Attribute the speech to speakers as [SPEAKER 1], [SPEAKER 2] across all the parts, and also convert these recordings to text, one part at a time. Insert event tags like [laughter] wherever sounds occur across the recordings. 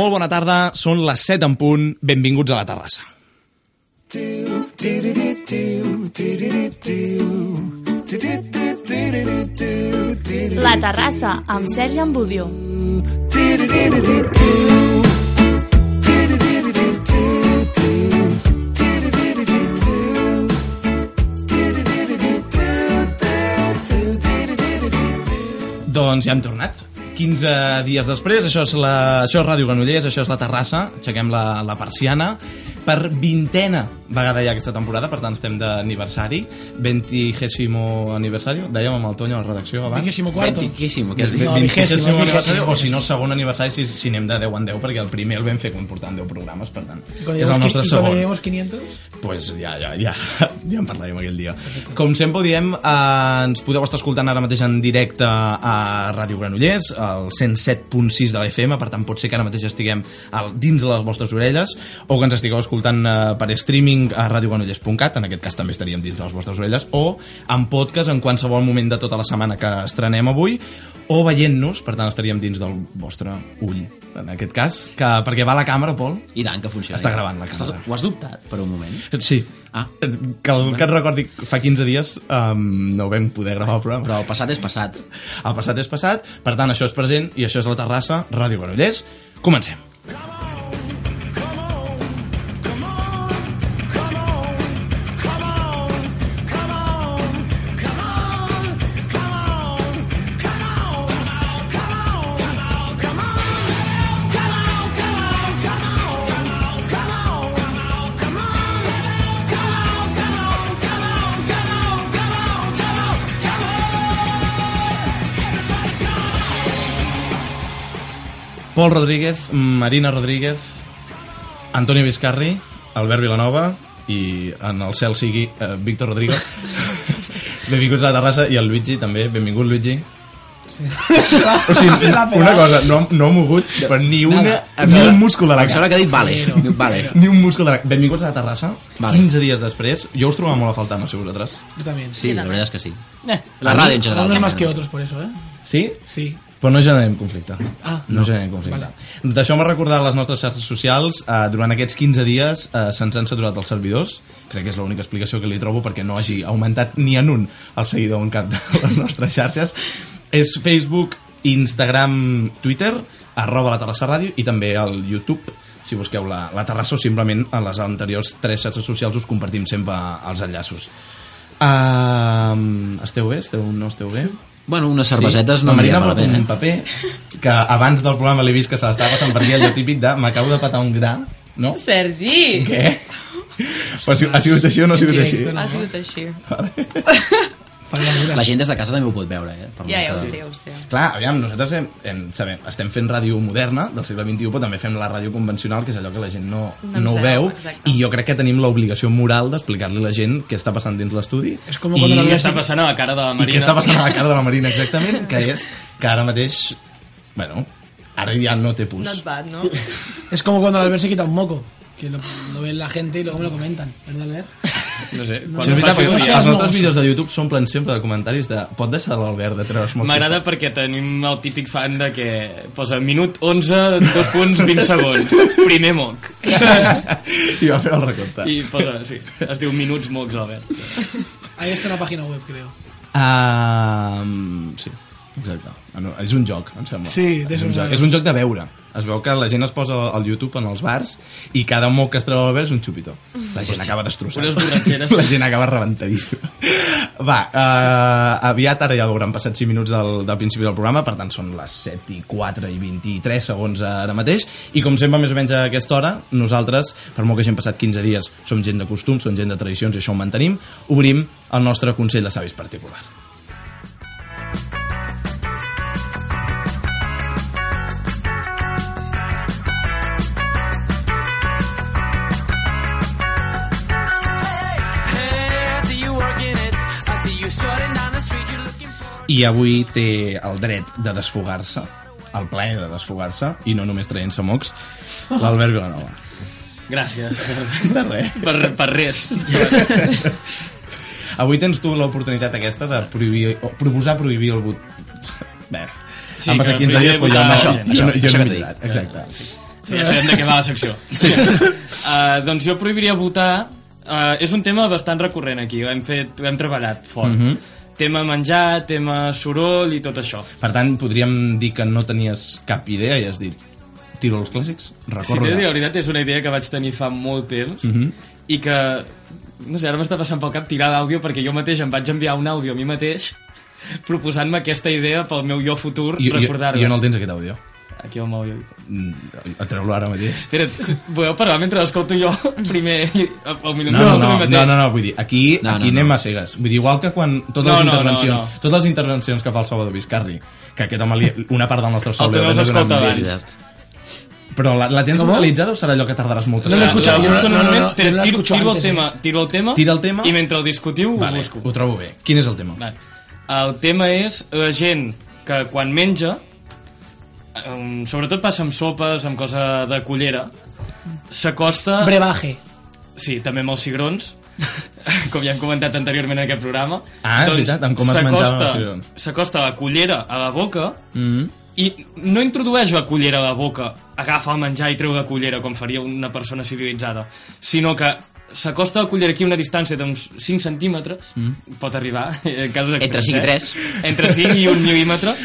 [SPEAKER 1] Molt bona tarda, són les 7 en punt, benvinguts a la Terrassa.
[SPEAKER 2] La Terrassa, amb Sergi Ambudio.
[SPEAKER 1] Doncs ja hem tornat. 15 dies després, això és, la, això és Ràdio Granollers, això és la Terrassa, aixequem la, la persiana, per vintena vegada ja aquesta temporada, per tant estem d'aniversari, 20 aniversari, dèiem amb el Tonyo a la redacció abans.
[SPEAKER 3] Vigésimo cuarto.
[SPEAKER 4] Ventiquíssimo, que és
[SPEAKER 3] No,
[SPEAKER 4] ben-
[SPEAKER 3] vigésimo,
[SPEAKER 1] vigésimo
[SPEAKER 3] és
[SPEAKER 1] aniversari,
[SPEAKER 3] vigésimo.
[SPEAKER 1] o si no, segon aniversari, si, si anem de 10 en 10, perquè el primer el vam fer comportant 10 programes, per tant,
[SPEAKER 3] Y
[SPEAKER 1] és el nostre
[SPEAKER 3] qui- y
[SPEAKER 1] segon.
[SPEAKER 3] Cuando lleguemos 500,
[SPEAKER 1] pues ja, ja, [laughs] ja, ja en parlarem aquell dia. Com sempre ho diem, eh, ens podeu estar escoltant ara mateix en directe a Ràdio Granollers, al 107.6 de la FM, per tant pot ser que ara mateix estiguem al, dins de les vostres orelles, o que ens estigueu escoltant eh, per streaming a radiogranollers.cat, en aquest cas també estaríem dins de les vostres orelles, o en podcast en qualsevol moment de tota la setmana que estrenem avui, o veient-nos, per tant estaríem dins del vostre ull, en aquest cas, que, perquè va la càmera, Pol,
[SPEAKER 4] I tant que funciona.
[SPEAKER 1] Està gravant la càmera.
[SPEAKER 4] Ho has dubtat per un moment?
[SPEAKER 1] Sí.
[SPEAKER 4] Ah.
[SPEAKER 1] Que, el, que et recordi, fa 15 dies um, no vam poder gravar el programa.
[SPEAKER 4] Però el passat és passat.
[SPEAKER 1] El passat és passat, per tant, això és present i això és la Terrassa, Ràdio Granollers. Comencem. Pol Rodríguez, Marina Rodríguez, Antonio Vizcarri, Albert Vilanova i en el cel sigui eh, Víctor Rodríguez. Benvinguts a la Terrassa i el Luigi també. Benvingut, Luigi. O sigui, una cosa, no, no ha mogut per ni, una, ni un múscul de la
[SPEAKER 4] Em
[SPEAKER 1] cara.
[SPEAKER 4] sembla que ha dit vale.
[SPEAKER 3] Sí,
[SPEAKER 4] Diu,
[SPEAKER 3] no.
[SPEAKER 4] Vale.
[SPEAKER 1] Ni un múscul de la... Benvinguts a la Terrassa,
[SPEAKER 4] Vale.
[SPEAKER 1] 15 dies després. Jo us trobava molt a faltar, no sé vosaltres.
[SPEAKER 3] yo también.
[SPEAKER 4] Sí, la veritat és que sí.
[SPEAKER 3] Eh,
[SPEAKER 4] La
[SPEAKER 3] a mí,
[SPEAKER 4] radio en general.
[SPEAKER 3] Algunos más
[SPEAKER 4] también.
[SPEAKER 3] que otros por eso, ¿eh?
[SPEAKER 1] Sí?
[SPEAKER 3] Sí.
[SPEAKER 1] Però no generem conflicte.
[SPEAKER 3] Ah,
[SPEAKER 1] no,
[SPEAKER 3] no.
[SPEAKER 1] generem conflicte. Vale. Deixeu-me recordar les nostres xarxes socials. Uh, durant aquests 15 dies uh, se'ns han saturat els servidors. Crec que és l'única explicació que li trobo perquè no hagi augmentat ni en un el seguidor en cap de [laughs] les nostres xarxes. És Facebook, Instagram, Twitter, arroba la Terrassa Ràdio i també el YouTube si busqueu la, la Terrassa o simplement a les anteriors tres xarxes socials us compartim sempre els enllaços. Uh, esteu bé? Esteu, no esteu bé?
[SPEAKER 4] Bueno, unes cervesetes
[SPEAKER 1] Sí.
[SPEAKER 4] no
[SPEAKER 1] la Marina
[SPEAKER 4] aniria
[SPEAKER 1] un
[SPEAKER 4] malament, eh?
[SPEAKER 1] paper que abans del programa l'he vist que se l'estava passant per aquí allò típic de m'acabo de patar un gra, no?
[SPEAKER 5] Sergi!
[SPEAKER 1] Què? Però ha si- ha sigut així o no ha sigut així?
[SPEAKER 3] Directe, no.
[SPEAKER 5] Ha sigut així.
[SPEAKER 6] Ah,
[SPEAKER 4] La gent des de casa també ho pot veure, eh? Per
[SPEAKER 5] Ja, ja ho
[SPEAKER 4] molta-
[SPEAKER 5] sé, ja ho sé.
[SPEAKER 1] Clar, aviam, nosaltres hem, hem, sabem, estem fent ràdio moderna del segle XXI, però també fem la ràdio convencional, que és allò que la gent no,
[SPEAKER 5] No
[SPEAKER 1] no,
[SPEAKER 5] ens
[SPEAKER 1] no ho
[SPEAKER 5] veu,
[SPEAKER 1] veu,
[SPEAKER 5] exacte.
[SPEAKER 1] i jo crec que tenim l'obligació moral d'explicar-li a la gent què està passant dins l'estudi
[SPEAKER 3] És com
[SPEAKER 1] i,
[SPEAKER 3] quan la
[SPEAKER 1] i
[SPEAKER 3] Marina
[SPEAKER 6] Què està passant a la cara de la Marina?
[SPEAKER 1] què està passant a la cara de la Marina exactament, que és que ara mateix, bueno, ara ja no té pus.
[SPEAKER 5] No et va, no?
[SPEAKER 3] Es como cuando Albert se quita un moco. Que lo, lo ven la gente y luego me lo comentan. ¿Verdad, Albert?
[SPEAKER 6] No sé,
[SPEAKER 3] No,
[SPEAKER 1] Sí, és
[SPEAKER 6] quan no,
[SPEAKER 1] veritat,
[SPEAKER 6] faci
[SPEAKER 1] perquè
[SPEAKER 6] un dia.
[SPEAKER 1] els
[SPEAKER 3] no.
[SPEAKER 1] nostres vídeos de YouTube s'omplen sempre de comentaris de pot deixar l'Albert de treure's molt
[SPEAKER 6] [laughs] M'agrada perquè tenim el típic fan de que posa minut 11, dos punts,
[SPEAKER 1] [laughs]
[SPEAKER 6] 20 segons. Primer moc.
[SPEAKER 1] I va fer el recompte. I...
[SPEAKER 6] I posa, sí, es diu minuts mocs, Albert.
[SPEAKER 3] Ahí está la página web, creo.
[SPEAKER 1] Um, sí, exacte. Ah, No, és un joc, em sembla.
[SPEAKER 3] Sí,
[SPEAKER 1] és
[SPEAKER 3] deixa'm
[SPEAKER 1] un joc.
[SPEAKER 3] veure.
[SPEAKER 1] És un joc de veure. Es veu que la gent es posa al YouTube en els bars i cada moc que es treu l'Albert és un xupitó. La gent acaba destrossant.
[SPEAKER 6] Unes borratxeres.
[SPEAKER 1] La gent acaba rebentadíssima. Va, uh, aviat ara ja hauran passat 5 minuts del, del principi del programa, per tant són les 7 i 4 i 23 segons ara mateix, i com sempre més o menys a aquesta hora, nosaltres, per molt que hagin passat 15 dies, som gent de costums, som gent de tradicions i això ho mantenim, obrim el nostre Consell de Savis particular. i avui té el dret de desfogar-se el plaer de desfogar-se i no només traient-se mocs l'Albert Vilanova
[SPEAKER 6] Gràcies
[SPEAKER 1] de res
[SPEAKER 6] per, per res.
[SPEAKER 1] avui tens tu l'oportunitat aquesta de prohibir, o proposar prohibir el vot bé
[SPEAKER 6] Sí,
[SPEAKER 1] han passat
[SPEAKER 6] que
[SPEAKER 1] 15 dies però jo
[SPEAKER 6] prohibir
[SPEAKER 1] no,
[SPEAKER 6] votar
[SPEAKER 1] això,
[SPEAKER 6] la gent.
[SPEAKER 1] jo, no- jo
[SPEAKER 4] Això
[SPEAKER 1] no
[SPEAKER 4] que
[SPEAKER 1] m'he
[SPEAKER 4] t'he
[SPEAKER 1] entrat exacte
[SPEAKER 6] ja sabem de què va la secció. [laughs] Sí. Uh, doncs jo prohibiria votar... Uh, és un tema bastant recurrent aquí, ho hem, fet, ho hem treballat fort.
[SPEAKER 1] Mhm.
[SPEAKER 6] Tema menjar, tema soroll i tot això.
[SPEAKER 1] Per tant, podríem dir que no tenies cap idea i has dit tiro els clàssics,
[SPEAKER 6] Si t'he
[SPEAKER 1] recorro
[SPEAKER 6] de dir
[SPEAKER 1] sí,
[SPEAKER 6] la veritat, és una idea que vaig tenir fa molt temps
[SPEAKER 1] Mhm.
[SPEAKER 6] i que, no sé, ara m'està passant pel cap tirar d'àudio perquè jo mateix em vaig enviar un àudio a mi mateix proposant-me aquesta idea pel meu jo futur
[SPEAKER 1] jo, jo,
[SPEAKER 6] recordar-la.
[SPEAKER 1] jo no el tens aquest àudio
[SPEAKER 6] Aquí el meu jo.
[SPEAKER 1] Mm, a treu-lo ara mateix
[SPEAKER 6] Espera't, podeu parar mentre l'escolto jo [laughs] primer i el millor
[SPEAKER 1] no,
[SPEAKER 6] no,
[SPEAKER 1] no,
[SPEAKER 6] mi
[SPEAKER 1] no,
[SPEAKER 6] mateix?
[SPEAKER 1] no, no, no, vull dir, aquí,
[SPEAKER 4] No,
[SPEAKER 1] no,
[SPEAKER 4] no,
[SPEAKER 1] aquí
[SPEAKER 4] no.
[SPEAKER 1] anem a cegues. Vull dir, igual que quan totes,
[SPEAKER 6] No,
[SPEAKER 1] les,
[SPEAKER 6] no, no,
[SPEAKER 1] intervencions,
[SPEAKER 6] no.
[SPEAKER 1] totes les intervencions que fa el Salvador Vizcarri, que aquest home, li, una part del nostre
[SPEAKER 6] El
[SPEAKER 1] sol...
[SPEAKER 6] teu
[SPEAKER 1] li haurem
[SPEAKER 6] no
[SPEAKER 1] de donar
[SPEAKER 6] s'escolta
[SPEAKER 1] amb
[SPEAKER 6] abans.
[SPEAKER 1] ells. Però la, la tens localitzada o serà allò que tardaràs moltes
[SPEAKER 3] No l'he
[SPEAKER 1] estona?
[SPEAKER 3] escuchat.
[SPEAKER 6] Lo
[SPEAKER 3] yo no-
[SPEAKER 6] busco en un
[SPEAKER 3] no, no,
[SPEAKER 6] moment,
[SPEAKER 3] no,
[SPEAKER 6] pero
[SPEAKER 3] yo la
[SPEAKER 6] tiro,
[SPEAKER 3] escucho
[SPEAKER 6] tiro el
[SPEAKER 3] antes, eh.
[SPEAKER 6] tema, tiro el tema,
[SPEAKER 1] Tira el tema.
[SPEAKER 6] i mentre el discutiu ho
[SPEAKER 1] Vale,
[SPEAKER 6] busco.
[SPEAKER 1] ho trobo bé. Quin és el tema?
[SPEAKER 6] Vale. El tema és la gent que quan menja, um, sobretot passa amb sopes, amb cosa de cullera, s'acosta...
[SPEAKER 3] Brebaje.
[SPEAKER 6] Sí, també amb els cigrons, [laughs] com ja hem comentat anteriorment en aquest programa. Doncs
[SPEAKER 1] Ah, és veritat, amb com es menjaven els
[SPEAKER 6] s'acosta-
[SPEAKER 1] cigrons.
[SPEAKER 6] S'acosta la cullera a la boca
[SPEAKER 1] Mm
[SPEAKER 6] i no introdueix la cullera a la boca, agafa el menjar i treu la cullera, com faria una persona civilitzada, sinó que s'acosta la cullera aquí a una distància d'uns 5 centímetres, mm. pot arribar, [laughs] en casos extrems,
[SPEAKER 4] Entre cinc i
[SPEAKER 6] eh?
[SPEAKER 4] tres.
[SPEAKER 6] Entre 5 i 1 mil·límetre,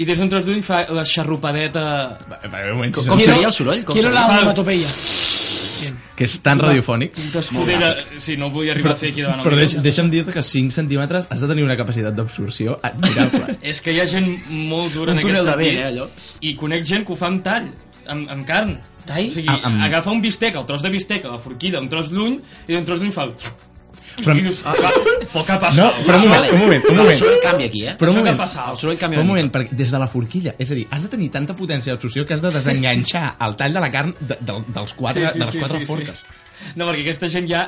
[SPEAKER 6] i des d'un tros d'ull fa la xarrupadeta...
[SPEAKER 1] -hmm.
[SPEAKER 4] Com
[SPEAKER 3] Quiero-
[SPEAKER 4] seria el soroll? Com
[SPEAKER 3] Quiero la
[SPEAKER 4] seria?
[SPEAKER 6] Claro.
[SPEAKER 3] onomatopeia.
[SPEAKER 1] Que és tan radiofònic.
[SPEAKER 6] Escudella... Sí, no ho volia arribar a fer aquí davant el
[SPEAKER 1] Però deix,
[SPEAKER 6] micro.
[SPEAKER 1] deixa'm dir-te que 5 centímetres has de tenir una capacitat d'absorció admirable.
[SPEAKER 6] És que hi ha gent molt dura
[SPEAKER 4] Un
[SPEAKER 6] en aquest
[SPEAKER 4] túnel de
[SPEAKER 6] sentit,
[SPEAKER 4] vent, eh, allò.
[SPEAKER 6] i conec gent que ho fa amb tall, amb, amb carn.
[SPEAKER 3] Tall?
[SPEAKER 6] O sigui,
[SPEAKER 1] Ah, amb-
[SPEAKER 6] agafa un bistec, el tros de bistec, a la forquilla, un tros lluny, i d'un tros lluny fa... El...
[SPEAKER 1] Però,
[SPEAKER 6] I dius, ah, poca pasta.
[SPEAKER 1] no, però un moment, un moment, un
[SPEAKER 4] No, el
[SPEAKER 1] moment.
[SPEAKER 4] soroll canvia aquí, eh?
[SPEAKER 1] Però un
[SPEAKER 6] Això que
[SPEAKER 1] moment,
[SPEAKER 6] ha passat.
[SPEAKER 4] El soroll canvia
[SPEAKER 1] però un
[SPEAKER 4] una
[SPEAKER 1] moment,
[SPEAKER 4] mica.
[SPEAKER 1] perquè des de la forquilla, és a dir, has de tenir tanta potència d'absorció que has de desenganxar el tall de la carn de, de, dels quatre, de les quatre forques.
[SPEAKER 6] No, perquè aquesta gent ja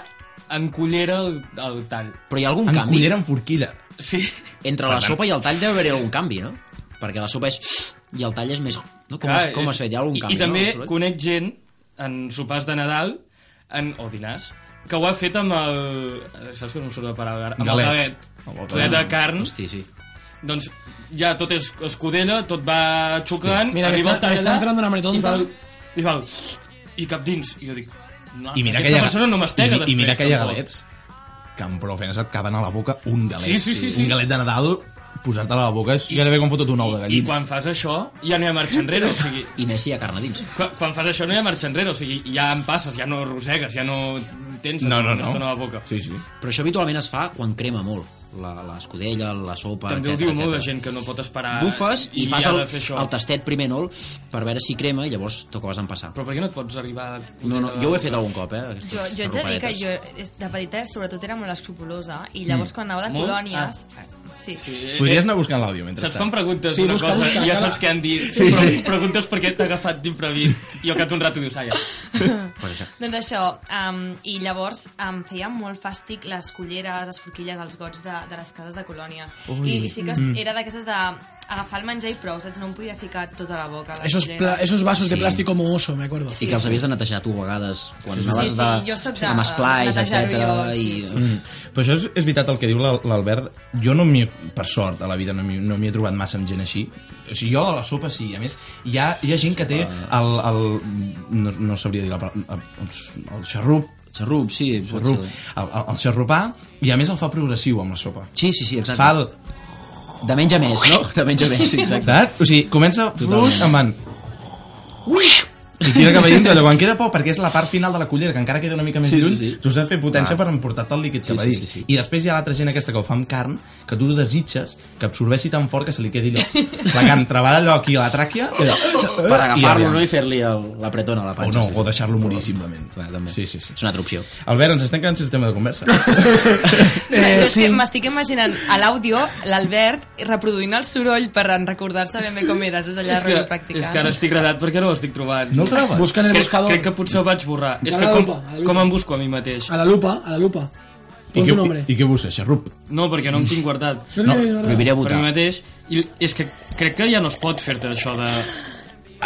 [SPEAKER 6] encollera el, el tall.
[SPEAKER 4] Però hi ha algun
[SPEAKER 1] En
[SPEAKER 4] canvi?
[SPEAKER 1] cullera en forquilla.
[SPEAKER 6] Sí.
[SPEAKER 4] Entre la sopa i el tall deu haver algun canvi, no? Perquè la sopa és... i el tall és més... No? Com,
[SPEAKER 6] Clar,
[SPEAKER 4] es, com
[SPEAKER 6] és-
[SPEAKER 4] has fet? Hi ha algun canvi,
[SPEAKER 6] I, i també
[SPEAKER 4] no? Soroll?
[SPEAKER 6] conec gent en sopars de Nadal en, o dinars que ho ha fet amb el... Saps que no em surt la paraula ara? Amb
[SPEAKER 1] Galet. Amb
[SPEAKER 6] el
[SPEAKER 1] el
[SPEAKER 6] galet. Galet de carn.
[SPEAKER 4] Hosti, sí.
[SPEAKER 6] Doncs ja tot és escudella, tot va xucant,
[SPEAKER 3] Mira,
[SPEAKER 6] arriba
[SPEAKER 3] que
[SPEAKER 6] el
[SPEAKER 3] està-
[SPEAKER 6] tall
[SPEAKER 3] està entrant una
[SPEAKER 6] I
[SPEAKER 3] maretonta.
[SPEAKER 6] val, i val, i cap dins. I jo dic, no,
[SPEAKER 1] I mira que
[SPEAKER 6] aquesta
[SPEAKER 1] hi ha,
[SPEAKER 6] persona no
[SPEAKER 1] i,
[SPEAKER 6] mastega
[SPEAKER 1] mi-
[SPEAKER 6] després.
[SPEAKER 1] i mira que hi ha
[SPEAKER 6] tampoc.
[SPEAKER 1] galets que amb prou feines et caben a la boca un galet.
[SPEAKER 6] Sí, sí, sí, sí.
[SPEAKER 1] Un galet de Nadal, posar-te-la a la boca és gairebé com fotut un ou de
[SPEAKER 6] I
[SPEAKER 1] gallina.
[SPEAKER 6] quan fas això, ja no hi ha marxa enrere, o sigui...
[SPEAKER 4] I més si hi ha carn a dins.
[SPEAKER 6] Quan, quan fas això no hi ha marxa enrere, o sigui, ja en passes, ja no rosegues, ja no tens
[SPEAKER 1] No, no,
[SPEAKER 6] una
[SPEAKER 1] no.
[SPEAKER 6] estona a la boca.
[SPEAKER 1] Sí, sí.
[SPEAKER 4] Però això habitualment es fa quan crema molt. La- L'escudella, la, sopa,
[SPEAKER 6] També ho
[SPEAKER 4] etcètera,
[SPEAKER 6] diu molt de
[SPEAKER 4] etcètera.
[SPEAKER 6] gent que no pot esperar
[SPEAKER 4] bufes i, fas
[SPEAKER 6] ha
[SPEAKER 4] el,
[SPEAKER 6] de fer això.
[SPEAKER 4] el tastet primer nol per veure si crema i llavors t'acabes d'empassar.
[SPEAKER 6] Però per què no et pots arribar... a-
[SPEAKER 4] No, no, jo ho he fet algun cop, eh? aquestes
[SPEAKER 5] Jo, jo ets a dir que
[SPEAKER 4] arrupadetes.
[SPEAKER 5] jo és- de petita sobretot era molt escrupulosa i llavors quan anava de
[SPEAKER 6] Mm. Molt? Ah.
[SPEAKER 5] colònies... Sí.
[SPEAKER 6] Sí, eh,
[SPEAKER 1] Podries anar buscant l'àudio
[SPEAKER 6] Saps
[SPEAKER 1] mentrestant.
[SPEAKER 6] quan preguntes
[SPEAKER 3] Sí,
[SPEAKER 6] una
[SPEAKER 3] busca,
[SPEAKER 6] cosa
[SPEAKER 3] busca,
[SPEAKER 6] i ja
[SPEAKER 3] acaba.
[SPEAKER 6] saps què han dit?
[SPEAKER 1] Sí,
[SPEAKER 6] però
[SPEAKER 1] sí.
[SPEAKER 6] Preguntes per què t'ha agafat d'imprevist i al cap d'un rato dius, ah, ja.
[SPEAKER 4] Pues això.
[SPEAKER 5] Doncs això, um, i llavors em feia molt fàstic les culleres, les forquilles, els gots de, de les cases de colònies. I, I sí que
[SPEAKER 6] Mm.
[SPEAKER 5] es- era d'aquestes de agafar el menjar i prou, saps? No em podia ficar tota la boca. a la
[SPEAKER 3] Esos,
[SPEAKER 5] cullera.
[SPEAKER 3] pla-
[SPEAKER 5] [laughs]
[SPEAKER 3] esos vasos de
[SPEAKER 4] Sí.
[SPEAKER 3] plástico mohoso, me acuerdo.
[SPEAKER 4] I que els havies de netejar tu a vegades quan anaves
[SPEAKER 5] sí,
[SPEAKER 4] de...
[SPEAKER 5] jo sóc de-
[SPEAKER 4] amb esplais,
[SPEAKER 5] netejar-ho
[SPEAKER 4] etcètera,
[SPEAKER 5] jo, sí,
[SPEAKER 4] i... Mm.
[SPEAKER 5] sí.
[SPEAKER 1] Però això és, és veritat el que diu l'Al- l'Albert. Jo no m'hi... Per sort, a la vida no m'hi no m'hi he trobat massa amb gent així. O sigui, jo a la sopa sí. A més, hi ha, hi ha gent que té el... el no, no sabria dir la paraula... El, el xarrup.
[SPEAKER 4] Xarrup, sí, pot
[SPEAKER 1] Xarrup,
[SPEAKER 4] ser.
[SPEAKER 1] el, el, el xarrupà. I a més el fa progressiu amb la sopa.
[SPEAKER 4] Sí, sí, sí, exacte.
[SPEAKER 1] Fa el...
[SPEAKER 4] De menys a més, no? [laughs] De menys a més, sí, exacte.
[SPEAKER 1] Saps? O sigui, comença fluix amb en... I tira cap a dintre, allò, quan queda poc, perquè és la part final de la cullera, que encara queda una mica més
[SPEAKER 4] Sí, sí,
[SPEAKER 1] lluny,
[SPEAKER 4] sí.
[SPEAKER 1] tu has de fer potència
[SPEAKER 4] Clar.
[SPEAKER 1] per emportar-te el líquid cap a
[SPEAKER 4] sí,
[SPEAKER 1] dins.
[SPEAKER 4] sí, sí.
[SPEAKER 1] I després hi ha l'altra gent aquesta que ho fa amb carn, que tu ho desitges, que absorbeixi tan fort que se li quedi allò.
[SPEAKER 3] [laughs]
[SPEAKER 1] La carn treballa allò aquí a la tràquia... Eh, i allò-
[SPEAKER 4] Per agafar-lo,
[SPEAKER 1] aviam.
[SPEAKER 4] no?, i fer-li el- la pretona a la
[SPEAKER 1] O
[SPEAKER 4] panxa.
[SPEAKER 1] no,
[SPEAKER 4] sí.
[SPEAKER 1] o deixar-lo morir simplement.
[SPEAKER 4] Clar, també.
[SPEAKER 1] Sí, sí, sí.
[SPEAKER 4] És una altra opció.
[SPEAKER 1] Albert, ens estem quedant sense tema de conversa.
[SPEAKER 4] [laughs]
[SPEAKER 5] Eh, jo és
[SPEAKER 3] sí.
[SPEAKER 5] que m'estic imaginant a l'àudio l'Albert reproduint el soroll per en recordar-se ben bé com era, és allà
[SPEAKER 6] És que,
[SPEAKER 5] practicant.
[SPEAKER 6] és que ara estic agradat perquè no ho estic trobant.
[SPEAKER 1] No el trobes?
[SPEAKER 3] Busca en el
[SPEAKER 6] crec,
[SPEAKER 3] buscador.
[SPEAKER 6] crec que potser ho vaig borrar. És
[SPEAKER 3] A
[SPEAKER 6] que
[SPEAKER 3] la
[SPEAKER 6] com,
[SPEAKER 3] lupa, a la lupa.
[SPEAKER 6] com em busco a mi mateix?
[SPEAKER 3] A la lupa, a la lupa. Pon tu nombre.
[SPEAKER 1] I què busques, xarrup?
[SPEAKER 6] No, perquè no em tinc guardat.
[SPEAKER 3] No, no, no, no.
[SPEAKER 4] Prohibiré
[SPEAKER 6] Per
[SPEAKER 4] votar.
[SPEAKER 6] mi mateix. I és que crec que ja no es pot fer-te això de...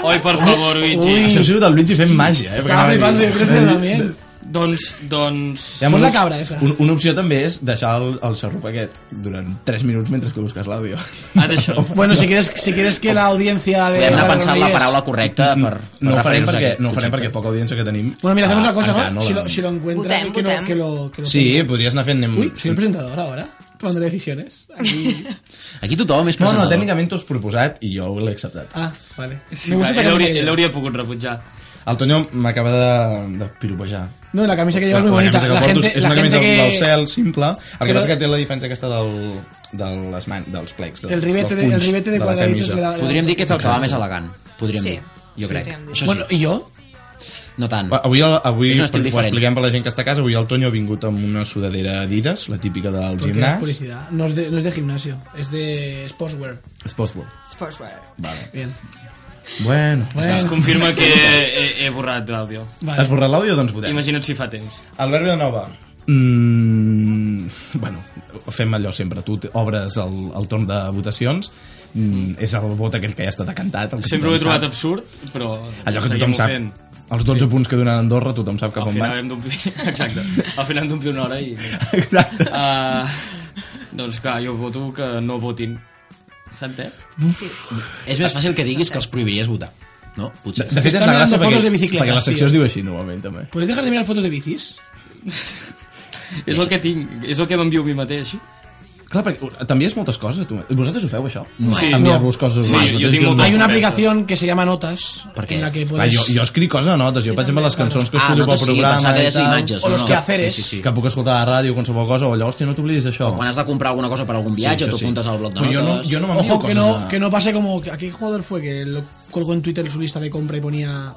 [SPEAKER 6] Oi, per favor, Luigi.
[SPEAKER 1] Això ha sigut el Luigi fent màgia, eh?
[SPEAKER 3] Estaba
[SPEAKER 1] perquè anava a
[SPEAKER 3] flipando,
[SPEAKER 1] dir-
[SPEAKER 3] yo creo que también.
[SPEAKER 6] Doncs, doncs...
[SPEAKER 3] Fot
[SPEAKER 1] una-
[SPEAKER 3] la cabra, esa.
[SPEAKER 1] Un, una opció també és deixar el, el xarrup aquest durant 3 minuts mentre tu busques l'àudio.
[SPEAKER 6] Ah, d'això.
[SPEAKER 1] [laughs]
[SPEAKER 3] Bueno, si quieres, si quieres que la audiencia de...
[SPEAKER 4] Hem de
[SPEAKER 3] Radio
[SPEAKER 4] pensar en la
[SPEAKER 3] Granollers-
[SPEAKER 4] paraula correcta per... per
[SPEAKER 1] No ho farem
[SPEAKER 4] referir-nos a
[SPEAKER 1] perquè,
[SPEAKER 4] aquest
[SPEAKER 1] no ho farem
[SPEAKER 4] concepte.
[SPEAKER 1] perquè poca audiència que tenim...
[SPEAKER 3] Bueno, mira, hacemos
[SPEAKER 1] Ah,
[SPEAKER 3] una cosa,
[SPEAKER 1] encara
[SPEAKER 3] ¿no?
[SPEAKER 1] la-
[SPEAKER 3] si, lo, si lo encuentras,
[SPEAKER 5] Votem,
[SPEAKER 3] que, lo,
[SPEAKER 5] votem.
[SPEAKER 3] que lo... que lo-
[SPEAKER 1] Sí, Mm. podries anar fent...
[SPEAKER 3] Uy, soy el presentador ahora, ¿eh? tomando decisiones.
[SPEAKER 1] [laughs]
[SPEAKER 3] Aquí.
[SPEAKER 4] Aquí tothom és
[SPEAKER 1] No, no,
[SPEAKER 4] presentador.
[SPEAKER 1] tècnicament t'ho has proposat i jo l'he acceptat.
[SPEAKER 3] Ah, vale.
[SPEAKER 6] Sí,
[SPEAKER 3] Me
[SPEAKER 6] va,
[SPEAKER 3] gusta esta
[SPEAKER 6] ell,
[SPEAKER 3] camisa que
[SPEAKER 6] hauria, ell
[SPEAKER 3] llevas.
[SPEAKER 6] hauria pogut rebutjar.
[SPEAKER 1] El Tonyo m'acaba de, de piropejar.
[SPEAKER 3] No, la camisa que
[SPEAKER 1] La,
[SPEAKER 3] llevas
[SPEAKER 1] la
[SPEAKER 3] es muy bonita.
[SPEAKER 1] camisa que
[SPEAKER 3] La
[SPEAKER 1] porto
[SPEAKER 3] gente,
[SPEAKER 1] és
[SPEAKER 3] la
[SPEAKER 1] una camisa
[SPEAKER 3] gente
[SPEAKER 1] que... blau
[SPEAKER 3] que...
[SPEAKER 1] cel, simple. El que
[SPEAKER 3] Però-
[SPEAKER 1] passa que té la diferència aquesta del, de les man, dels plecs. Dels,
[SPEAKER 3] El ribete,
[SPEAKER 1] dels
[SPEAKER 3] de, el
[SPEAKER 1] punys
[SPEAKER 3] ribete de
[SPEAKER 1] la
[SPEAKER 3] cuadraditos
[SPEAKER 1] camisa.
[SPEAKER 3] le da...
[SPEAKER 4] Podríem dir que ets el que va més elegant. Podríem
[SPEAKER 5] Sí.
[SPEAKER 4] dir. Jo
[SPEAKER 5] Sí,
[SPEAKER 4] crec.
[SPEAKER 5] podríem dir.
[SPEAKER 4] Això sí.
[SPEAKER 3] Bueno, ¿y yo?
[SPEAKER 4] no tant.
[SPEAKER 1] Va, Avui, el- avui
[SPEAKER 4] És
[SPEAKER 1] ho
[SPEAKER 4] un estil diferent.
[SPEAKER 1] expliquem per la gent que està a casa, avui el Tonyo ha vingut amb una sudadera Adidas, la típica del
[SPEAKER 3] Porque no es
[SPEAKER 1] gimnàs.
[SPEAKER 3] publicidad. No es, de, no es de gimnasio, es de sportswear.
[SPEAKER 1] Sportswear.
[SPEAKER 5] Sportswear.
[SPEAKER 1] Vale.
[SPEAKER 3] Bien.
[SPEAKER 1] Bueno.
[SPEAKER 6] Es
[SPEAKER 3] Bueno,
[SPEAKER 6] confirma que he, he borrat l'àudio.
[SPEAKER 1] Has
[SPEAKER 3] vale.
[SPEAKER 1] borrat l'àudio? Doncs votem.
[SPEAKER 6] Imagina't si fa temps.
[SPEAKER 1] Albert Vilanova. Mm, bueno, fem allò sempre. Tu t- obres el, el torn de votacions. Mm, és el vot aquell que ja està decantat. el que
[SPEAKER 6] Sempre ho
[SPEAKER 1] tothom
[SPEAKER 6] he trobat
[SPEAKER 1] sap.
[SPEAKER 6] absurd, però...
[SPEAKER 1] Doncs Allò que
[SPEAKER 6] seguim
[SPEAKER 1] tothom
[SPEAKER 6] ho
[SPEAKER 1] sap.
[SPEAKER 6] fent.
[SPEAKER 1] Els 12 punts que donen Andorra, tothom sap cap
[SPEAKER 6] Al
[SPEAKER 1] on
[SPEAKER 6] final
[SPEAKER 1] van.
[SPEAKER 6] hem d'omplir... [laughs] Exacte. Al final hem d'omplir una hora i... mira.
[SPEAKER 1] [laughs] Exacte.
[SPEAKER 6] Ah, doncs clar, jo voto que no votin. S'entén?
[SPEAKER 4] És més fàcil que diguis que els prohibiries votar. No? Potser.
[SPEAKER 1] De fet, és
[SPEAKER 3] Estan
[SPEAKER 1] la
[SPEAKER 3] mirant
[SPEAKER 1] gràcia
[SPEAKER 3] fotos
[SPEAKER 1] perquè,
[SPEAKER 3] de bicicletes,
[SPEAKER 1] perquè la secció
[SPEAKER 3] tio.
[SPEAKER 1] es diu així normalment, també.
[SPEAKER 3] ¿Puedes dejar de mirar fotos de bicis?
[SPEAKER 6] És el que tinc, és el que m'envio a mi mateix.
[SPEAKER 1] Clar, perquè també és moltes coses. Tu. Vosaltres ho feu, això?
[SPEAKER 6] Sí.
[SPEAKER 1] Enviar-vos coses.
[SPEAKER 6] Sí,
[SPEAKER 1] a
[SPEAKER 6] jo
[SPEAKER 1] vosaltres?
[SPEAKER 6] tinc moltes
[SPEAKER 3] Hay una
[SPEAKER 6] Correcto.
[SPEAKER 3] aplicación que se llama Notas,
[SPEAKER 4] ¿Por qué?
[SPEAKER 3] en la que
[SPEAKER 1] Clar,
[SPEAKER 3] puedes...
[SPEAKER 1] jo, jo escric coses a notes. Jo, per exemple, les cançons que escolto pel
[SPEAKER 4] Ah, sí,
[SPEAKER 1] programa
[SPEAKER 4] pensava que
[SPEAKER 1] i
[SPEAKER 4] deies
[SPEAKER 1] tal,
[SPEAKER 4] imatges.
[SPEAKER 3] O los
[SPEAKER 4] no, no.
[SPEAKER 3] quehaceres.
[SPEAKER 4] Sí, sí, sí.
[SPEAKER 1] que puc escoltar a la ràdio qualsevol cosa, o allò, hòstia, no t'oblidis d'això.
[SPEAKER 4] Quan has de comprar alguna cosa per algun viatge,
[SPEAKER 1] això
[SPEAKER 4] t'ho apuntes al bloc de
[SPEAKER 1] Però jo no,
[SPEAKER 4] notes.
[SPEAKER 1] jo no m'envio
[SPEAKER 3] Ojo, que
[SPEAKER 1] coses.
[SPEAKER 3] no,
[SPEAKER 1] a-
[SPEAKER 3] que no pase como... ¿A qué jugador fue que lo colgó en Twitter su lista de compra y ponía...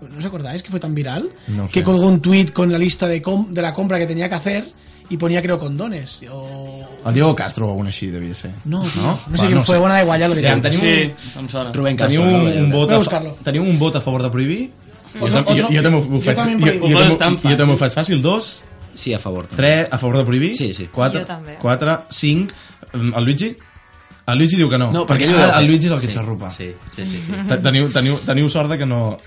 [SPEAKER 3] ¿No os acordáis que fue tan viral?
[SPEAKER 1] No sé.
[SPEAKER 3] Que colgó un tweet con la lista de, com- de la compra que tenía que hacer y ponía, creo, condones. O...
[SPEAKER 1] El Diego Castro o algun així devia ser.
[SPEAKER 3] No, tío, no,
[SPEAKER 1] Va,
[SPEAKER 3] sé quién fue. Bueno, da igual, ya lo diré.
[SPEAKER 1] Ja, en tenim,
[SPEAKER 6] Sí, Doncs
[SPEAKER 1] sí.
[SPEAKER 6] em sona.
[SPEAKER 1] un,
[SPEAKER 4] Rubén
[SPEAKER 1] tenim
[SPEAKER 4] Castro.
[SPEAKER 1] un, un vot
[SPEAKER 3] Voy a
[SPEAKER 1] a,
[SPEAKER 3] buscarlo.
[SPEAKER 1] teniu un vot a favor de prohibir? Jo,
[SPEAKER 3] Otro-
[SPEAKER 1] tam- jo,
[SPEAKER 3] otro-
[SPEAKER 1] jo també ho
[SPEAKER 3] yo
[SPEAKER 1] faig,
[SPEAKER 3] también
[SPEAKER 1] jo,
[SPEAKER 3] prohíbo.
[SPEAKER 1] jo,
[SPEAKER 6] Vols
[SPEAKER 1] també-
[SPEAKER 6] tan
[SPEAKER 1] jo també ho
[SPEAKER 6] fàcil.
[SPEAKER 1] faig fàcil. Dos,
[SPEAKER 4] Sí, a favor. També.
[SPEAKER 1] tres, a favor de prohibir.
[SPEAKER 4] Sí, sí.
[SPEAKER 1] Quatre,
[SPEAKER 5] Jo també.
[SPEAKER 1] quatre, cinc. Mm, El Luigi? El Luigi diu que no.
[SPEAKER 4] No,
[SPEAKER 1] perquè
[SPEAKER 4] perquè ell ho deu
[SPEAKER 1] ara el
[SPEAKER 4] fer.
[SPEAKER 1] Luigi és el que
[SPEAKER 4] Sí,
[SPEAKER 1] s'arrupa.
[SPEAKER 4] Sí, sí, sí. sí.
[SPEAKER 1] Te- Teniu, teniu, teniu sort de que no...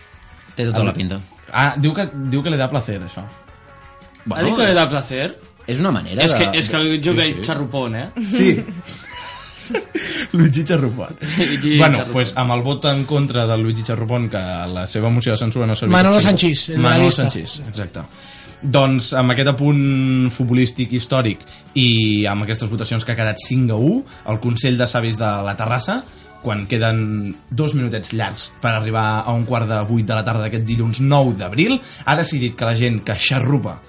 [SPEAKER 4] Té tota la pinta.
[SPEAKER 1] Ah, diu que, diu que li da placer, això.
[SPEAKER 6] Ha dit que li da placer?
[SPEAKER 4] és una manera
[SPEAKER 6] És que,
[SPEAKER 4] de...
[SPEAKER 6] és que jo sí, sí. xarrupon, eh?
[SPEAKER 1] Sí. Luigi Charrupon.
[SPEAKER 6] Luigi
[SPEAKER 1] bueno,
[SPEAKER 6] Charrupon.
[SPEAKER 1] pues amb el vot en contra del Luigi Charrupon, que la seva moció de censura no servia...
[SPEAKER 3] Manolo
[SPEAKER 1] per fer-ho.
[SPEAKER 3] Sanchís, el de la
[SPEAKER 1] Manolo
[SPEAKER 3] llista.
[SPEAKER 1] Sanchís, exacte. Doncs amb aquest apunt futbolístic històric i amb aquestes votacions que ha quedat 5 a 1, el Consell de Savis de la Terrassa, quan queden dos minutets llargs per arribar a un quart de vuit de la tarda d'aquest dilluns 9 d'abril, ha decidit que la gent que xarrupa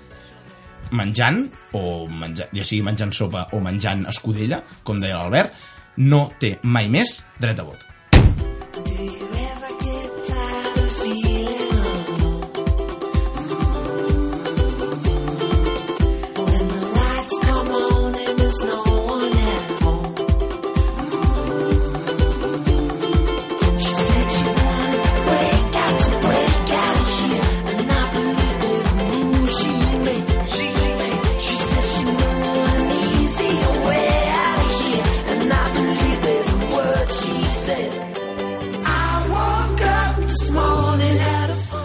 [SPEAKER 1] menjant, o menja, ja sigui menjant sopa o menjant escudella, com deia l'Albert, no té mai més dret a vot.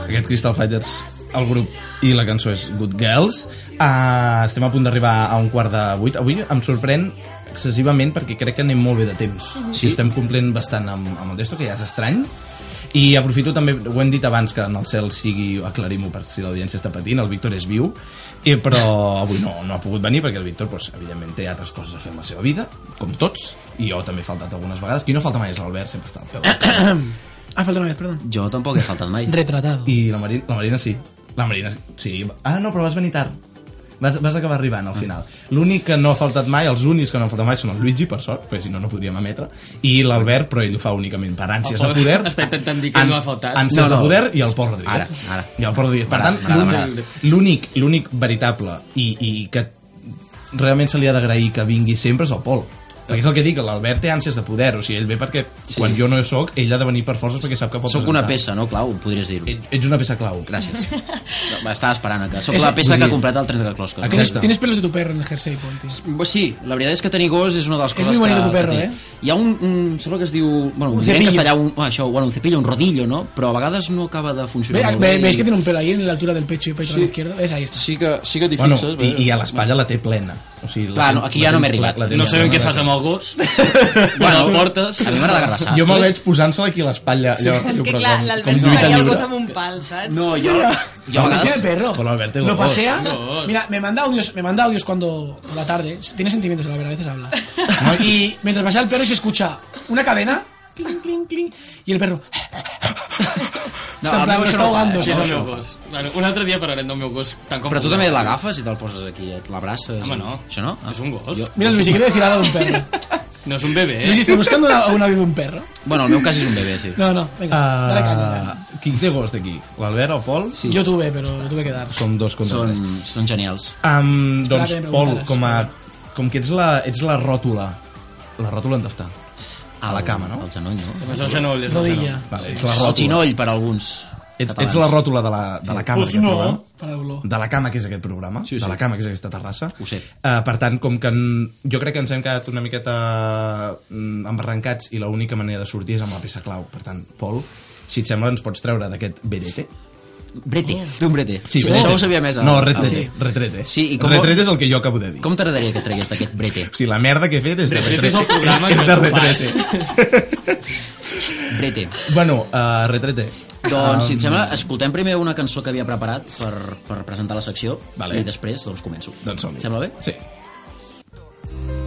[SPEAKER 1] Aquest Crystal Fighters, el grup i la cançó és Good Girls. Uh, estem a punt d'arribar a un quart de vuit. Avui em sorprèn excessivament perquè crec que anem molt bé de temps. Sí. Estem complint bastant amb, amb el testo, que ja és estrany. I aprofito també, ho hem dit abans que en el cel sigui, aclarim-ho per si l'audiència està patint, el Víctor és viu, i, però avui no, no ha pogut venir perquè el Víctor, pues, evidentment, té altres coses a fer amb la seva vida, com tots, i jo també he faltat algunes vegades. Qui no falta mai és l'Albert, sempre està al peu.
[SPEAKER 3] Ah, falta una vez, perdón.
[SPEAKER 4] Jo tampoc he faltat mai.
[SPEAKER 3] Retratado.
[SPEAKER 1] I la Marina, la Marina sí. La Marina sí. Ah, no, però vas venir tard. Vas, vas acabar arribant al final. L'únic que no ha faltat mai, els únics que no han faltat mai són el Luigi, per sort, perquè si no, no podríem emetre, i l'Albert, però ell ho fa únicament per ànsies
[SPEAKER 6] El
[SPEAKER 1] de
[SPEAKER 6] pobre-
[SPEAKER 1] poder.
[SPEAKER 6] està intentant dir que
[SPEAKER 1] Àns-
[SPEAKER 6] no ha faltat.
[SPEAKER 1] Ànsies
[SPEAKER 4] No, no.
[SPEAKER 1] de poder i el Pol Rodríguez.
[SPEAKER 4] Ara, ara.
[SPEAKER 1] I el Pol Rodríguez. Per tant,
[SPEAKER 4] M'agrada, m'agrada,
[SPEAKER 1] l'únic- l'únic l'únic veritable i, i que realment se li ha d'agrair que vingui sempre és el Pol. Perquè és el que dic, l'Albert té ànsies de poder, o sigui, ell ve perquè sí. quan jo no hi soc, ell ha de venir per forces perquè sap que pot
[SPEAKER 4] Sóc una
[SPEAKER 1] presentar.
[SPEAKER 4] peça, no, Clau? Podries dir-ho.
[SPEAKER 1] Et- Ets una peça clau.
[SPEAKER 4] Gràcies. No, Estava esperant que sóc
[SPEAKER 1] És-
[SPEAKER 4] la peça
[SPEAKER 1] vull
[SPEAKER 4] que ha
[SPEAKER 1] dir-
[SPEAKER 4] comprat el tren de closca.
[SPEAKER 1] Exacte.
[SPEAKER 3] Tienes, tienes pelos de tu perro en el jersey, Pol, tío.
[SPEAKER 4] Pues Sí, la veritat és que tenir gos és una de les coses
[SPEAKER 3] muy
[SPEAKER 4] que,
[SPEAKER 3] bonito tu perro,
[SPEAKER 4] que té.
[SPEAKER 3] eh?
[SPEAKER 4] Hi ha un, un... Sembla que es diu... Bueno,
[SPEAKER 3] Un
[SPEAKER 4] un diré en
[SPEAKER 3] cepillo.
[SPEAKER 4] castellà un, oh, això, bueno, un cepillo, un rodillo, no? Però a vegades no acaba de funcionar
[SPEAKER 3] Ve-
[SPEAKER 4] molt
[SPEAKER 3] ve-
[SPEAKER 4] bé.
[SPEAKER 3] ¿Veis
[SPEAKER 4] i-
[SPEAKER 3] que tiene un pelo ahí en la altura del pecho y pecho a la
[SPEAKER 4] Sí.
[SPEAKER 3] izquierda? ¿Ves? Ahí está.
[SPEAKER 7] Sí que, sí que t'hi
[SPEAKER 1] Bueno,
[SPEAKER 7] fixes.
[SPEAKER 1] i,
[SPEAKER 7] bé.
[SPEAKER 1] i a l'espatlla la té plena. O sigui, la
[SPEAKER 4] Clar,
[SPEAKER 1] tens-
[SPEAKER 4] no, aquí ja
[SPEAKER 1] la
[SPEAKER 4] no m'he
[SPEAKER 1] tens-
[SPEAKER 4] arribat.
[SPEAKER 1] la tens
[SPEAKER 6] No
[SPEAKER 1] plena,
[SPEAKER 6] sabem què fas
[SPEAKER 1] la-
[SPEAKER 6] amb el gos. Bueno, el portes.
[SPEAKER 4] A mi m'agrada agarrassar.
[SPEAKER 1] Jo me
[SPEAKER 4] Tu-
[SPEAKER 1] veig posant-se aquí a l'espatlla. allò,
[SPEAKER 5] És que
[SPEAKER 1] però
[SPEAKER 5] clar,
[SPEAKER 1] com-
[SPEAKER 5] l'Albert
[SPEAKER 1] com
[SPEAKER 5] no
[SPEAKER 1] lluita
[SPEAKER 5] veia el
[SPEAKER 1] lliure.
[SPEAKER 5] gos amb un pal, saps?
[SPEAKER 4] No, jo... Jo a
[SPEAKER 3] Mira,
[SPEAKER 4] vegades...
[SPEAKER 3] perro.
[SPEAKER 1] Por Alberto,
[SPEAKER 3] lo
[SPEAKER 1] los
[SPEAKER 3] pasea.
[SPEAKER 6] dos.
[SPEAKER 3] Mira, me manda audios, me manda audios cuando por la tarde. Tiene sentimientos, la verdad, a veces habla.
[SPEAKER 1] No,
[SPEAKER 3] Y mientras pasea el perro y se escucha una cadena. Cling, cling, cling. Y el perro. [laughs]
[SPEAKER 4] No,
[SPEAKER 3] se en
[SPEAKER 4] el
[SPEAKER 3] plan,
[SPEAKER 4] meu
[SPEAKER 3] lo
[SPEAKER 4] això no ho
[SPEAKER 3] está
[SPEAKER 4] fa,
[SPEAKER 3] ahogando.
[SPEAKER 6] Sí, és el
[SPEAKER 3] ¿sabes?
[SPEAKER 6] meu gos. Bueno, un altre dia parlarem del meu gos. Tant com
[SPEAKER 4] Però tu
[SPEAKER 6] vulguis.
[SPEAKER 4] també l'agafes i te'l poses aquí, et l'abraces.
[SPEAKER 6] Home, no.
[SPEAKER 4] Això no?
[SPEAKER 6] És un gos.
[SPEAKER 3] Mira, Luis, si quiero decir algo de un perro.
[SPEAKER 6] No és un bebè,
[SPEAKER 3] Luis,
[SPEAKER 6] eh?
[SPEAKER 3] estoy buscando una- un audio de un perro.
[SPEAKER 4] Bueno, el meu cas és un bebè, sí.
[SPEAKER 3] No, no, venga, dale caña. dale.
[SPEAKER 1] Ah, qui té gos d'aquí? L'Albert o el Pol? Sí.
[SPEAKER 3] Yo tuve, pero lo tuve que dar.
[SPEAKER 1] Som dos contra
[SPEAKER 4] Són,
[SPEAKER 1] Són... tres.
[SPEAKER 4] són genials.
[SPEAKER 1] Um, doncs,
[SPEAKER 3] que em
[SPEAKER 1] Pol,
[SPEAKER 3] preguntaràs.
[SPEAKER 1] com, a, com que ets la, ets la ròtula, la ròtula on està? A la
[SPEAKER 4] El-
[SPEAKER 1] cama, no?
[SPEAKER 4] El genoll, no?
[SPEAKER 6] És el genoll, és el genoll.
[SPEAKER 3] Rodilla.
[SPEAKER 1] Vale, ets la
[SPEAKER 4] El
[SPEAKER 1] ròtula.
[SPEAKER 4] ginoll per a alguns.
[SPEAKER 1] Ets,
[SPEAKER 4] catalans.
[SPEAKER 1] ets la ròtula de la, de la cama.
[SPEAKER 7] Pues
[SPEAKER 1] d'aquest
[SPEAKER 7] no.
[SPEAKER 1] programa.
[SPEAKER 3] Para el blog.
[SPEAKER 1] de la cama que és aquest programa, sí, sí. de la cama que és aquesta terrassa.
[SPEAKER 4] Ho sé.
[SPEAKER 1] Uh, per tant, com que en, jo crec que ens hem quedat una miqueta mm, embarrancats i l'única manera de sortir és amb la peça clau. Per tant, Pol, si et sembla, ens pots treure d'aquest berete.
[SPEAKER 4] Brete, d'un brete.
[SPEAKER 1] Sí,
[SPEAKER 4] Això ho sabia més. ara.
[SPEAKER 1] No,
[SPEAKER 4] Ah,
[SPEAKER 1] retrete.
[SPEAKER 4] sí.
[SPEAKER 1] Sí. retrete.
[SPEAKER 4] Sí, i com-
[SPEAKER 1] Retrete és el que jo acabo de dir.
[SPEAKER 4] Com t'agradaria que tragués d'aquest brete?
[SPEAKER 1] O sigui, la merda que he fet és de
[SPEAKER 6] Retrete
[SPEAKER 1] retrete.
[SPEAKER 6] és el programa
[SPEAKER 1] és,
[SPEAKER 6] que
[SPEAKER 1] de
[SPEAKER 6] tu
[SPEAKER 1] retrete.
[SPEAKER 4] Brete.
[SPEAKER 1] Bueno, uh, retrete.
[SPEAKER 4] Doncs, si et sembla,
[SPEAKER 1] Um.
[SPEAKER 4] escoltem primer una cançó que havia preparat per, per presentar la secció
[SPEAKER 1] Vale.
[SPEAKER 4] i després doncs començo.
[SPEAKER 1] Doncs som-hi.
[SPEAKER 4] Sembla bé?
[SPEAKER 1] Sí.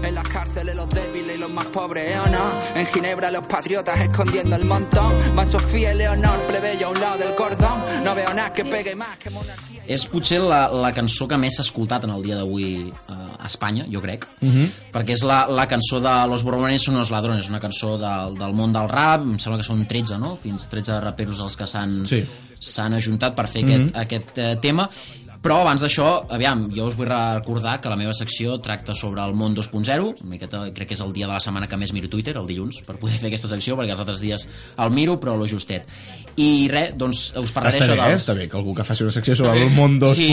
[SPEAKER 8] En las cárceles los débiles y los más pobres, ¿eh o no? En Ginebra los patriotas escondiendo el montón. Van Sofía y Leonor, plebeyo a un lado del cordón. No veo nada que pegue más que monarquía.
[SPEAKER 4] És potser la, la cançó que més s'ha escoltat en el dia d'avui eh, a Espanya, jo crec, uh -huh.
[SPEAKER 1] Mhm.
[SPEAKER 4] perquè és la, la cançó de Los Borbones son los ladrones, una cançó del, del món del rap, em sembla que són 13, no? Fins 13 raperos els que s'han
[SPEAKER 1] Sí. Mhm.
[SPEAKER 4] s'han ajuntat per fer aquest, aquest eh, tema però abans d'això, aviam, jo us vull recordar que la meva secció tracta sobre el món 2.0, una miqueta crec que és el dia de la setmana que més miro Twitter, el dilluns, per poder fer aquesta secció, perquè els altres dies el miro, però lo justet. I res, doncs us parlaré
[SPEAKER 1] Està bé,
[SPEAKER 4] això
[SPEAKER 1] eh?
[SPEAKER 4] dels...
[SPEAKER 1] està bé que algú que faci una secció sobre el món 2.0,
[SPEAKER 4] Sí.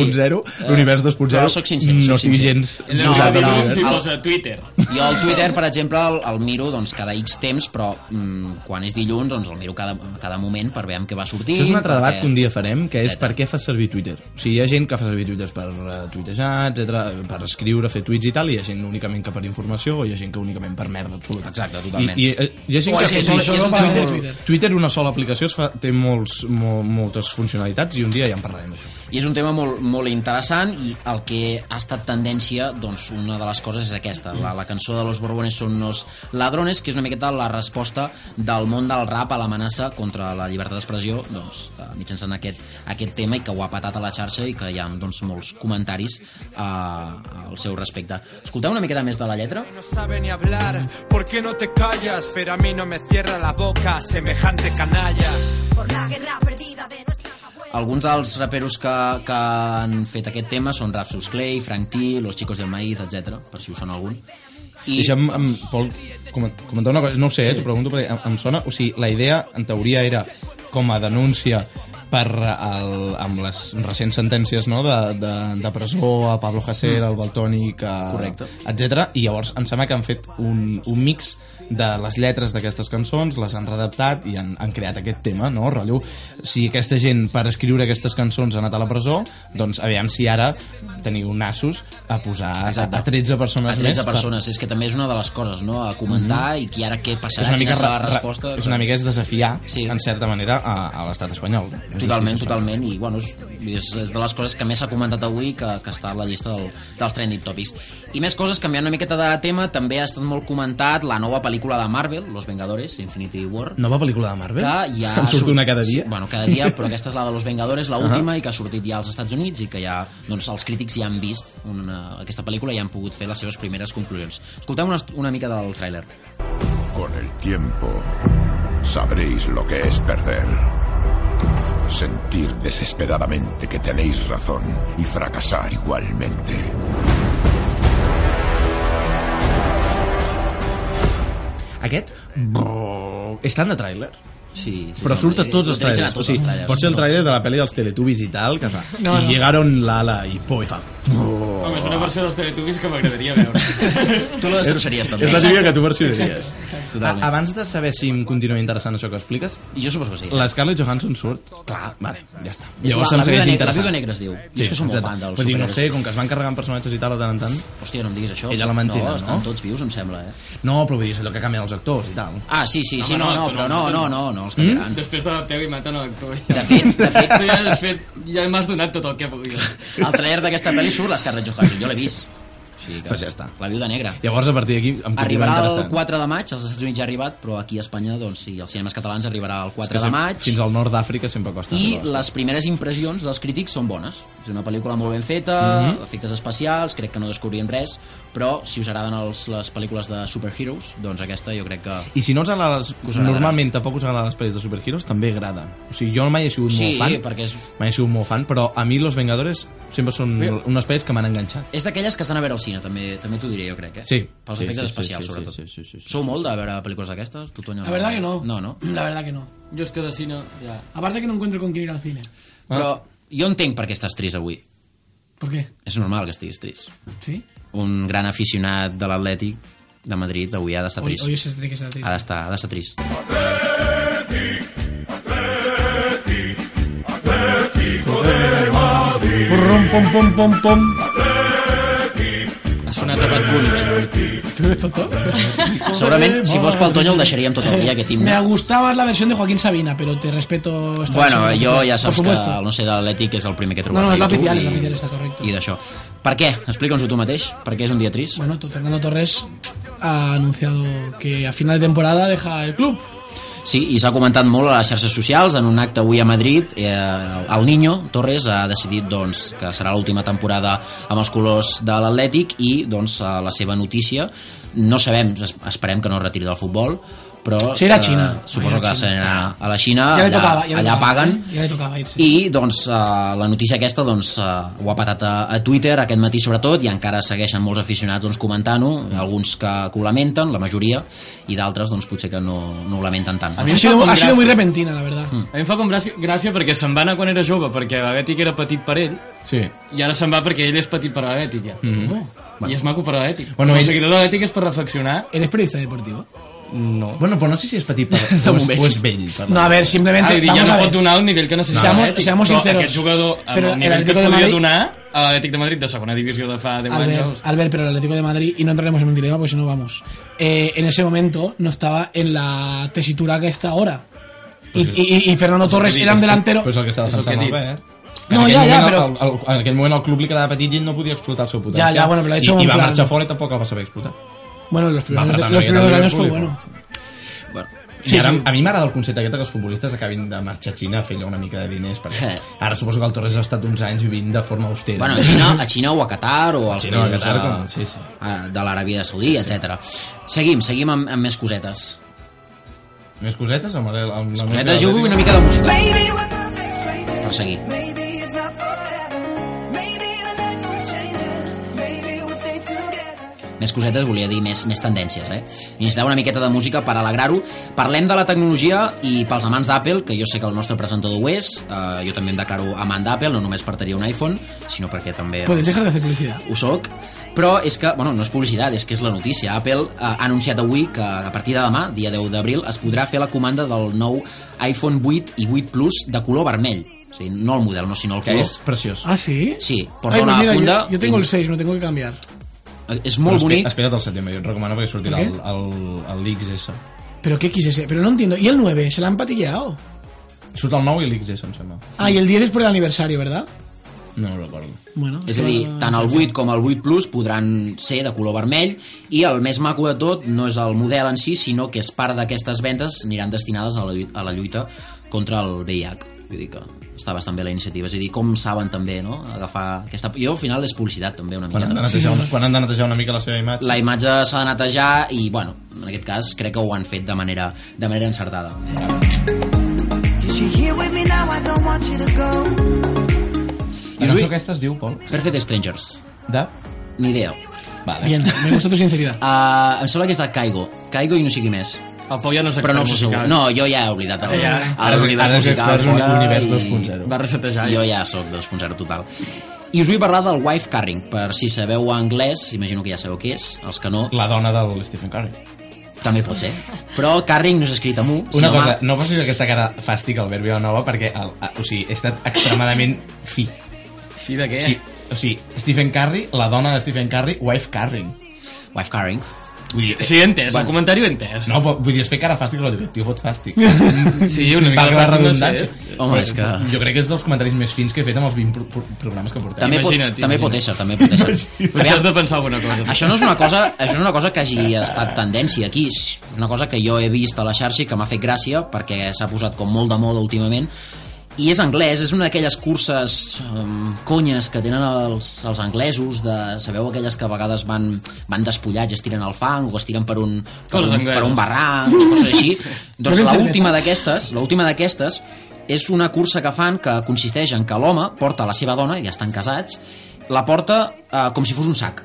[SPEAKER 1] l'univers
[SPEAKER 4] Eh,
[SPEAKER 1] 2.0,
[SPEAKER 4] però soc sincer,
[SPEAKER 1] no
[SPEAKER 4] soc
[SPEAKER 1] estigui
[SPEAKER 4] sincer.
[SPEAKER 1] gens
[SPEAKER 6] No,
[SPEAKER 4] No,
[SPEAKER 1] posat eh? en
[SPEAKER 4] però-
[SPEAKER 1] l'univers.
[SPEAKER 6] Si
[SPEAKER 4] Ah.
[SPEAKER 6] posa Twitter.
[SPEAKER 4] Jo el Twitter, per exemple, el, el miro doncs, cada X temps, però mm, quan és dilluns doncs, el miro cada, cada moment per veure amb què va sortir.
[SPEAKER 1] Això és un altre debat
[SPEAKER 4] perquè-
[SPEAKER 1] que un dia farem, que és
[SPEAKER 4] etcètera.
[SPEAKER 1] per què fas servir Twitter. O sigui, hi ha gent que fa servir Twitter per uh, tuitejar, etc, per escriure, fer tuits i tal, i hi ha gent únicament que per informació, o hi ha gent que únicament per merda absoluta.
[SPEAKER 4] Exacte, totalment.
[SPEAKER 1] I, i eh, hi ha gent
[SPEAKER 4] O
[SPEAKER 1] que...
[SPEAKER 4] és- és-
[SPEAKER 1] fa-
[SPEAKER 4] és- és un
[SPEAKER 1] Twitter-
[SPEAKER 4] tema
[SPEAKER 3] molt-
[SPEAKER 1] Twitter, una sola aplicació, es fa, té molts, mol, moltes funcionalitats, i un dia ja en parlarem d'això.
[SPEAKER 4] I és un tema molt, molt interessant i el que ha estat tendència, doncs una de les coses és aquesta, la, la cançó de Los Borbones són los ladrones, que és una miqueta la resposta del món del rap a l'amenaça contra la llibertat d'expressió doncs, eh, mitjançant aquest, aquest tema i que ho ha patat a la xarxa i que hi ha doncs, molts comentaris eh, al seu respecte. Escolteu una miqueta més de la lletra?
[SPEAKER 8] No sabe ni hablar, ¿por qué no te callas? Pero a mí no me cierra la boca, semejante canalla.
[SPEAKER 9] por la guerra perdida de nuestras abuelas.
[SPEAKER 4] Alguns dels raperos que, que han fet aquest tema són Rapsus Clay, Frank T, Los Chicos del Maíz, etc. per si us sona algun. I,
[SPEAKER 1] Deixa'm, em, Pol, comen- comentar una cosa, no ho sé, eh, t'ho pregunto, perquè em, em sona, o sigui, la idea, en teoria, era com a denúncia per el, amb les recents sentències no, de, de, de presó a Pablo Hasél, al Baltònic,
[SPEAKER 4] Mm. Correcte.
[SPEAKER 1] etc. I llavors em sembla que han fet un, un mix de les lletres d'aquestes cançons, les han redactat i han, han creat aquest tema, no? Rotllo, si aquesta gent per escriure aquestes cançons ha anat a la presó, doncs aviam si ara teniu nassos a posar a,
[SPEAKER 4] Exacte.
[SPEAKER 1] a 13 persones
[SPEAKER 4] a 13
[SPEAKER 1] més per-
[SPEAKER 4] persones, és que també és una de les coses no? a comentar mm -hmm. i qui ara què passarà
[SPEAKER 1] és una mica,
[SPEAKER 4] quina serà
[SPEAKER 1] ra-
[SPEAKER 4] la
[SPEAKER 1] ra-
[SPEAKER 4] resposta doncs
[SPEAKER 1] és una mica és desafiar
[SPEAKER 4] Sí.
[SPEAKER 1] sí. en certa manera a, a l'estat espanyol
[SPEAKER 4] eh, totalment, totalment i bueno, és, és, és de les coses que més s'ha comentat avui que, que està a la llista del, dels trending topics i més coses, canviant una miqueta de tema també ha estat molt comentat la nova pel·lícula de Marvel, Los Vengadores, Infinity War
[SPEAKER 1] nova pel·lícula de Marvel?
[SPEAKER 4] que ja
[SPEAKER 1] em surt una cada dia
[SPEAKER 4] Sí, bueno, cada dia, però aquesta és la de Los Vengadores, la última, i que ha sortit ja als Estats Units i que ja doncs, els crítics ja han vist una, aquesta pel·lícula i han pogut fer les seves primeres conclusions. Escoltem una, una mica del tràiler.
[SPEAKER 10] Con el tiempo sabréis lo que es perder. Sentir desesperadamente que tenéis razón y fracasar igualmente.
[SPEAKER 1] Aquest brrr, és tant de tràiler
[SPEAKER 4] Sí, eh, sí,
[SPEAKER 1] però
[SPEAKER 4] sí,
[SPEAKER 1] surt a
[SPEAKER 4] sí,
[SPEAKER 1] tots els
[SPEAKER 4] utilitzen
[SPEAKER 1] trailers.
[SPEAKER 4] a tots
[SPEAKER 1] o sigui,
[SPEAKER 4] els trailers.
[SPEAKER 1] pot ser el
[SPEAKER 4] Tots.
[SPEAKER 1] trailer de la pel·li dels Teletubbies i tal, que fa...
[SPEAKER 6] No,
[SPEAKER 1] I
[SPEAKER 6] no.
[SPEAKER 1] llegaron l'ala i po, i fa...
[SPEAKER 6] Home, és una versió dels Teletubbies que m'agradaria veure.
[SPEAKER 4] Tu la destrossaries també.
[SPEAKER 1] Eh, És la típica que tu versionaries. A,
[SPEAKER 4] Totalment.
[SPEAKER 1] abans de saber si em continua interessant això que expliques,
[SPEAKER 4] Jo suposo que sí.
[SPEAKER 1] la Scarlett Johansson surt?
[SPEAKER 4] Clar.
[SPEAKER 1] Vale, ja està.
[SPEAKER 4] És
[SPEAKER 1] Llavors
[SPEAKER 4] la,
[SPEAKER 1] em
[SPEAKER 4] la, viuda
[SPEAKER 1] segueix
[SPEAKER 4] negra, la viuda
[SPEAKER 1] interessant.
[SPEAKER 4] negra es diu. Sí, és que som molt
[SPEAKER 1] exacte.
[SPEAKER 4] fan dels
[SPEAKER 1] Vull dir, no
[SPEAKER 4] superherois.
[SPEAKER 1] sé, com que es van carregant personatges i tal de tant en tant...
[SPEAKER 4] Hòstia, no em diguis això.
[SPEAKER 1] Ella la mantina,
[SPEAKER 4] no? Estan
[SPEAKER 1] no?
[SPEAKER 4] tots vius, em sembla, eh?
[SPEAKER 1] No, però vull dir, és allò que canvien els actors i tal.
[SPEAKER 4] Ah, sí, sí, sí,
[SPEAKER 6] Home,
[SPEAKER 4] no,
[SPEAKER 6] no,
[SPEAKER 4] no,
[SPEAKER 6] tu no,
[SPEAKER 4] però no,
[SPEAKER 6] tu
[SPEAKER 4] no,
[SPEAKER 6] no.
[SPEAKER 4] no, no, els
[SPEAKER 1] Mm?
[SPEAKER 4] canviaran.
[SPEAKER 6] Després de la teva i maten a l'actor.
[SPEAKER 4] De fet, de fet,
[SPEAKER 6] Tu ja has fet... Ja m'has donat tot el que volia.
[SPEAKER 4] al trailer d'aquesta pel·li surt l'Scarlett Johansson, jo l'he vist. O sigui que,
[SPEAKER 1] Doncs ja està.
[SPEAKER 4] La viuda negra.
[SPEAKER 1] Llavors, a partir d'aquí, em continua
[SPEAKER 4] Arribarà el
[SPEAKER 1] interessant.
[SPEAKER 4] 4 de maig, als Estats Units ja ha arribat, però aquí a Espanya, doncs sí, als cinemes catalans arribarà el 4
[SPEAKER 1] És que
[SPEAKER 4] de
[SPEAKER 1] sem-
[SPEAKER 4] maig.
[SPEAKER 1] Fins al nord d'Àfrica sempre costa.
[SPEAKER 4] I
[SPEAKER 1] arribar.
[SPEAKER 4] les primeres impressions dels crítics són bones. És una pel·lícula molt ben feta,
[SPEAKER 1] Mhm.
[SPEAKER 4] efectes especials, crec que no descobrirem res, però si us agraden els, les pel·lícules de superheroes, doncs aquesta jo crec que...
[SPEAKER 1] I si no us agrada les...
[SPEAKER 4] Us agradarà.
[SPEAKER 1] normalment tampoc us agraden les pel·lis de superheroes, també agrada. O sigui, jo mai he sigut
[SPEAKER 4] Sí,
[SPEAKER 1] molt fan,
[SPEAKER 4] perquè és,
[SPEAKER 1] mai he sigut molt fan, però a mi Los Vengadores sempre són
[SPEAKER 4] Però-
[SPEAKER 1] unes pel·lis que m'han enganxat.
[SPEAKER 4] és d'aquelles que estan a veure al cine, també també t'ho diré jo crec, eh?
[SPEAKER 1] Sí.
[SPEAKER 4] Pels
[SPEAKER 1] Sí,
[SPEAKER 4] efectes
[SPEAKER 1] sí, sí,
[SPEAKER 4] especials,
[SPEAKER 1] sí,
[SPEAKER 4] sobretot.
[SPEAKER 1] sí, sí, sí, sí,
[SPEAKER 4] Sou molt de veure pel·lícules d'aquestes? Tu, Toño,
[SPEAKER 3] La verdad que no.
[SPEAKER 4] No, no.
[SPEAKER 3] La verdad que no.
[SPEAKER 6] Jo és que de cine... Ja.
[SPEAKER 3] Aparte que no encuentro con quién ir al cine.
[SPEAKER 4] Però jo entenc per què estàs trist avui.
[SPEAKER 3] ¿Por qué?
[SPEAKER 4] És normal que estiguis trist.
[SPEAKER 3] ¿Sí?
[SPEAKER 4] Un gran aficionat de l'Atlètic de Madrid avui ha d'estar
[SPEAKER 3] Hoy,
[SPEAKER 4] trist.
[SPEAKER 3] hoy se tiene que ser
[SPEAKER 4] Ha
[SPEAKER 3] triste.
[SPEAKER 4] d'estar, ha d'estar trist.
[SPEAKER 7] Purrum, pum, pum, pum, pum.
[SPEAKER 6] Ha sonat a Bad Bunny.
[SPEAKER 4] eh? Segurament, si fos pel Toño, el deixaríem tot el dia, aquest himne.
[SPEAKER 3] Me gustaba más la versión de Joaquín Sabina, pero te respeto esta
[SPEAKER 4] Bueno,
[SPEAKER 3] versión.
[SPEAKER 4] jo ja
[SPEAKER 3] Por
[SPEAKER 4] saps que
[SPEAKER 3] Doncs supuesto.
[SPEAKER 4] el no sé de l'Atlètic és el primer que he trobat
[SPEAKER 3] No, no,
[SPEAKER 4] a
[SPEAKER 3] és
[SPEAKER 4] YouTube
[SPEAKER 3] l'oficial,
[SPEAKER 4] i-
[SPEAKER 3] és l'oficial, està correcte.
[SPEAKER 4] I d'això. Per què? Explica'ns-ho tu mateix. Per què és un dia trist?
[SPEAKER 3] Bueno, tu- Fernando Torres ha anunciado que a final de temporada deja el club.
[SPEAKER 4] Sí, i s'ha comentat molt a les xarxes socials, en un acte avui a Madrid, eh, el Niño Torres ha decidit doncs, que serà l'última temporada amb els colors de l'Atlètic i doncs, eh, la seva notícia, no sabem, es- esperem que no es retiri del futbol, però eh,
[SPEAKER 3] Sí, era Xina.
[SPEAKER 4] suposo
[SPEAKER 3] Era
[SPEAKER 4] que
[SPEAKER 3] Xina.
[SPEAKER 4] se n'anirà a la Xina,
[SPEAKER 3] Ja
[SPEAKER 4] allà,
[SPEAKER 3] le tocava, ja le
[SPEAKER 4] allà
[SPEAKER 3] tocava,
[SPEAKER 4] paguen,
[SPEAKER 3] eh? Ja le tocava ir, sí.
[SPEAKER 4] i doncs, eh, la notícia aquesta doncs, eh, ho ha patat a, a Twitter aquest matí sobretot i encara segueixen molts aficionats doncs, comentant-ho, alguns que, que ho lamenten, la majoria, i d'altres doncs, potser que no, no ho lamenten tant.
[SPEAKER 6] mi
[SPEAKER 3] Ha
[SPEAKER 6] em fa
[SPEAKER 3] sido,
[SPEAKER 6] com
[SPEAKER 3] ha sido muy
[SPEAKER 6] gràcia.
[SPEAKER 3] repentina, la verdad.
[SPEAKER 4] Hmm.
[SPEAKER 6] A mi em fa com gràcia, gràcia perquè se'n va anar quan era jove, perquè l'Atlètic era petit per ell,
[SPEAKER 1] Sí.
[SPEAKER 6] i ara se'n va perquè ell és petit per l'Atlètic. Ja.
[SPEAKER 4] Mm-hmm.
[SPEAKER 6] Mm -hmm. I és maco per l'Atlètic.
[SPEAKER 1] Bueno,
[SPEAKER 6] Bueno, el
[SPEAKER 1] ell-
[SPEAKER 6] seguidor de l'Atlètic és per reflexionar.
[SPEAKER 3] ¿Eres periodista deportivo?
[SPEAKER 6] No.
[SPEAKER 1] Bueno, però no sé si és petit per, [laughs] o, és, o és vell. Per
[SPEAKER 3] No, a ver, simplemente.
[SPEAKER 6] Ah, dir, ja
[SPEAKER 3] vamos
[SPEAKER 6] no
[SPEAKER 3] a ver.
[SPEAKER 6] pot donar el nivell que necessita.
[SPEAKER 3] Seamos-
[SPEAKER 6] l'Atlètic.
[SPEAKER 3] seamos
[SPEAKER 6] Però
[SPEAKER 3] sinceros.
[SPEAKER 6] Aquest jugador, amb
[SPEAKER 3] Però
[SPEAKER 6] el
[SPEAKER 3] el
[SPEAKER 6] nivell que
[SPEAKER 3] Atlético de
[SPEAKER 6] podia
[SPEAKER 3] Madrid-
[SPEAKER 6] donar a l'Atlètic de Madrid de segona divisió de fa 10
[SPEAKER 3] Albert,
[SPEAKER 6] anys...
[SPEAKER 3] Albert, pero el Atlético de Madrid, y no entraremos en un dilema porque si no vamos, eh, en ese momento no estaba en la tesitura que está ahora. Y,
[SPEAKER 4] Pues
[SPEAKER 3] y- y- y Fernando Torres era un delantero.
[SPEAKER 1] Però és el que està
[SPEAKER 6] És el que
[SPEAKER 1] defensant molt
[SPEAKER 6] he dit.
[SPEAKER 1] bé, eh?
[SPEAKER 3] No,
[SPEAKER 1] En aquell
[SPEAKER 3] ja, ja,
[SPEAKER 1] moment
[SPEAKER 3] però-
[SPEAKER 1] El, el, en aquell moment el club li quedava petit i ell no podia explotar el seu potencial.
[SPEAKER 3] ja, bueno, però l'ha hecho
[SPEAKER 1] I,
[SPEAKER 3] en
[SPEAKER 1] I va
[SPEAKER 3] plan-
[SPEAKER 1] marxar fora i tampoc el va saber explotar.
[SPEAKER 3] Bueno, los primeros,
[SPEAKER 1] apretar
[SPEAKER 3] los
[SPEAKER 1] una miqueta
[SPEAKER 3] primeros
[SPEAKER 1] el
[SPEAKER 3] años fue
[SPEAKER 1] Liverpool,
[SPEAKER 3] bueno.
[SPEAKER 4] Bueno,
[SPEAKER 1] Sí, I ara, sí. a mi m'agrada el concepte aquest que els futbolistes acabin de marxar a Xina a fer allò una mica de diners, perquè
[SPEAKER 4] Eh.
[SPEAKER 1] ara suposo que el Torres ha estat uns anys vivint de forma austera.
[SPEAKER 4] bueno, a, Xina, a Xina o a Qatar o als
[SPEAKER 1] Xina o a
[SPEAKER 4] països
[SPEAKER 1] Qatar,
[SPEAKER 4] de-
[SPEAKER 1] com- sí, sí.
[SPEAKER 4] a- de l'Aràbia Saudí, etc. Seguim, seguim amb, amb més cosetes.
[SPEAKER 1] Més cosetes? Amb, el, amb la
[SPEAKER 4] Cosetes, jo vull una mica de música per seguir. Més cosetes, volia dir més, més tendències, eh? I Necessitava una miqueta de música per alegrar-ho. Parlem de la tecnologia i pels amants d'Apple, que jo sé que el nostre presentador ho és, eh, jo també em declaro amant d'Apple, no només per tenir un iPhone, sinó perquè també...
[SPEAKER 3] Puedes
[SPEAKER 4] doncs,
[SPEAKER 3] dejar de hacer publicidad.
[SPEAKER 4] ho soc, però és que, bueno, no és publicitat, és que és la notícia. Apple eh, ha anunciat avui que a partir de demà, dia 10 d'abril, es podrà fer la comanda del nou iPhone 8 i 8 Plus de color vermell. O sigui, no el model, no, sinó el
[SPEAKER 1] Que
[SPEAKER 4] color.
[SPEAKER 1] és preciós.
[SPEAKER 3] Ah, sí.
[SPEAKER 4] Sí, porta
[SPEAKER 3] Ay, pues
[SPEAKER 4] una
[SPEAKER 3] mira,
[SPEAKER 4] funda...
[SPEAKER 3] yo, yo tengo el
[SPEAKER 4] i-
[SPEAKER 3] 6, me tengo que cambiar.
[SPEAKER 4] Eh, És molt
[SPEAKER 1] Però espe-
[SPEAKER 4] bonic.
[SPEAKER 1] Espera't al setembre, jo et recomano perquè sortirà
[SPEAKER 3] Per
[SPEAKER 1] el,
[SPEAKER 3] què?
[SPEAKER 1] el, el, l'XS.
[SPEAKER 3] Pero qué quise ese, pero no entiendo. ¿Y el 9? ¿Se la han patilleado?
[SPEAKER 1] Surt el 9 i l'XS, em sembla.
[SPEAKER 3] Ah, y el 10 es por el aniversario, ¿verdad?
[SPEAKER 1] No ho recordo.
[SPEAKER 3] Bueno.
[SPEAKER 4] És a dir, tant el 8 com el 8 Plus podran ser de color vermell i el més maco de tot no és el model en si, sinó que és part d'aquestes vendes aniran destinades a la, lluit- a la lluita contra el VIH. Vull dir que està bastant bé la iniciativa. És a dir, com saben també, no?, agafar aquesta... Jo, al final, és publicitat també una
[SPEAKER 1] Quan han, de
[SPEAKER 4] miqueta.
[SPEAKER 1] netejar una, quan han de netejar una mica la seva imatge.
[SPEAKER 4] La imatge s'ha de netejar i, bueno, en aquest cas crec que ho han fet de manera, de manera encertada.
[SPEAKER 1] La cançó aquesta es diu, Pol,
[SPEAKER 4] Perfect Strangers.
[SPEAKER 1] de...
[SPEAKER 4] Ni idea. Vale.
[SPEAKER 3] Bien, me gusta tu sinceridad.
[SPEAKER 4] Ah, em sembla que és de Caigo. Caigo i no sé qui més.
[SPEAKER 6] El Pau ja no s'ha
[SPEAKER 4] Però no ho sé segur. No, jo Eh, ja he oblidat el,
[SPEAKER 6] Ja.
[SPEAKER 4] el univers
[SPEAKER 11] ara és
[SPEAKER 4] musical.
[SPEAKER 11] expert
[SPEAKER 4] fora
[SPEAKER 11] univers
[SPEAKER 4] i
[SPEAKER 11] 2.0.
[SPEAKER 6] Va resetejar.
[SPEAKER 4] Jo ja sóc 2.0 total. I us vull parlar del wife carrying, per si sabeu anglès, imagino que ja sabeu què és, els que no,
[SPEAKER 1] La dona del Stephen Curry.
[SPEAKER 4] també pot ser. Però carrying no és escrit amb U,
[SPEAKER 1] Una
[SPEAKER 4] sinó
[SPEAKER 1] cosa,
[SPEAKER 4] amb A.
[SPEAKER 1] no posis aquesta cara fàstica al Verbi Nova perquè el, a- o sigui, he estat extremadament fi.
[SPEAKER 6] Fi de què?
[SPEAKER 1] Sí, o sigui, Stephen Curry, la dona de Stephen Curry, wife Curry.
[SPEAKER 4] Wife carrying.
[SPEAKER 1] Vull dir,
[SPEAKER 6] Sí, he entès,
[SPEAKER 4] Bueno.
[SPEAKER 6] el comentari ho he entès.
[SPEAKER 1] no, però vull dir, és fer cara fàstica, però dic, tio, fot fàstic.
[SPEAKER 6] Sí, una mica
[SPEAKER 1] Valga
[SPEAKER 6] de
[SPEAKER 1] la
[SPEAKER 6] fàstic, no sé. eh.
[SPEAKER 1] redundància.
[SPEAKER 4] Home, és que...
[SPEAKER 1] Jo crec que és dels comentaris més fins que he fet amb els 20 pro pro programes que portem.
[SPEAKER 4] També, pot,
[SPEAKER 6] Imagina't,
[SPEAKER 4] també pot
[SPEAKER 6] imagina't.
[SPEAKER 4] ésser, també pot ésser.
[SPEAKER 6] Potser has
[SPEAKER 4] Aviam,
[SPEAKER 6] de pensar alguna cosa.
[SPEAKER 4] Això no és una cosa, això no és una cosa que hagi estat tendència aquí, és una cosa que jo he vist a la xarxa i que m'ha fet gràcia perquè s'ha posat com molt de moda últimament i és anglès, és una d'aquelles curses um, conyes que tenen els, els anglesos de, sabeu aquelles que a vegades van, van despullats i es tiren al fang o es tiren per un, per
[SPEAKER 6] Coses
[SPEAKER 4] un, per un
[SPEAKER 6] angleses.
[SPEAKER 4] barranc o coses
[SPEAKER 6] [laughs]
[SPEAKER 4] així doncs
[SPEAKER 3] Però ben
[SPEAKER 4] l'última d'aquestes l'última d'aquestes és una cursa que fan que consisteix en que l'home porta la seva dona, ja estan casats la porta eh, com si fos un sac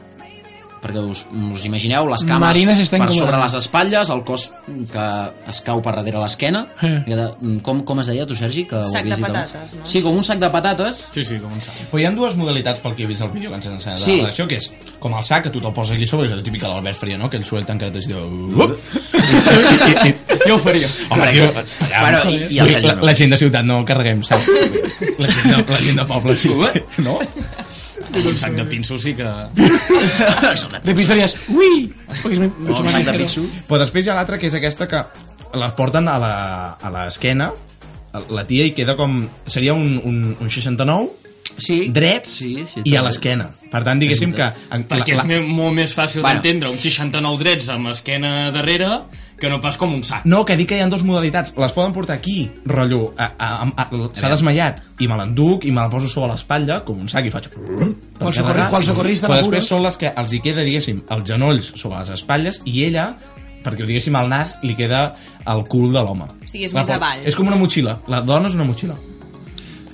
[SPEAKER 4] perquè us, us imagineu les cames
[SPEAKER 3] Marina s'està
[SPEAKER 4] per sobre
[SPEAKER 3] incomodant.
[SPEAKER 4] les espatlles, el cos que es cau per darrere l'esquena
[SPEAKER 3] Eh.
[SPEAKER 4] que de- com, com es deia tu Sergi? Que ho
[SPEAKER 5] Sac
[SPEAKER 4] havies
[SPEAKER 5] de
[SPEAKER 4] dit abans?
[SPEAKER 5] patates, no?
[SPEAKER 4] sí, com un sac de patates
[SPEAKER 6] Sí, sí, com un sac.
[SPEAKER 1] Però hi ha dues modalitats pel que he vist el vídeo que ens han ensenyat sí.
[SPEAKER 4] Sí.
[SPEAKER 1] això, que és com el sac, que tu te'l poses aquí sobre, és el típic de l'Albert Faria, no? que el suelta en cartes i diu... "Up!"
[SPEAKER 6] [laughs] Jo ho faria.
[SPEAKER 1] Home, tio, allà,
[SPEAKER 4] Bueno, i- i el Sergi
[SPEAKER 1] la,
[SPEAKER 4] no.
[SPEAKER 1] la gent de ciutat no carreguem,
[SPEAKER 6] [laughs]
[SPEAKER 1] saps? La gent de, la gent de poble sí. No?
[SPEAKER 6] Un sac de pinso
[SPEAKER 1] [laughs]
[SPEAKER 6] sí que...
[SPEAKER 3] De pizzerías. ¡Uy! Porque es mi-
[SPEAKER 4] no,
[SPEAKER 3] mucho
[SPEAKER 4] un
[SPEAKER 3] más
[SPEAKER 4] sac de
[SPEAKER 3] ligero.
[SPEAKER 4] pitxo
[SPEAKER 1] Però després hi ha l'altra, que és aquesta que les porten a la- a l'esquena, a la tia i queda com... Seria un, un, un 69
[SPEAKER 4] sí.
[SPEAKER 1] drets
[SPEAKER 4] sí, sí,
[SPEAKER 1] i a
[SPEAKER 4] també.
[SPEAKER 1] l'esquena. Per tant, diguéssim que... En,
[SPEAKER 6] Perquè és me- molt més fàcil
[SPEAKER 4] Bueno.
[SPEAKER 6] d'entendre un 69 drets amb esquena darrere que no pas com un sac.
[SPEAKER 1] No, que dic que hi ha dues modalitats. Les poden portar aquí, rotllo, a- a- a- a- s'ha desmaiat, i me l'enduc, i me la poso sobre l'espatlla, com un sac, i faig... Qual
[SPEAKER 3] socorri- qual socorrista
[SPEAKER 1] Però
[SPEAKER 3] la
[SPEAKER 1] després
[SPEAKER 3] cura.
[SPEAKER 1] són les que els hi queda, diguéssim, els genolls sobre les espatlles, i ella, perquè ho diguéssim al nas, li queda el cul de l'home.
[SPEAKER 5] O sigui, és
[SPEAKER 1] La
[SPEAKER 5] més
[SPEAKER 1] po-
[SPEAKER 5] avall.
[SPEAKER 1] És com una motxilla. La dona és una motxilla.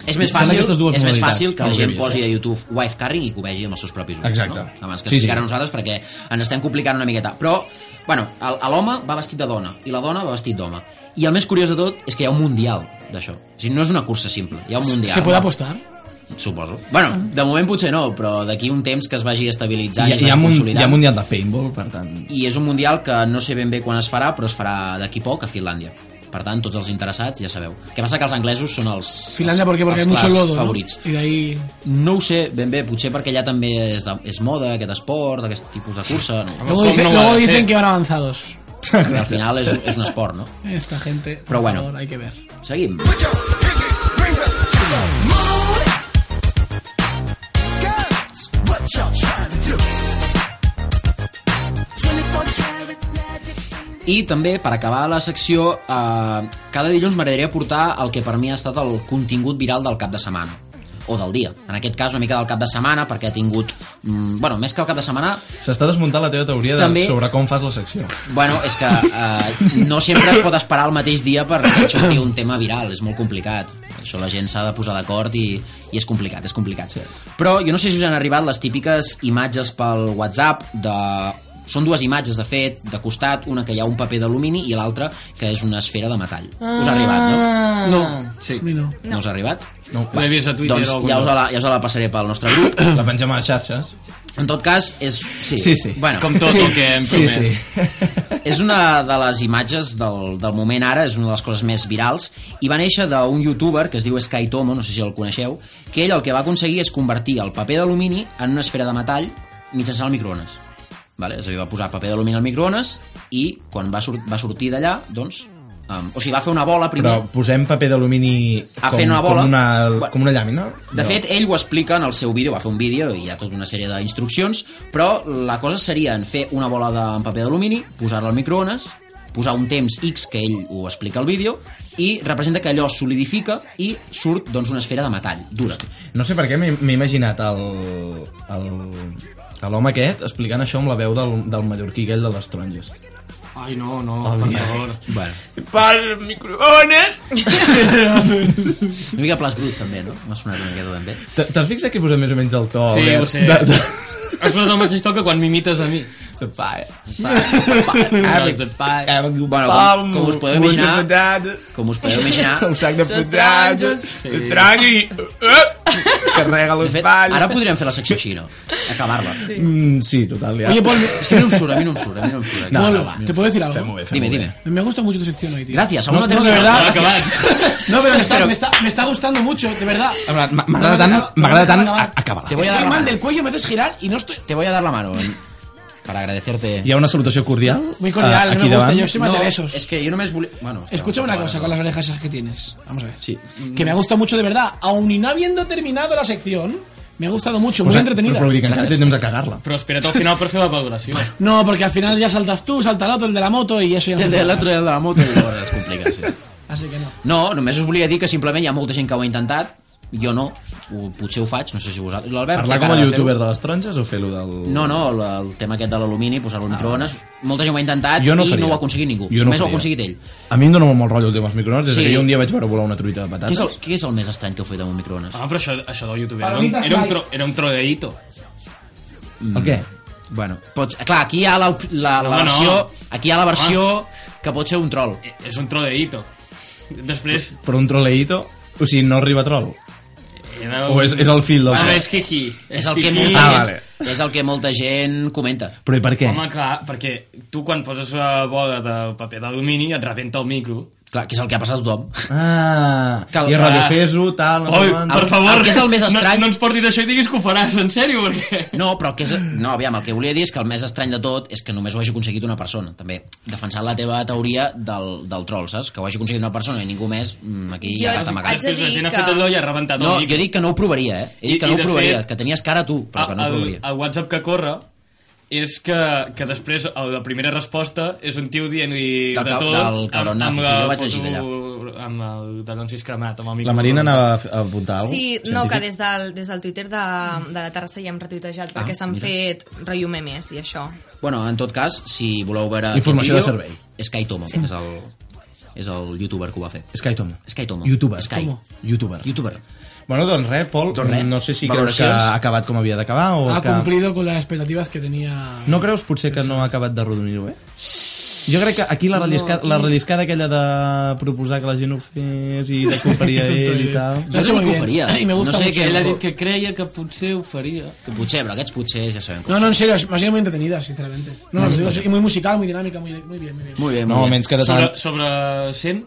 [SPEAKER 4] és més
[SPEAKER 1] Són
[SPEAKER 4] fàcil,
[SPEAKER 1] aquestes dues
[SPEAKER 4] és més
[SPEAKER 1] modalitats,
[SPEAKER 4] fàcil que
[SPEAKER 1] pel
[SPEAKER 4] la
[SPEAKER 1] que
[SPEAKER 4] gent
[SPEAKER 1] he vist,
[SPEAKER 4] posi
[SPEAKER 1] eh?
[SPEAKER 4] a YouTube wife carrying i que ho vegi amb els seus propis ulls
[SPEAKER 1] Exacte.
[SPEAKER 4] no? abans que
[SPEAKER 1] Sí, sí.
[SPEAKER 4] explicar a nosaltres perquè ens estem complicant una miqueta però bueno, el- a l'home va vestit de dona i la dona va vestit d'home i el més curiós de tot és que hi ha un mundial d'això o sigui, no és una cursa simple, hi ha un mundial
[SPEAKER 3] ¿Se puede apostar?
[SPEAKER 4] Suposo. Bueno, de moment potser no, però d'aquí un temps que es vagi estabilitzant
[SPEAKER 1] Hi, ha-
[SPEAKER 4] i, es
[SPEAKER 1] hi, ha
[SPEAKER 4] vagi
[SPEAKER 1] mun, hi
[SPEAKER 4] consolidant.
[SPEAKER 1] ha mundial de paintball, per tant...
[SPEAKER 4] I és un mundial que no sé ben bé quan es farà, però es farà d'aquí poc a Finlàndia. Per tant, tots els interessats ja sabeu. Que passa que els anglesos són els,
[SPEAKER 3] Finlandia
[SPEAKER 4] els,
[SPEAKER 3] porque, porque hay
[SPEAKER 4] els
[SPEAKER 3] mucho
[SPEAKER 4] clars
[SPEAKER 3] lodo. ¿no?
[SPEAKER 4] favorits.
[SPEAKER 3] Y de ahí.
[SPEAKER 4] No ho sé ben bé, potser perquè allà també és, de, és moda aquest esport, aquest tipus de cursa.
[SPEAKER 1] [laughs]
[SPEAKER 4] No?
[SPEAKER 3] Luego,
[SPEAKER 6] ¿cómo
[SPEAKER 3] dicen-
[SPEAKER 6] no va
[SPEAKER 3] luego
[SPEAKER 6] a ser?
[SPEAKER 3] dicen que van avanzados.
[SPEAKER 4] Perquè al final és, és un esport, no?
[SPEAKER 3] Esta gente. por
[SPEAKER 4] Pero bueno.
[SPEAKER 3] favor, hay que ver.
[SPEAKER 4] Seguim. I també, per acabar la secció, eh, cada dilluns m'agradaria portar el que per mi ha estat el contingut viral del cap de setmana o del dia. En aquest cas, una mica del cap de setmana, perquè ha tingut... Mm, bueno, més que el cap de setmana,
[SPEAKER 1] S'està desmuntant la teva teoria de,
[SPEAKER 4] També-
[SPEAKER 1] sobre com fas la secció.
[SPEAKER 4] Bueno, és que eh, no sempre es pot esperar el mateix dia per sortir un tema viral, és molt complicat. Això la gent s'ha de posar d'acord i, i és complicat, és complicat. Però jo no sé si us han arribat les típiques imatges pel WhatsApp de... Són dues imatges, de fet, de costat, una que hi ha un paper d'alumini i l'altra que és una esfera de metall. Us ha arribat, no?
[SPEAKER 3] No.
[SPEAKER 6] Sí.
[SPEAKER 3] A mí no.
[SPEAKER 4] No, us ha arribat?
[SPEAKER 1] No,
[SPEAKER 6] L'he vist a Twitter
[SPEAKER 4] doncs
[SPEAKER 6] o algun
[SPEAKER 4] ja us,
[SPEAKER 6] lloc.
[SPEAKER 4] la, ja us la passaré pel nostre grup.
[SPEAKER 1] la pengem a les xarxes.
[SPEAKER 4] En tot cas, és... Sí,
[SPEAKER 1] Sí, sí.
[SPEAKER 4] Bueno,
[SPEAKER 6] Com tot el que hem promès.
[SPEAKER 4] és una de les imatges del, del moment ara, és una de les coses més virals, i va néixer d'un youtuber que es diu Sky Tomo, no sé si el coneixeu, que ell el que va aconseguir és convertir el paper d'alumini en una esfera de metall mitjançant el microones. Vale? És a dir, va posar paper d'alumini al microones i quan va, sur va sortir d'allà, doncs... Um, o sigui, va fer una bola primer...
[SPEAKER 1] Però posem paper d'alumini
[SPEAKER 4] A
[SPEAKER 1] com,
[SPEAKER 4] fer una bola.
[SPEAKER 1] com, una,
[SPEAKER 4] Bueno.
[SPEAKER 1] com una llàmina?
[SPEAKER 4] De
[SPEAKER 1] No.
[SPEAKER 4] fet, ell ho explica en el seu vídeo, va fer un vídeo i hi ha tota una sèrie d'instruccions, però la cosa seria en fer una bola de en paper d'alumini, posar-la al microones, posar un temps X, que ell ho explica al vídeo, i representa que allò es solidifica i surt doncs, una esfera de metall, dura.
[SPEAKER 1] No sé per què m'he m'he imaginat el- el- a l'home aquest explicant això amb la veu del, del mallorquí aquell de les taronges.
[SPEAKER 6] Ai, no, no,
[SPEAKER 1] Oh,
[SPEAKER 6] per favor.
[SPEAKER 4] Oh, Bueno.
[SPEAKER 1] Per microones!
[SPEAKER 4] Una mica Plas Brut, també, no? M'ha sonat una miqueta també.
[SPEAKER 1] T'has fixat que he posat més o menys el to?
[SPEAKER 6] Sí,
[SPEAKER 1] Albert?
[SPEAKER 6] ho sé.
[SPEAKER 1] De, de...
[SPEAKER 6] Has posat el mateix to que quan m'imites a mi.
[SPEAKER 1] The pie.
[SPEAKER 4] Doncs de pa- Bueno, com, com us podeu imaginar... Ah. Com us podeu
[SPEAKER 3] [laughs]
[SPEAKER 4] imaginar...
[SPEAKER 1] El sac de
[SPEAKER 5] Sos
[SPEAKER 1] putat.
[SPEAKER 5] taronjos.
[SPEAKER 1] El tragui. Carrega
[SPEAKER 4] De
[SPEAKER 1] los
[SPEAKER 4] fet,
[SPEAKER 1] palls.
[SPEAKER 4] ara podríem fer la secció així, no? Acabar-la. Sí.
[SPEAKER 1] Mm, sí, total, ja.
[SPEAKER 3] Oye, Paul,
[SPEAKER 4] Es que a mí no me surt, a mí no me surt, a mí no me surt.
[SPEAKER 3] Pablo,
[SPEAKER 4] Bueno, va.
[SPEAKER 3] ¿te puedo decir algo?
[SPEAKER 1] Fem-ho bé, fem-ho
[SPEAKER 4] Dime,
[SPEAKER 1] bé.
[SPEAKER 4] dime.
[SPEAKER 3] Me gusta mucho tu sección hoy, tío.
[SPEAKER 4] Gracias, aún no,
[SPEAKER 3] No,
[SPEAKER 4] tengo
[SPEAKER 3] no, de
[SPEAKER 4] que-
[SPEAKER 3] verdad,
[SPEAKER 4] Gracias.
[SPEAKER 3] No, pero me está,
[SPEAKER 4] [laughs] Pero-
[SPEAKER 3] me, está, me está gustando mucho, de verdad.
[SPEAKER 1] En plan, m'a-
[SPEAKER 3] No me
[SPEAKER 1] M'agrada tant,
[SPEAKER 3] dejaba- no
[SPEAKER 1] m'agrada
[SPEAKER 3] me
[SPEAKER 1] tant,
[SPEAKER 3] dejaba acabar.
[SPEAKER 1] acaba
[SPEAKER 4] Te voy a dar
[SPEAKER 3] Estoy
[SPEAKER 4] la
[SPEAKER 3] mal
[SPEAKER 4] mano.
[SPEAKER 3] del cuello, me haces girar y no estoy...
[SPEAKER 4] Te voy a dar la mano en- para agradecerte.
[SPEAKER 1] Hi ha una salutació cordial?
[SPEAKER 3] Muy cordial,
[SPEAKER 1] eh,
[SPEAKER 3] no
[SPEAKER 1] aquí
[SPEAKER 3] me gusta,
[SPEAKER 1] davant?
[SPEAKER 3] yo soy más de besos.
[SPEAKER 4] es que yo no me esbule... Bueno, espera,
[SPEAKER 3] Escúchame una
[SPEAKER 4] no,
[SPEAKER 3] cosa
[SPEAKER 4] no,
[SPEAKER 3] con
[SPEAKER 4] no.
[SPEAKER 3] las orejas esas que tienes. Vamos a ver.
[SPEAKER 1] Sí.
[SPEAKER 3] Que me ha gustado mucho de verdad. Aún y no habiendo terminado la sección, me ha gustado mucho,
[SPEAKER 1] Pues,
[SPEAKER 3] muy
[SPEAKER 1] eh,
[SPEAKER 3] entretenida.
[SPEAKER 1] Però vull dir que encara té temps a cagar-la.
[SPEAKER 6] Però espera't al final per fer la valoració.
[SPEAKER 3] No, porque al final ya saltas tú, salta el otro, [laughs] el de la moto y eso ya no
[SPEAKER 4] El
[SPEAKER 3] se
[SPEAKER 4] de
[SPEAKER 3] puede.
[SPEAKER 4] l'altre de la moto llavors es complica, sí.
[SPEAKER 3] Así que no.
[SPEAKER 4] No, només us volia dir que simplement hi ha molta gent que ho ha intentat, jo no, ho, potser ho faig, no sé si vosaltres... L'Albert,
[SPEAKER 1] Parlar
[SPEAKER 4] té
[SPEAKER 1] com
[SPEAKER 4] cara
[SPEAKER 1] el
[SPEAKER 4] de
[SPEAKER 1] youtuber
[SPEAKER 4] fer-ho.
[SPEAKER 1] de les taronges o fer-ho del...
[SPEAKER 4] No, no, el, el tema aquest de l'alumini, posar-lo en microones, molta gent ho ha intentat
[SPEAKER 1] Jo no ho
[SPEAKER 4] i
[SPEAKER 1] faria.
[SPEAKER 4] no ho ha aconseguit ningú.
[SPEAKER 1] Jo no ho
[SPEAKER 4] només ho ha
[SPEAKER 1] faria.
[SPEAKER 4] aconseguit ell.
[SPEAKER 1] A mi em dóna molt mal rotllo el tema dels microones, des
[SPEAKER 4] Sí.
[SPEAKER 1] sí. que jo un dia vaig veure volar una truita de
[SPEAKER 4] Què és,
[SPEAKER 1] patates.
[SPEAKER 4] el, què és el més estrany que heu fet amb un microones?
[SPEAKER 6] Ah, però això, això del youtuber era un,
[SPEAKER 3] Palomitas
[SPEAKER 6] era un,
[SPEAKER 3] light.
[SPEAKER 6] tro, era un trodeïto.
[SPEAKER 1] El, què?
[SPEAKER 4] Bueno, pots, clar, aquí hi ha la, la,
[SPEAKER 6] No,
[SPEAKER 4] la
[SPEAKER 6] home,
[SPEAKER 4] versió,
[SPEAKER 6] no.
[SPEAKER 4] aquí hi ha la versió que pot ser un troll.
[SPEAKER 6] Eh, És un trodeïto. Després...
[SPEAKER 1] Però un troleíto? O sigui, no arriba troll?
[SPEAKER 6] Era
[SPEAKER 1] O és, és el fill del
[SPEAKER 6] Ah,
[SPEAKER 1] troll?
[SPEAKER 6] és jiji.
[SPEAKER 4] És el que
[SPEAKER 6] jiji.
[SPEAKER 4] molta,
[SPEAKER 1] Ah, vale.
[SPEAKER 4] és el que molta gent comenta.
[SPEAKER 1] Però i per què?
[SPEAKER 6] Home, clar, perquè tu quan poses la bola de paper d'alumini et rebenta el micro.
[SPEAKER 4] Clar, que és el que ha passat a tothom.
[SPEAKER 1] Ah,
[SPEAKER 4] Cal-
[SPEAKER 1] i radiofeso, tal... No
[SPEAKER 6] Oi,
[SPEAKER 1] sé quant.
[SPEAKER 6] per
[SPEAKER 4] El-
[SPEAKER 6] favor,
[SPEAKER 4] el que és el més estrany-
[SPEAKER 6] no, no ens portis això i diguis que ho faràs, en sèrio, perquè...
[SPEAKER 4] No, però el que és... No, aviam, el que volia dir és que el més estrany de tot és que només ho hagi aconseguit una persona, també. Defensant la teva teoria del, del troll, saps? Que ho hagi aconseguit una persona i ningú més, mm, aquí
[SPEAKER 5] Jo
[SPEAKER 4] ja
[SPEAKER 5] haig-
[SPEAKER 4] t'amagats.
[SPEAKER 5] haig-
[SPEAKER 6] Després la
[SPEAKER 5] dir
[SPEAKER 6] gent ha
[SPEAKER 5] que-
[SPEAKER 6] fet allò i ha rebentat el
[SPEAKER 4] No,
[SPEAKER 6] micro.
[SPEAKER 4] jo dic que no ho provaria, eh? He dit que
[SPEAKER 6] I-
[SPEAKER 4] no
[SPEAKER 6] i de
[SPEAKER 4] ho provaria,
[SPEAKER 6] fet- Ah,
[SPEAKER 4] que tenies cara tu, però que no ho
[SPEAKER 6] el,
[SPEAKER 4] provaria.
[SPEAKER 6] el WhatsApp que corre és que, que després el- la primera resposta és un tio dient-li
[SPEAKER 4] Del
[SPEAKER 6] de
[SPEAKER 4] ca-
[SPEAKER 6] tot
[SPEAKER 4] del cabronazo, sí, jo vaig llegir
[SPEAKER 6] foto, amb el denuncis cremat amb el micro
[SPEAKER 1] La Marina anava a f- a apuntar alguna
[SPEAKER 5] Sí, no, que des del, des del Twitter de, de la Terrassa ja hem
[SPEAKER 1] Ah,
[SPEAKER 5] retuitejat perquè s'han fet rotllo memes i això.
[SPEAKER 4] Bueno, en tot cas, si voleu veure...
[SPEAKER 1] Informació
[SPEAKER 4] aquest
[SPEAKER 1] de
[SPEAKER 4] vídeo, Sky Tomo, que és el, és el youtuber que ho va fer.
[SPEAKER 1] Sky Tomo.
[SPEAKER 4] Sky Tomo.
[SPEAKER 1] Youtuber.
[SPEAKER 4] Sky.
[SPEAKER 1] Tomo. Youtuber.
[SPEAKER 4] Youtuber.
[SPEAKER 1] Bueno, doncs res, Pol,
[SPEAKER 4] Doncs res.
[SPEAKER 1] no sé si creus que
[SPEAKER 4] Valoracions?
[SPEAKER 1] ha acabat com havia d'acabar o
[SPEAKER 3] Ha
[SPEAKER 1] que...
[SPEAKER 3] cumplido con las expectativas que tenía.
[SPEAKER 1] No creus potser que no ha acabat de rodonir-ho, eh? Jo crec que aquí la relliscada, la relliscada aquella de proposar que la gent ho fes i de comparir
[SPEAKER 3] [laughs]
[SPEAKER 1] a ell i tal...
[SPEAKER 4] Jo
[SPEAKER 3] Lo ha
[SPEAKER 4] crec
[SPEAKER 3] hecho muy
[SPEAKER 4] que ho
[SPEAKER 3] bien.
[SPEAKER 4] faria.
[SPEAKER 3] [laughs] Y me gusta
[SPEAKER 4] No sé
[SPEAKER 3] mucho.
[SPEAKER 4] què-
[SPEAKER 6] ell ha dit que creia que potser ho faria
[SPEAKER 4] Que potser, però aquests potser ja sabem com.
[SPEAKER 3] No, no, en serio, me ha sido muy entretenida, sinceramente. No, lo digo, y muy musical, muy dinámica, muy, muy bien, muy bien.
[SPEAKER 4] Molt bé,
[SPEAKER 1] No,
[SPEAKER 4] molt bé.
[SPEAKER 1] almenys que de
[SPEAKER 6] sobre,
[SPEAKER 1] tant...
[SPEAKER 6] sobre 100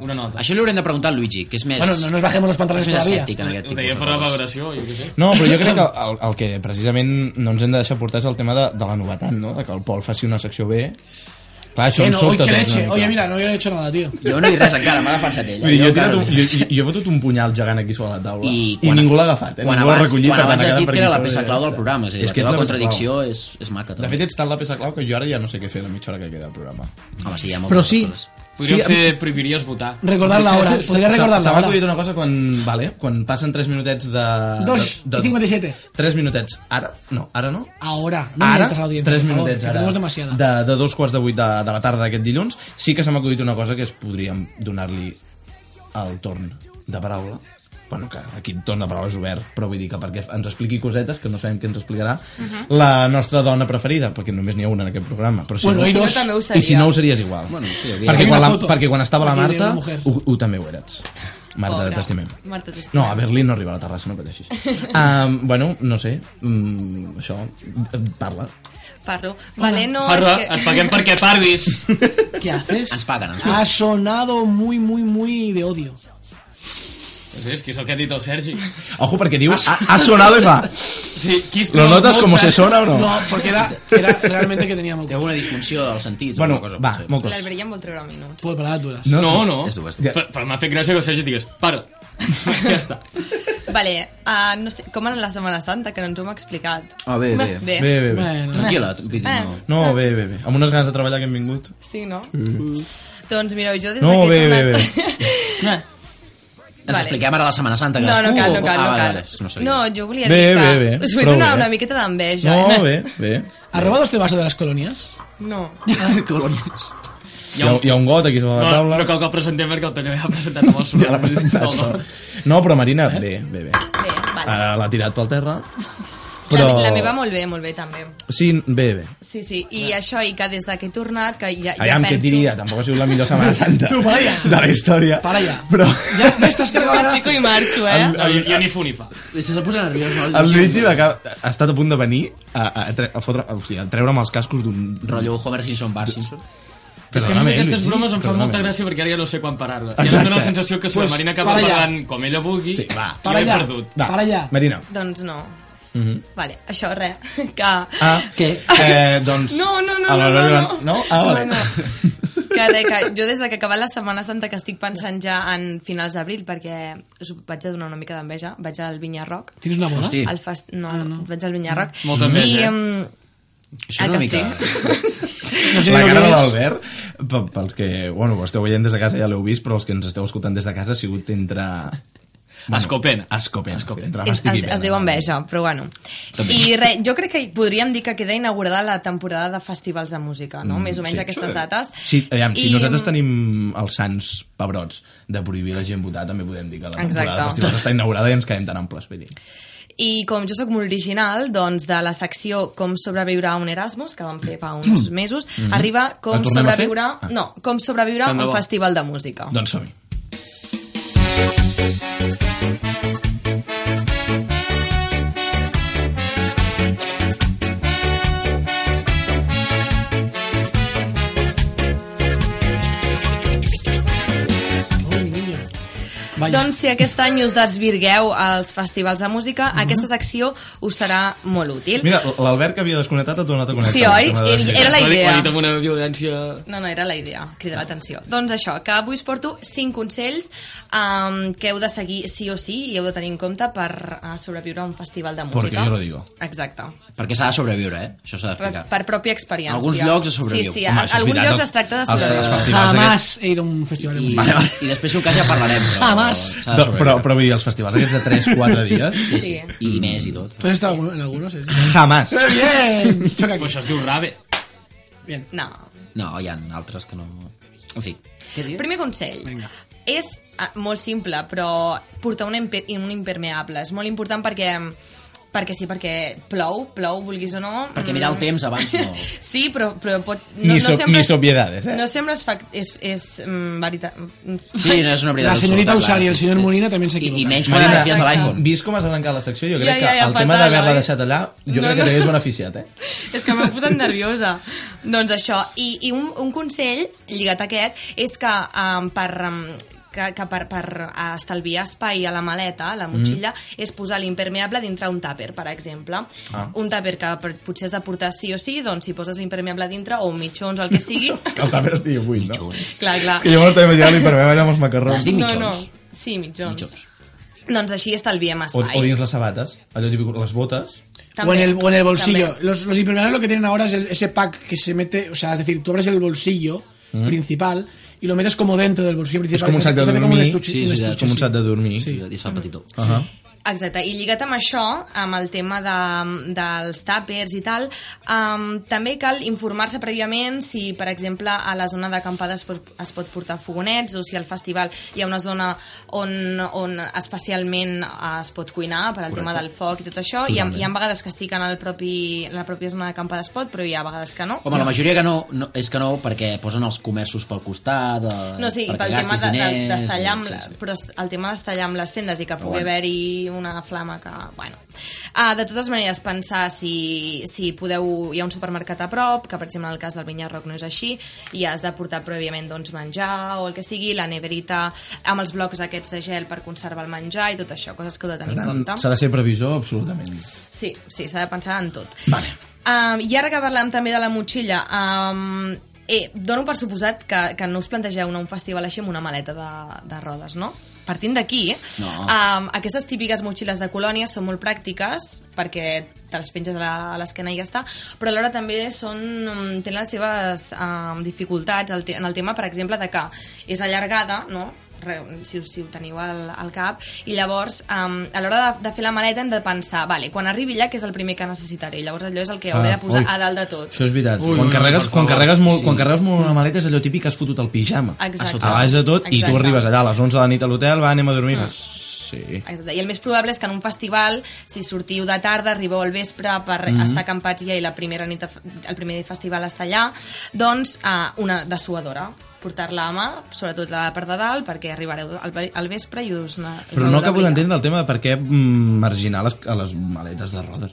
[SPEAKER 6] una nota
[SPEAKER 4] Això li haurem de preguntar al Luigi, que és més...
[SPEAKER 3] Bueno, no nos bajemos los
[SPEAKER 4] és
[SPEAKER 3] pantalones
[SPEAKER 4] més
[SPEAKER 3] todavía.
[SPEAKER 4] escèptic en aquest
[SPEAKER 6] ho
[SPEAKER 4] tipus
[SPEAKER 6] deia
[SPEAKER 4] de
[SPEAKER 6] per la
[SPEAKER 4] coses.
[SPEAKER 6] valoració jo què sé
[SPEAKER 1] No, però jo crec que el, el que precisament no ens hem de deixar portar és el tema de, de la novetat, no? De que el Pol faci una secció B... Clar, això
[SPEAKER 3] Eh,
[SPEAKER 1] em
[SPEAKER 3] no, hoy
[SPEAKER 1] sobta.
[SPEAKER 3] que
[SPEAKER 1] tot
[SPEAKER 3] leche.
[SPEAKER 1] una mica.
[SPEAKER 3] Oye, mira, no hubiera hecho nada, tío.
[SPEAKER 4] Jo no he dit res encara, m'ha defensat ell.
[SPEAKER 1] Vull dir, jo, he tirat
[SPEAKER 4] encara
[SPEAKER 1] un,
[SPEAKER 4] no he
[SPEAKER 1] jo,
[SPEAKER 4] dit res.
[SPEAKER 1] jo, he fotut un punyal gegant aquí sobre la taula i,
[SPEAKER 4] I quan-
[SPEAKER 1] ningú l'ha agafat, eh?
[SPEAKER 4] quan
[SPEAKER 1] ningú l'ha
[SPEAKER 4] abans,
[SPEAKER 1] recollit.
[SPEAKER 4] quan
[SPEAKER 1] per tant,
[SPEAKER 4] abans
[SPEAKER 1] ha
[SPEAKER 4] has
[SPEAKER 1] quedat
[SPEAKER 4] dit
[SPEAKER 1] per
[SPEAKER 4] que era
[SPEAKER 1] aquí
[SPEAKER 4] la
[SPEAKER 1] sobre,
[SPEAKER 4] peça
[SPEAKER 1] ja
[SPEAKER 4] clau del
[SPEAKER 1] està.
[SPEAKER 4] programa, és a dir, la
[SPEAKER 1] que
[SPEAKER 4] teva
[SPEAKER 1] ets peça
[SPEAKER 4] contradicció
[SPEAKER 1] clau.
[SPEAKER 4] és, és maca,
[SPEAKER 1] De
[SPEAKER 4] també.
[SPEAKER 1] fet, ets tant la peça clau que jo ara ja no sé què fer a la mitja hora que queda el programa.
[SPEAKER 4] Home, sí, hi ha moltes
[SPEAKER 3] Pero sí,
[SPEAKER 4] coses.
[SPEAKER 6] podríem
[SPEAKER 3] Sí,
[SPEAKER 6] fer prohibiries votar
[SPEAKER 3] recordarla ahora. Podría recordarla
[SPEAKER 1] Se m'ha
[SPEAKER 3] ahora.
[SPEAKER 1] acudit una cosa quan, vale, quan passen 3 minutets de...
[SPEAKER 3] Dos
[SPEAKER 1] de,
[SPEAKER 3] y 57.
[SPEAKER 1] 3 minutets. Ara? No, ara no.
[SPEAKER 3] Ahora. No
[SPEAKER 1] Ara,
[SPEAKER 3] mientas a la audiencia,
[SPEAKER 1] 3
[SPEAKER 3] por favor,
[SPEAKER 1] minutets
[SPEAKER 3] que
[SPEAKER 1] ara,
[SPEAKER 3] tenemos demasiada.
[SPEAKER 1] de, de dos quarts de vuit de, de la tarda d'aquest dilluns, sí que se m'ha acudit una cosa que es podríem donar-li el torn de paraula. Bueno, que aquí el torn de paraula és obert, però vull dir que perquè ens expliqui cosetes, que no sabem què ens explicarà,
[SPEAKER 3] Mhm.
[SPEAKER 1] la nostra dona preferida, perquè només n'hi ha una en aquest programa. Però si
[SPEAKER 3] Bueno,
[SPEAKER 1] no,
[SPEAKER 3] i
[SPEAKER 5] Si no,
[SPEAKER 3] dos.
[SPEAKER 5] també ho
[SPEAKER 1] i si
[SPEAKER 5] seria.
[SPEAKER 1] no ho series igual.
[SPEAKER 4] Bueno, sí, havia-
[SPEAKER 1] perquè,
[SPEAKER 3] Hi ha
[SPEAKER 1] quan
[SPEAKER 3] una
[SPEAKER 1] la,
[SPEAKER 3] foto.
[SPEAKER 1] perquè quan estava la
[SPEAKER 3] Aquí de
[SPEAKER 1] Marta,
[SPEAKER 3] una mujer.
[SPEAKER 1] ho, ho també ho eres. Marta,
[SPEAKER 5] Pobra.
[SPEAKER 1] t'estimem.
[SPEAKER 5] Marta, t'estimem.
[SPEAKER 1] No, a Berlín no arriba a la terrassa, no pateixis. Um, bueno, no sé, um, això, eh, parla.
[SPEAKER 5] Parlo. Vale, no,
[SPEAKER 6] [laughs] Parla,
[SPEAKER 5] és
[SPEAKER 6] et
[SPEAKER 5] que...
[SPEAKER 6] paguem
[SPEAKER 3] [laughs]
[SPEAKER 6] perquè parlis
[SPEAKER 3] ¿Qué haces?
[SPEAKER 4] Ens paguen, ens
[SPEAKER 3] Ha
[SPEAKER 4] paguen.
[SPEAKER 3] sonado muy, muy, muy de odio.
[SPEAKER 6] no sé, és que és el que ha dit el Sergi
[SPEAKER 1] Ojo, perquè diu, ha, ha sonado i fa...
[SPEAKER 6] sí, qui es
[SPEAKER 1] ¿Lo
[SPEAKER 6] treu
[SPEAKER 1] notas
[SPEAKER 6] el
[SPEAKER 1] como se
[SPEAKER 6] cotxe?
[SPEAKER 1] suena o no?
[SPEAKER 3] No, porque era, era realmente que
[SPEAKER 4] Té
[SPEAKER 3] tenía muy...
[SPEAKER 4] alguna disfunció dels sentits.
[SPEAKER 1] Bueno,
[SPEAKER 4] alguna cosa,
[SPEAKER 1] va,
[SPEAKER 4] potser.
[SPEAKER 1] mocos.
[SPEAKER 5] L'Albert ja em vol treure minuts.
[SPEAKER 3] Pues para duras.
[SPEAKER 1] No,
[SPEAKER 6] no, no.
[SPEAKER 4] És dur, és
[SPEAKER 1] dur.
[SPEAKER 6] Però, però m'ha fet gràcia que el Sergi digués para [laughs] ja està
[SPEAKER 5] Vale, uh, no sé, com en la Setmana Santa, que no ens ho hem explicat.
[SPEAKER 4] Ah, bé, bé.
[SPEAKER 1] Bé,
[SPEAKER 5] Bé,
[SPEAKER 1] bé, bé.
[SPEAKER 3] Bueno,
[SPEAKER 4] Tranquil·la, vull dir, no.
[SPEAKER 5] Eh.
[SPEAKER 1] No, bé, bé, bé. Amb unes ganes de treballar que hem vingut.
[SPEAKER 5] Sí, no? Doncs mireu, jo des
[SPEAKER 1] No,
[SPEAKER 5] que
[SPEAKER 1] bé,
[SPEAKER 5] he
[SPEAKER 1] bé,
[SPEAKER 5] tornat... [laughs]
[SPEAKER 4] Ens expliquem ara la Setmana Santa.
[SPEAKER 5] No, no
[SPEAKER 4] cadascú, o-
[SPEAKER 5] cal, no cal,
[SPEAKER 4] Ah,
[SPEAKER 5] no
[SPEAKER 4] vale,
[SPEAKER 5] cal.
[SPEAKER 4] vale, és que No,
[SPEAKER 5] No,
[SPEAKER 4] sabia.
[SPEAKER 5] jo volia
[SPEAKER 1] Bé,
[SPEAKER 5] dir que...
[SPEAKER 1] bé, bé.
[SPEAKER 5] Us vull
[SPEAKER 1] Prou
[SPEAKER 5] donar
[SPEAKER 1] bé.
[SPEAKER 5] una miqueta d'enveja,
[SPEAKER 1] No,
[SPEAKER 5] eh?
[SPEAKER 1] bé, bé.
[SPEAKER 3] ¿Has robado este vaso de las colonias?
[SPEAKER 5] No.
[SPEAKER 4] Colònies.
[SPEAKER 1] Hi ha, hi ha un got aquí sobre la
[SPEAKER 6] no,
[SPEAKER 1] taula.
[SPEAKER 6] no cal que el presentem perquè el Taller ja ha presentat amb el soroll.
[SPEAKER 1] Ja l'ha presentat.
[SPEAKER 6] No, no.
[SPEAKER 1] No, però Marina, bé, Eh, bé, bé.
[SPEAKER 5] Bé, vale.
[SPEAKER 1] Ara l'ha tirat pel terra. Ah, Però...
[SPEAKER 5] La, la meva molt bé, molt bé, també.
[SPEAKER 1] Sí, bé, bé.
[SPEAKER 5] Sí, sí, i això, i que des de que he tornat, que ja, ja
[SPEAKER 1] Aviam,
[SPEAKER 5] penso...
[SPEAKER 1] què et diria? Tampoc ha sigut la millor Setmana Santa
[SPEAKER 3] Tu, para ja.
[SPEAKER 1] de la història.
[SPEAKER 3] Para ja.
[SPEAKER 1] Però
[SPEAKER 3] Ya me estás
[SPEAKER 5] Jo
[SPEAKER 3] cargando la
[SPEAKER 5] xico
[SPEAKER 3] gracia.
[SPEAKER 5] i marxo, eh?
[SPEAKER 1] El-
[SPEAKER 6] No, jo, jo ni fu ni fa.
[SPEAKER 4] Se s'ha posat nerviós, no?
[SPEAKER 1] el Luigi va acab- ha estat a punt de venir a, a, tre a, fotre, o sigui, a treure'm els cascos d'un...
[SPEAKER 4] Rotllo Homer Simpson, Bart Simpson.
[SPEAKER 6] És que a mi aquestes bromes em fan
[SPEAKER 1] perdona'm.
[SPEAKER 6] molta gràcia perquè ara ja no sé quan parar-les. I em
[SPEAKER 1] Exacte.
[SPEAKER 6] dóna la sensació que si la
[SPEAKER 3] Pues,
[SPEAKER 6] Marina acaba
[SPEAKER 3] para allà.
[SPEAKER 6] parlant com ella vulgui,
[SPEAKER 1] Sí, va.
[SPEAKER 3] Para
[SPEAKER 6] jo he
[SPEAKER 3] allà.
[SPEAKER 6] perdut.
[SPEAKER 1] Va,
[SPEAKER 3] Para allà.
[SPEAKER 1] Marina.
[SPEAKER 5] Doncs no. Vale, això, res. [laughs] Que...
[SPEAKER 1] Mhm. Ah,
[SPEAKER 4] Què?
[SPEAKER 1] Eh, doncs...
[SPEAKER 5] No, no, no,
[SPEAKER 1] a la-
[SPEAKER 5] no, no, no.
[SPEAKER 1] no? Ah, vale.
[SPEAKER 5] No,
[SPEAKER 1] [laughs]
[SPEAKER 5] Que re, que jo des de que ha acabat la Setmana Santa que estic pensant ja en finals d'abril perquè us vaig a donar una mica d'enveja vaig al Vinyarroc
[SPEAKER 3] ¿Tienes una boda?
[SPEAKER 4] Hosti. Sí.
[SPEAKER 5] al fast... no, Ah, no, vaig al Vinyarroc
[SPEAKER 6] Molta enveja,
[SPEAKER 5] i,
[SPEAKER 6] eh?
[SPEAKER 5] um,
[SPEAKER 4] Això
[SPEAKER 5] ah,
[SPEAKER 4] una
[SPEAKER 5] que
[SPEAKER 4] mica...
[SPEAKER 3] No sé
[SPEAKER 1] la
[SPEAKER 3] lo que
[SPEAKER 1] cara de
[SPEAKER 3] es.
[SPEAKER 1] l'Albert, pe- pels que, bueno, ho esteu veient des de casa ja l'heu vist, però els que ens esteu escoltant des de casa ha sigut entre...
[SPEAKER 6] Escopena.
[SPEAKER 1] Escopena. Escopena. Entre
[SPEAKER 5] es,
[SPEAKER 1] fàstic i
[SPEAKER 5] es,
[SPEAKER 1] pena.
[SPEAKER 5] es diu enveja però bueno i re, jo crec que podríem dir que queda inaugurada la temporada de festivals de música no? més o menys
[SPEAKER 1] Mm, sí.
[SPEAKER 5] aquestes dates
[SPEAKER 1] Sí, aviam, si
[SPEAKER 5] I,
[SPEAKER 1] nosaltres
[SPEAKER 5] em,
[SPEAKER 1] tenim els sants pebrots de prohibir la gent votar, també podem dir que la temporada
[SPEAKER 5] Exacte.
[SPEAKER 1] de festivals està inaugurada i ens quedem tan amples. Vull dir.
[SPEAKER 5] I com jo sóc molt original, doncs de la secció Com sobreviure a un Erasmus, que vam fer fa uns mesos,
[SPEAKER 1] Mm.
[SPEAKER 5] arriba
[SPEAKER 1] Mm-hmm. La
[SPEAKER 5] Com
[SPEAKER 1] tornem a fer?
[SPEAKER 5] sobreviure...
[SPEAKER 1] Ah.
[SPEAKER 5] No, Com sobreviure a
[SPEAKER 6] Tant de
[SPEAKER 5] un
[SPEAKER 6] bo.
[SPEAKER 5] festival de música.
[SPEAKER 1] Doncs som-hi.
[SPEAKER 3] Vaya.
[SPEAKER 5] Doncs si aquest any us desvirgueu als festivals de música,
[SPEAKER 1] Mm-hmm.
[SPEAKER 5] aquesta secció us serà molt útil.
[SPEAKER 1] Mira, l'Albert que havia desconnectat ha tornat a connectar.
[SPEAKER 5] Sí, oi?
[SPEAKER 1] Tornat a
[SPEAKER 5] Era-
[SPEAKER 1] desconnectar.
[SPEAKER 5] era la
[SPEAKER 6] Ho ha dit- ho ha
[SPEAKER 5] idea.
[SPEAKER 6] dit amb una violència...
[SPEAKER 5] No, no, era la idea, cridar l'atenció. Doncs això, que avui us porto 5 consells um, que heu de seguir sí o sí i heu de tenir en compte per uh, sobreviure a un festival de música.
[SPEAKER 1] Porque yo lo digo.
[SPEAKER 5] Exacte.
[SPEAKER 4] Perquè s'ha de sobreviure, eh? Això s'ha
[SPEAKER 5] Per,
[SPEAKER 4] d'explicar.
[SPEAKER 5] per pròpia experiència.
[SPEAKER 4] Alguns llocs es sobreviu.
[SPEAKER 5] Sí, sí,
[SPEAKER 1] Home,
[SPEAKER 5] a,
[SPEAKER 1] això és
[SPEAKER 5] alguns
[SPEAKER 1] veritat,
[SPEAKER 5] llocs
[SPEAKER 1] els-
[SPEAKER 5] es tracta de
[SPEAKER 1] els- els
[SPEAKER 5] sobreviure.
[SPEAKER 1] festivals
[SPEAKER 3] Jamás he ido a un festival de
[SPEAKER 4] I,
[SPEAKER 3] música.
[SPEAKER 4] I després, si un cas, ja parlarem. Però,
[SPEAKER 3] Jamás.
[SPEAKER 4] s'ha de
[SPEAKER 1] Do- però,
[SPEAKER 4] sobreviure.
[SPEAKER 1] però vull dir, els festivals aquests de 3-4 dies...
[SPEAKER 5] Sí, sí.
[SPEAKER 4] I més, i tot.
[SPEAKER 3] ¿Tú has estado en algunos? ¿Es-
[SPEAKER 1] Jamás.
[SPEAKER 3] Bien. Choca aquí.
[SPEAKER 6] Pues això es diu rave.
[SPEAKER 3] Bien.
[SPEAKER 5] No.
[SPEAKER 4] No, hi ha altres que no... En fi. Què dius?
[SPEAKER 5] Primer consell.
[SPEAKER 3] Vinga.
[SPEAKER 5] És ah, molt simple, però portar un, imper un impermeable. És molt important perquè perquè sí, perquè plou, plou, vulguis o no.
[SPEAKER 4] Perquè mirar el
[SPEAKER 5] Mm,
[SPEAKER 4] temps abans
[SPEAKER 5] [laughs]
[SPEAKER 4] no...
[SPEAKER 5] Sí, però, però pots...
[SPEAKER 1] Ni so- ni
[SPEAKER 5] és-
[SPEAKER 1] sopiedades, eh?
[SPEAKER 5] No sempre és, fac, és, és mm, veritat. mm,
[SPEAKER 4] Sí, no és una veritat
[SPEAKER 3] La
[SPEAKER 4] absoluta,
[SPEAKER 3] señorita
[SPEAKER 4] clar,
[SPEAKER 3] Usari y el
[SPEAKER 4] sí.
[SPEAKER 3] señor Molina también se
[SPEAKER 4] I, i
[SPEAKER 3] equivocan.
[SPEAKER 4] menys quan et fies de l'iPhone.
[SPEAKER 1] Vist com has arrencat la secció, jo crec
[SPEAKER 5] Ja, ja,
[SPEAKER 1] que
[SPEAKER 5] ja,
[SPEAKER 1] el tema
[SPEAKER 5] fatal,
[SPEAKER 1] d'haver-la
[SPEAKER 5] oi?
[SPEAKER 1] deixat allà, jo
[SPEAKER 5] No,
[SPEAKER 1] crec que
[SPEAKER 5] no.
[SPEAKER 1] t'hagués
[SPEAKER 5] [laughs]
[SPEAKER 1] beneficiat, eh?
[SPEAKER 5] És que m'ha posat nerviosa. doncs això, i, i un, un consell lligat a aquest és que um, per... Um, que, que per, per estalviar espai a la maleta, a la motxilla, mm. és posar l'impermeable dintre un tàper, per exemple.
[SPEAKER 1] Ah.
[SPEAKER 5] Un tàper que per, potser has de portar sí o sí, doncs si poses l'impermeable dintre, o mitjons, el que sigui...
[SPEAKER 1] Que el tàper estigui buit, no?
[SPEAKER 4] Mitjons.
[SPEAKER 5] clar, clar.
[SPEAKER 1] És que jo m'estava imaginant l'impermeable allà amb els macarrons.
[SPEAKER 4] Has dit mitjons?
[SPEAKER 5] No, no. Sí, mitjons.
[SPEAKER 4] Mitjons.
[SPEAKER 5] Doncs així estalviem
[SPEAKER 1] O,
[SPEAKER 5] espai.
[SPEAKER 1] o dins les sabates, allò típic, les botes.
[SPEAKER 5] També,
[SPEAKER 3] o, en el, o en el bolsillo.
[SPEAKER 5] també.
[SPEAKER 3] Los, los impermeables lo que tienen ahora es el- ese pack que se mete, o sea, es decir, tú abres el bolsillo principal y lo metes como dentro del bolsillo
[SPEAKER 1] És
[SPEAKER 3] principal.
[SPEAKER 1] com un sac de
[SPEAKER 3] Se hace como un
[SPEAKER 1] dormir,
[SPEAKER 3] estuche-
[SPEAKER 1] sí,
[SPEAKER 3] un
[SPEAKER 1] és veritat,
[SPEAKER 3] estuche,
[SPEAKER 1] com
[SPEAKER 3] sí.
[SPEAKER 1] un sac de dormir. Ah.
[SPEAKER 4] Sí, i es fa petitó.
[SPEAKER 1] Ahà.
[SPEAKER 5] Exacte, i lligat amb això, amb el tema de, dels tàpers i tal, um, també cal informar-se prèviament si, per exemple, a la zona d'acampada es, pot- es pot portar fogonets o si al festival hi ha una zona on, on especialment eh, es pot cuinar per al tema del foc i tot això. Hi ha, hi ha vegades que sí que en el propi, la pròpia zona d'acampada es pot, però hi ha vegades que no.
[SPEAKER 4] Home, la majoria que no, no, és que no, perquè posen els comerços pel costat... Eh,
[SPEAKER 5] No, sí,
[SPEAKER 4] perquè
[SPEAKER 5] pel tema
[SPEAKER 4] gastis
[SPEAKER 5] de- de-
[SPEAKER 4] diners,
[SPEAKER 5] d'estallar amb,
[SPEAKER 4] sí,
[SPEAKER 5] la-
[SPEAKER 4] sí.
[SPEAKER 5] però est- el tema d'estallar amb les tendes i que pugui
[SPEAKER 4] bueno.
[SPEAKER 5] haver-hi una flama que... Bueno. Ah, de totes maneres, pensar si, si podeu... Hi ha un supermercat a prop, que per exemple en el cas del Vinyarroc no és així, i has de portar prèviament doncs, menjar o el que sigui, la neverita amb els blocs aquests de gel per conservar el menjar i tot això, coses que heu de
[SPEAKER 1] Per
[SPEAKER 5] tenir en
[SPEAKER 1] tant,
[SPEAKER 5] compte.
[SPEAKER 1] S'ha de ser previsor, absolutament.
[SPEAKER 5] Sí, sí, s'ha de pensar en tot.
[SPEAKER 1] Vale.
[SPEAKER 5] Um, I ara que parlem també de la motxilla, um, eh, dono per suposat que, que no us plantegeu anar a un festival així amb una maleta de, de rodes, no? Partint d'aquí,
[SPEAKER 4] No.
[SPEAKER 5] um, aquestes típiques motxilles de colònia són molt pràctiques perquè te les penges a la- a l'esquena i ja està, però alhora també són, mm, tenen les seves um, dificultats al te- en el tema, per exemple, de que és allargada, no? Re- si, us- si ho teniu al, al cap i llavors um, a l'hora de, de fer la maleta hem de pensar, vale, quan arribi allà que és el primer que necessitaré, llavors allò és el que hauré de posar
[SPEAKER 1] ui.
[SPEAKER 5] a dalt de tot
[SPEAKER 1] Això és veritat.
[SPEAKER 6] Ui,
[SPEAKER 1] quan,
[SPEAKER 6] ui,
[SPEAKER 1] carregues,
[SPEAKER 6] per
[SPEAKER 1] quan,
[SPEAKER 6] favor.
[SPEAKER 1] carregues molt, quan carregues molt una maleta és allò típic que has fotut el pijama.
[SPEAKER 5] Exacte.
[SPEAKER 1] A sota, a baix de tot, i tu
[SPEAKER 5] Exacte.
[SPEAKER 1] arribes allà a les 11 de la nit a l'hotel, va, anem a dormir. Mm. Sí.
[SPEAKER 5] Exacte. I el més probable és que en un festival, si sortiu de tarda, arribeu al vespre per mm -hmm. estar acampats ja i la primera nit, de fe- el primer festival està allà, doncs uh, una dessuadora portar-la a mà, sobretot la de per de dalt, perquè arribareu al, ve- al vespre i us... Na, us
[SPEAKER 1] Però
[SPEAKER 5] n'haureu
[SPEAKER 1] no
[SPEAKER 5] de
[SPEAKER 1] acabo
[SPEAKER 5] abrigar.
[SPEAKER 1] d'entendre el tema de per què mm, marginar les, a les maletes de rodes.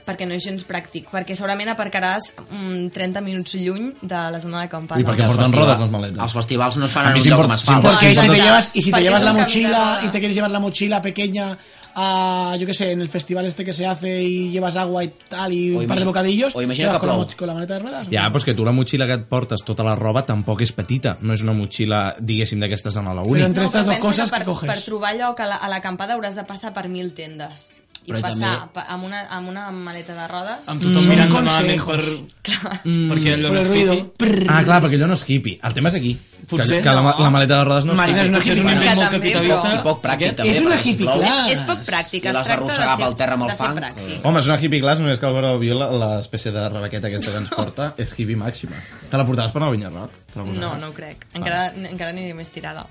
[SPEAKER 5] Perquè no és gens pràctic, perquè segurament aparcaràs mm, 30 minuts lluny de la zona d'acampada.
[SPEAKER 1] I perquè porten rodes les maletes.
[SPEAKER 4] Els festivals no es fan
[SPEAKER 1] A
[SPEAKER 4] en
[SPEAKER 1] mi
[SPEAKER 4] un lloc
[SPEAKER 1] s'import-
[SPEAKER 4] com es fa.
[SPEAKER 1] s'import-
[SPEAKER 3] Ah, Porque
[SPEAKER 1] Porque
[SPEAKER 3] si te
[SPEAKER 5] cuando-
[SPEAKER 3] llevas, y si te
[SPEAKER 5] porque
[SPEAKER 3] llevas
[SPEAKER 5] son
[SPEAKER 3] la mochila
[SPEAKER 5] caminadoras.
[SPEAKER 3] y te quieres llevar la mochila pequeña a, yo qué sé, en el festival este que se hace y llevas agua y tal y
[SPEAKER 4] O
[SPEAKER 3] un par de
[SPEAKER 4] imagi-
[SPEAKER 3] bocadillos,
[SPEAKER 4] o imagina
[SPEAKER 3] ¿te vas
[SPEAKER 4] que
[SPEAKER 3] con, la,
[SPEAKER 4] plou.
[SPEAKER 3] mo- con la maleta de ruedas.
[SPEAKER 1] Ja, però és que tu la motxilla que et portes, tota la roba, tampoc és petita. No és una motxilla, diguéssim, d'aquestes a la uni.
[SPEAKER 3] Però entre estas
[SPEAKER 5] però
[SPEAKER 3] dos
[SPEAKER 5] pensa
[SPEAKER 3] cosas,
[SPEAKER 5] que
[SPEAKER 3] ¿qué
[SPEAKER 5] per,
[SPEAKER 3] coges?
[SPEAKER 5] Per trobar lloc a la- a l'acampada hauràs de passar per mil tendes. I
[SPEAKER 4] Però
[SPEAKER 5] però passar
[SPEAKER 4] també-
[SPEAKER 5] pa- amb, una, amb una maleta de rodes...
[SPEAKER 6] Amb tothom
[SPEAKER 3] Són
[SPEAKER 6] mirant malament per... Mm.
[SPEAKER 3] consejos.
[SPEAKER 6] Perquè allò
[SPEAKER 3] Por el
[SPEAKER 6] no es
[SPEAKER 3] ruido.
[SPEAKER 6] cuqui.
[SPEAKER 3] Prrr.
[SPEAKER 1] Ah, clar, perquè allò no és hippie. El tema és aquí.
[SPEAKER 6] Potser
[SPEAKER 1] que, que la, ma-
[SPEAKER 6] no.
[SPEAKER 1] la maleta de rodes no és
[SPEAKER 3] Marina, és una
[SPEAKER 6] Potser és un
[SPEAKER 3] gilipolles.
[SPEAKER 6] invent molt
[SPEAKER 5] També,
[SPEAKER 6] capitalista.
[SPEAKER 5] però-
[SPEAKER 4] I poc pràctic, també.
[SPEAKER 3] És una
[SPEAKER 4] perquè si
[SPEAKER 3] hippie
[SPEAKER 4] plou-
[SPEAKER 3] class.
[SPEAKER 5] És, és poc pràctic,
[SPEAKER 4] I l'has
[SPEAKER 5] es tracta de
[SPEAKER 4] d'arrossegar
[SPEAKER 5] ser,
[SPEAKER 4] pel terra amb el
[SPEAKER 5] de ser
[SPEAKER 4] fang.
[SPEAKER 5] pràctic.
[SPEAKER 1] Home, és una hippie class, només que el Álvaro Viola, l'espècie de rebequeta aquesta que ens
[SPEAKER 5] [laughs]
[SPEAKER 1] porta, és hippie màxima. Te la portaràs per anar a Vinya Rock? Te la
[SPEAKER 5] No,
[SPEAKER 1] posaràs?
[SPEAKER 5] no ho crec. Encara, encara aniré més tirada.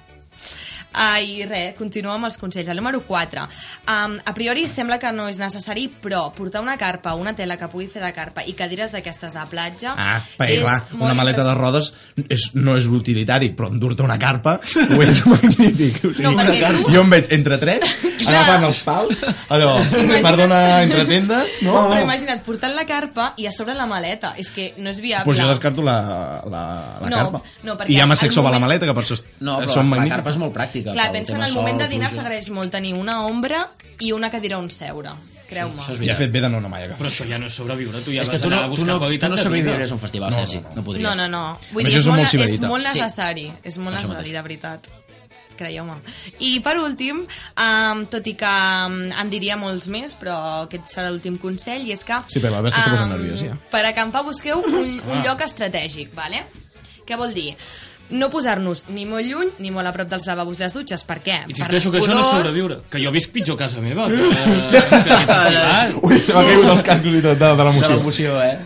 [SPEAKER 5] Ah, I res, continuo amb els consells. El número 4. Um, a priori sembla que no és necessari, però portar una carpa, una tela que pugui fer de carpa i cadires d'aquestes de platja...
[SPEAKER 1] Ah, perquè
[SPEAKER 5] és
[SPEAKER 1] clar,
[SPEAKER 5] molt
[SPEAKER 1] una maleta de
[SPEAKER 5] imprescindible.
[SPEAKER 1] rodes és, no és utilitari, però endur-te una carpa ho
[SPEAKER 5] [laughs]
[SPEAKER 1] és magnífic. O
[SPEAKER 5] No, perquè tu-
[SPEAKER 1] Jo em veig entre
[SPEAKER 5] [laughs]
[SPEAKER 1] tres, agafant els pals, allò, perdona, entre tendes, no?
[SPEAKER 5] Però imagina't, portant la carpa i a sobre la maleta. És que no és viable.
[SPEAKER 1] Pues Doncs jo descarto la, la, la
[SPEAKER 5] No,
[SPEAKER 1] carpa.
[SPEAKER 5] no, perquè
[SPEAKER 1] I ja
[SPEAKER 5] al
[SPEAKER 1] m'ha sexo va la
[SPEAKER 5] moment-
[SPEAKER 1] maleta, que per això
[SPEAKER 4] No, però
[SPEAKER 1] són
[SPEAKER 4] la, la
[SPEAKER 1] magnífics.
[SPEAKER 4] carpa és molt pràctica. pel
[SPEAKER 5] Clar, pensa en
[SPEAKER 4] tema
[SPEAKER 5] el
[SPEAKER 4] sol,
[SPEAKER 5] moment de dinar
[SPEAKER 4] pluja.
[SPEAKER 5] s'agraeix molt tenir una ombra i una cadira on seure, creu-me.
[SPEAKER 4] Això
[SPEAKER 1] Ja
[SPEAKER 4] és
[SPEAKER 1] he
[SPEAKER 4] veritat.
[SPEAKER 1] fet bé de no anar mai a agafar.
[SPEAKER 6] Però això ja no és sobreviure, tu ja
[SPEAKER 4] És que
[SPEAKER 6] vas
[SPEAKER 4] tu no,
[SPEAKER 6] anar a
[SPEAKER 4] tu
[SPEAKER 6] buscar
[SPEAKER 4] no, tu
[SPEAKER 6] qualitat
[SPEAKER 4] no
[SPEAKER 6] de vida.
[SPEAKER 4] sobreviures a un festival,
[SPEAKER 1] No, no,
[SPEAKER 4] Sergi.
[SPEAKER 1] no.
[SPEAKER 4] No podries.
[SPEAKER 5] No, no, no. Vull
[SPEAKER 1] Amb
[SPEAKER 5] dir,
[SPEAKER 1] això
[SPEAKER 5] és
[SPEAKER 1] som
[SPEAKER 5] molt,
[SPEAKER 1] molt
[SPEAKER 5] és
[SPEAKER 1] sibarita.
[SPEAKER 5] molt
[SPEAKER 4] Sí.
[SPEAKER 5] necessari. És molt
[SPEAKER 4] Això
[SPEAKER 5] necessari, de veritat. Creieu-me. I per últim, um, tot i que um, en diria molts més, però aquest serà l'últim consell, i és que...
[SPEAKER 1] Sí, però a veure si t'ho posen nerviós, ja.
[SPEAKER 5] Per acampar busqueu un, un lloc estratègic, vale? Què vol dir? No posar-nos ni molt lluny ni molt a prop dels lavabos i les dutxes. Per què?
[SPEAKER 6] I
[SPEAKER 5] per les
[SPEAKER 6] insisteixo que això no és
[SPEAKER 5] pudors.
[SPEAKER 6] sobreviure. Que jo visc pitjor a casa meva. Que, que, que,
[SPEAKER 1] [laughs]
[SPEAKER 6] que, que,
[SPEAKER 1] Ui, se m'ha caigut els cascos i tot de, de
[SPEAKER 4] De
[SPEAKER 1] l'emoció.
[SPEAKER 4] l'emoció, eh?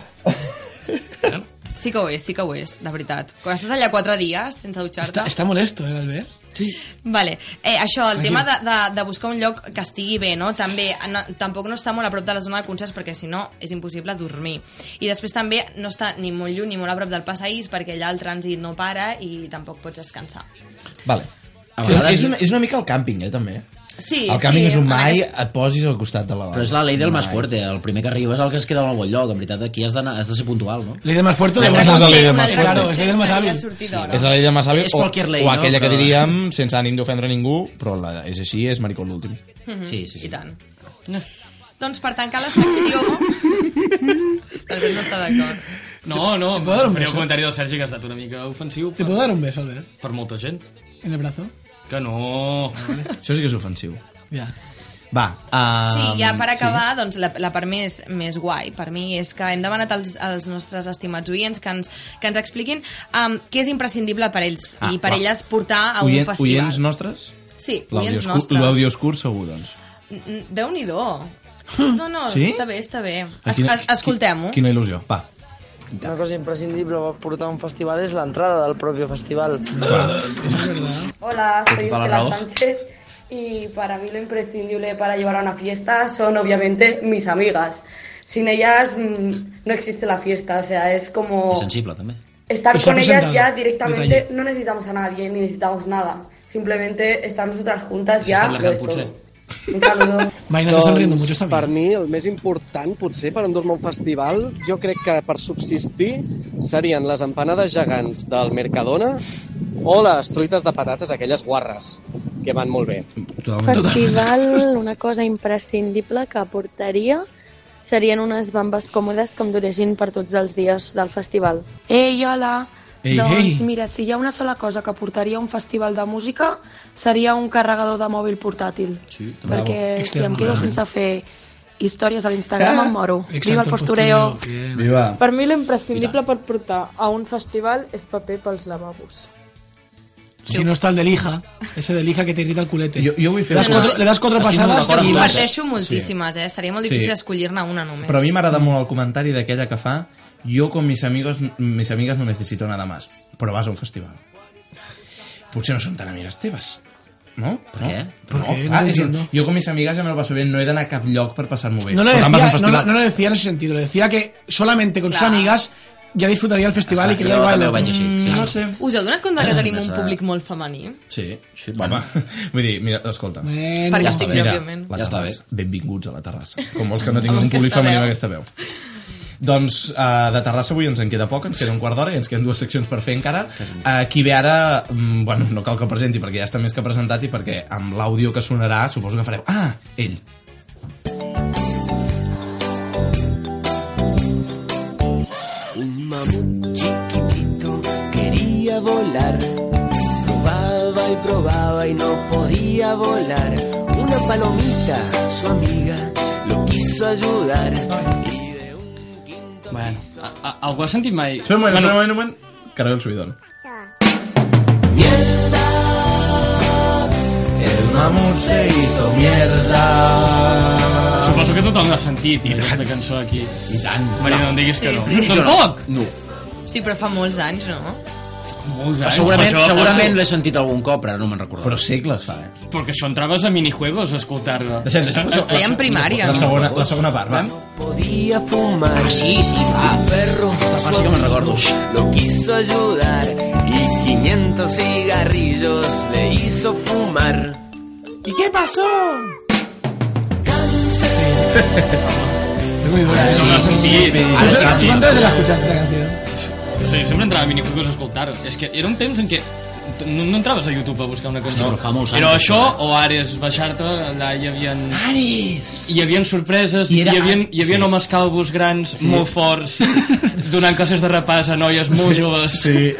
[SPEAKER 5] Sí que ho és, sí que ho és, de veritat. Quan estàs allà quatre dies sense dutxar-te...
[SPEAKER 3] Está, está molesto, ¿eh, Albert?
[SPEAKER 5] Vale. Eh, això, el tema de, de, de buscar un lloc que estigui bé, no? També, no, tampoc no està molt a prop de la zona de concerts perquè si no és impossible dormir. I després també no està ni molt lluny ni molt a prop del passaís perquè allà el trànsit no para i tampoc pots descansar.
[SPEAKER 1] Vale.
[SPEAKER 4] A
[SPEAKER 1] Sí, és,
[SPEAKER 4] vegades-
[SPEAKER 1] és, una, és una mica el càmping, eh, també.
[SPEAKER 5] Sí,
[SPEAKER 1] el càmping
[SPEAKER 5] sí,
[SPEAKER 1] és un
[SPEAKER 5] en
[SPEAKER 1] mai
[SPEAKER 5] aquest-
[SPEAKER 1] et posis al costat de la
[SPEAKER 4] Però és la ley del más fuerte. El primer que arriba és el que es queda en el bon lloc. En veritat, aquí has, d'anar- has de ser puntual, no?
[SPEAKER 3] Ley de más fuerte,
[SPEAKER 1] Ja
[SPEAKER 3] de
[SPEAKER 1] Llavors
[SPEAKER 5] Un
[SPEAKER 1] és la
[SPEAKER 5] altre consell,
[SPEAKER 1] ley
[SPEAKER 5] un
[SPEAKER 1] del
[SPEAKER 5] altre
[SPEAKER 1] más
[SPEAKER 3] Claro,
[SPEAKER 5] consell
[SPEAKER 3] és la ley del más
[SPEAKER 5] seria
[SPEAKER 3] hábil.
[SPEAKER 5] sortir
[SPEAKER 1] És la
[SPEAKER 5] d'hora.
[SPEAKER 1] llei de Masabi
[SPEAKER 4] És
[SPEAKER 1] o,
[SPEAKER 4] qualquier ley,
[SPEAKER 1] o
[SPEAKER 4] no?
[SPEAKER 1] aquella que
[SPEAKER 4] Però-
[SPEAKER 1] diríem sense ànim d'ofendre ningú, però la, és així, és maricó l'últim.
[SPEAKER 4] Sí, sí,
[SPEAKER 5] Mhm. I
[SPEAKER 4] sí.
[SPEAKER 5] tant. Doncs per tancar la secció...
[SPEAKER 3] [laughs]
[SPEAKER 5] L'Albert no està d'acord.
[SPEAKER 6] no, no,
[SPEAKER 3] puedo dar un
[SPEAKER 6] faré
[SPEAKER 3] beso?
[SPEAKER 6] el comentari del Sergi que ha estat una mica ofensiu
[SPEAKER 3] ¿Te
[SPEAKER 6] per,
[SPEAKER 3] puedo dar un beso, Albert?
[SPEAKER 6] per molta gent.
[SPEAKER 3] ¿En el brazo?
[SPEAKER 6] Que no...
[SPEAKER 1] Això sí que és ofensiu.
[SPEAKER 3] Ya.
[SPEAKER 1] Va, um,
[SPEAKER 5] Sí, ja per acabar, sí. doncs la, la part més, més guai per mi és que hem demanat als, als nostres estimats oients que ens, que ens expliquin um, què és imprescindible per ells
[SPEAKER 1] Ah,
[SPEAKER 5] i per
[SPEAKER 1] va.
[SPEAKER 5] elles portar a un
[SPEAKER 1] Oient,
[SPEAKER 5] festival.
[SPEAKER 1] Oients nostres?
[SPEAKER 5] Sí,
[SPEAKER 1] L'àudio
[SPEAKER 5] oients
[SPEAKER 1] és curt-
[SPEAKER 5] nostres.
[SPEAKER 1] L'àudio és curt, segur, doncs.
[SPEAKER 5] Mm, Déu-n'hi-do. No, no,
[SPEAKER 1] Sí?
[SPEAKER 5] està bé, està bé.
[SPEAKER 1] Ah,
[SPEAKER 5] Es, es, Escoltem-ho.
[SPEAKER 1] Quina il·lusió. Va.
[SPEAKER 11] Una cosa imprescindible per portar a un festival és l'entrada del propi festival.
[SPEAKER 12] Hola, soy
[SPEAKER 4] toda la
[SPEAKER 12] Estela
[SPEAKER 4] razón.
[SPEAKER 12] Sánchez y para mí lo imprescindible para llevar a una fiesta son obviamente mis amigas. Sin ellas mm, no existe la fiesta, o sea, es
[SPEAKER 4] I
[SPEAKER 12] como
[SPEAKER 4] sensible, també.
[SPEAKER 12] estar
[SPEAKER 3] Está
[SPEAKER 12] con ellas
[SPEAKER 3] presentado,
[SPEAKER 12] ya directamente,
[SPEAKER 3] detalle.
[SPEAKER 12] no necesitamos a nadie ni necesitamos nada, simplemente estar nosotras juntas
[SPEAKER 6] Si
[SPEAKER 12] ya
[SPEAKER 6] están las
[SPEAKER 12] lo es
[SPEAKER 6] campus,
[SPEAKER 12] todo. Un saludo.
[SPEAKER 3] Marina está
[SPEAKER 12] Doncs
[SPEAKER 3] sonriendo mucho, está
[SPEAKER 11] per
[SPEAKER 3] bien.
[SPEAKER 11] mi, el més important, potser, per endur-me a un festival, jo crec que per subsistir serien les empanades gegants del Mercadona o les truites de patates, aquelles guarres, que van molt bé.
[SPEAKER 1] Totalment.
[SPEAKER 12] festival, una cosa imprescindible que portaria serien unes bambes còmodes que em duressin per tots els dies del festival. Ei, hola!
[SPEAKER 1] Ei,
[SPEAKER 12] doncs
[SPEAKER 1] ei.
[SPEAKER 12] mira, si hi ha una sola cosa que portaria a un festival de música seria un carregador de mòbil portàtil.
[SPEAKER 4] Sí,
[SPEAKER 12] perquè si em
[SPEAKER 3] Extremadament.
[SPEAKER 12] quedo sense fer històries a l'Instagram em moro. Viva el postureo!
[SPEAKER 3] bien.
[SPEAKER 1] Viva.
[SPEAKER 12] Per mi l'imprescindible per portar a un festival és paper pels lavabos.
[SPEAKER 3] Si no está el de lija, ese de lija que te irrita el culete.
[SPEAKER 1] Jo, jo vull
[SPEAKER 3] Le
[SPEAKER 1] fer...
[SPEAKER 3] das cuatro, le das cuatro pasadas
[SPEAKER 5] Te'n
[SPEAKER 3] y vas.
[SPEAKER 5] comparteixo moltíssimes, eh? Seria molt
[SPEAKER 1] Sí.
[SPEAKER 5] difícil escollir-ne una només.
[SPEAKER 1] Però a mi m'agrada molt el comentari d'aquella que fa jo con mis amigos, mis amigas no necesito nada más, però vas a un festival. Potser no són tan amigues teves, No?
[SPEAKER 4] Per què?
[SPEAKER 1] Però, no, clar,
[SPEAKER 3] No
[SPEAKER 1] es un-
[SPEAKER 3] entiendo.
[SPEAKER 1] yo con mis amigas ya me lo paso bien, no he de anar a cap lloc per passar-m'ho bé.
[SPEAKER 3] No le,
[SPEAKER 1] Por tant, vas a un
[SPEAKER 3] decía, no,
[SPEAKER 1] festival.
[SPEAKER 3] no le decía en ese sentido, le decía que solamente con sus amigas ya disfrutaría el festival
[SPEAKER 4] Exacte,
[SPEAKER 3] y que ya
[SPEAKER 4] jo
[SPEAKER 3] igual.
[SPEAKER 4] també ho vaig així, sí,
[SPEAKER 1] No
[SPEAKER 4] sí.
[SPEAKER 1] sé.
[SPEAKER 5] Us heu donat compte que tenim un
[SPEAKER 1] Esa-
[SPEAKER 5] públic molt femení?
[SPEAKER 1] Sí.
[SPEAKER 4] sí bueno.
[SPEAKER 1] Home, [laughs] vull dir, mira, escolta.
[SPEAKER 3] Bueno.
[SPEAKER 5] Perquè
[SPEAKER 1] està
[SPEAKER 5] estic
[SPEAKER 1] bé.
[SPEAKER 5] jo,
[SPEAKER 1] Mira,
[SPEAKER 5] òbviament.
[SPEAKER 1] la
[SPEAKER 4] Ja està
[SPEAKER 1] Terrassa. Benvinguts a la Terrassa. [laughs] Com molts que no
[SPEAKER 5] Amb
[SPEAKER 1] tinguin un públic
[SPEAKER 5] aquesta
[SPEAKER 1] femení
[SPEAKER 5] veu.
[SPEAKER 1] amb aquesta veu. Doncs eh, de Terrassa avui ens en queda poc, ens queda un quart d'hora i ens queden dues seccions per fer encara. Eh, qui ve ara, mm, bueno, no cal que presenti perquè ja està més que presentat i perquè amb l'àudio que sonarà suposo que fareu... Ah, ell.
[SPEAKER 13] Un mamut chiquitito quería volar. Probaba y probaba y no podía volar. Una palomita, su amiga, lo quiso ayudar.
[SPEAKER 6] Bueno, a, a, algú ha sentit mai...
[SPEAKER 1] Espera un moment, espera un moment, un moment. Carrega el subidón. El mamut se hizo mierda.
[SPEAKER 6] Suposo que tothom l'ha sentit, aquesta cançó aquí.
[SPEAKER 1] I tant.
[SPEAKER 6] Maria, no em diguis que
[SPEAKER 5] Sí,
[SPEAKER 6] no.
[SPEAKER 5] sí.
[SPEAKER 6] Tampoc!
[SPEAKER 4] No.
[SPEAKER 5] Sí, però fa molts anys, no?
[SPEAKER 6] Molts
[SPEAKER 1] Eh,
[SPEAKER 6] anys.
[SPEAKER 4] Segurament,
[SPEAKER 6] per això
[SPEAKER 4] segurament l'he sentit algun cop, però no me'n recordo.
[SPEAKER 1] Però segles fa, eh?
[SPEAKER 6] porto- Perquè això entraves a minijuegos, a escoltar-la.
[SPEAKER 1] Deixem, deixem. la-
[SPEAKER 5] Feia en primària,
[SPEAKER 1] La
[SPEAKER 5] no?
[SPEAKER 1] segona, la segona part, va?
[SPEAKER 13] Podía fumar.
[SPEAKER 4] Ah, sí, sí, va.
[SPEAKER 13] perro,
[SPEAKER 4] Esta parte que me recuerdo.
[SPEAKER 13] Lo quiso ayudar y 500 cigarrillos le hizo fumar.
[SPEAKER 3] ¿Y qué pasó?
[SPEAKER 6] És muy dura. Això l'ha sentit.
[SPEAKER 3] Ara sí, sí, ¿Cuántas veces la escuchaste esa canción?
[SPEAKER 6] Sí, sempre entrava a minijuegos a escoltar-ho. És que era un temps en què no, no entraves a YouTube a buscar una cançó.
[SPEAKER 4] No, però fa molts anys,
[SPEAKER 6] Era això,
[SPEAKER 4] això,
[SPEAKER 6] o Ares, baixar-te, allà hi havia...
[SPEAKER 1] Aris!
[SPEAKER 6] Hi havia sorpreses,
[SPEAKER 1] I
[SPEAKER 6] hi,
[SPEAKER 1] era-
[SPEAKER 6] havia, hi havia
[SPEAKER 1] sí.
[SPEAKER 6] homes calvos grans,
[SPEAKER 1] Sí.
[SPEAKER 6] molt forts, donant classes de repàs a noies molt joves.
[SPEAKER 1] Sí.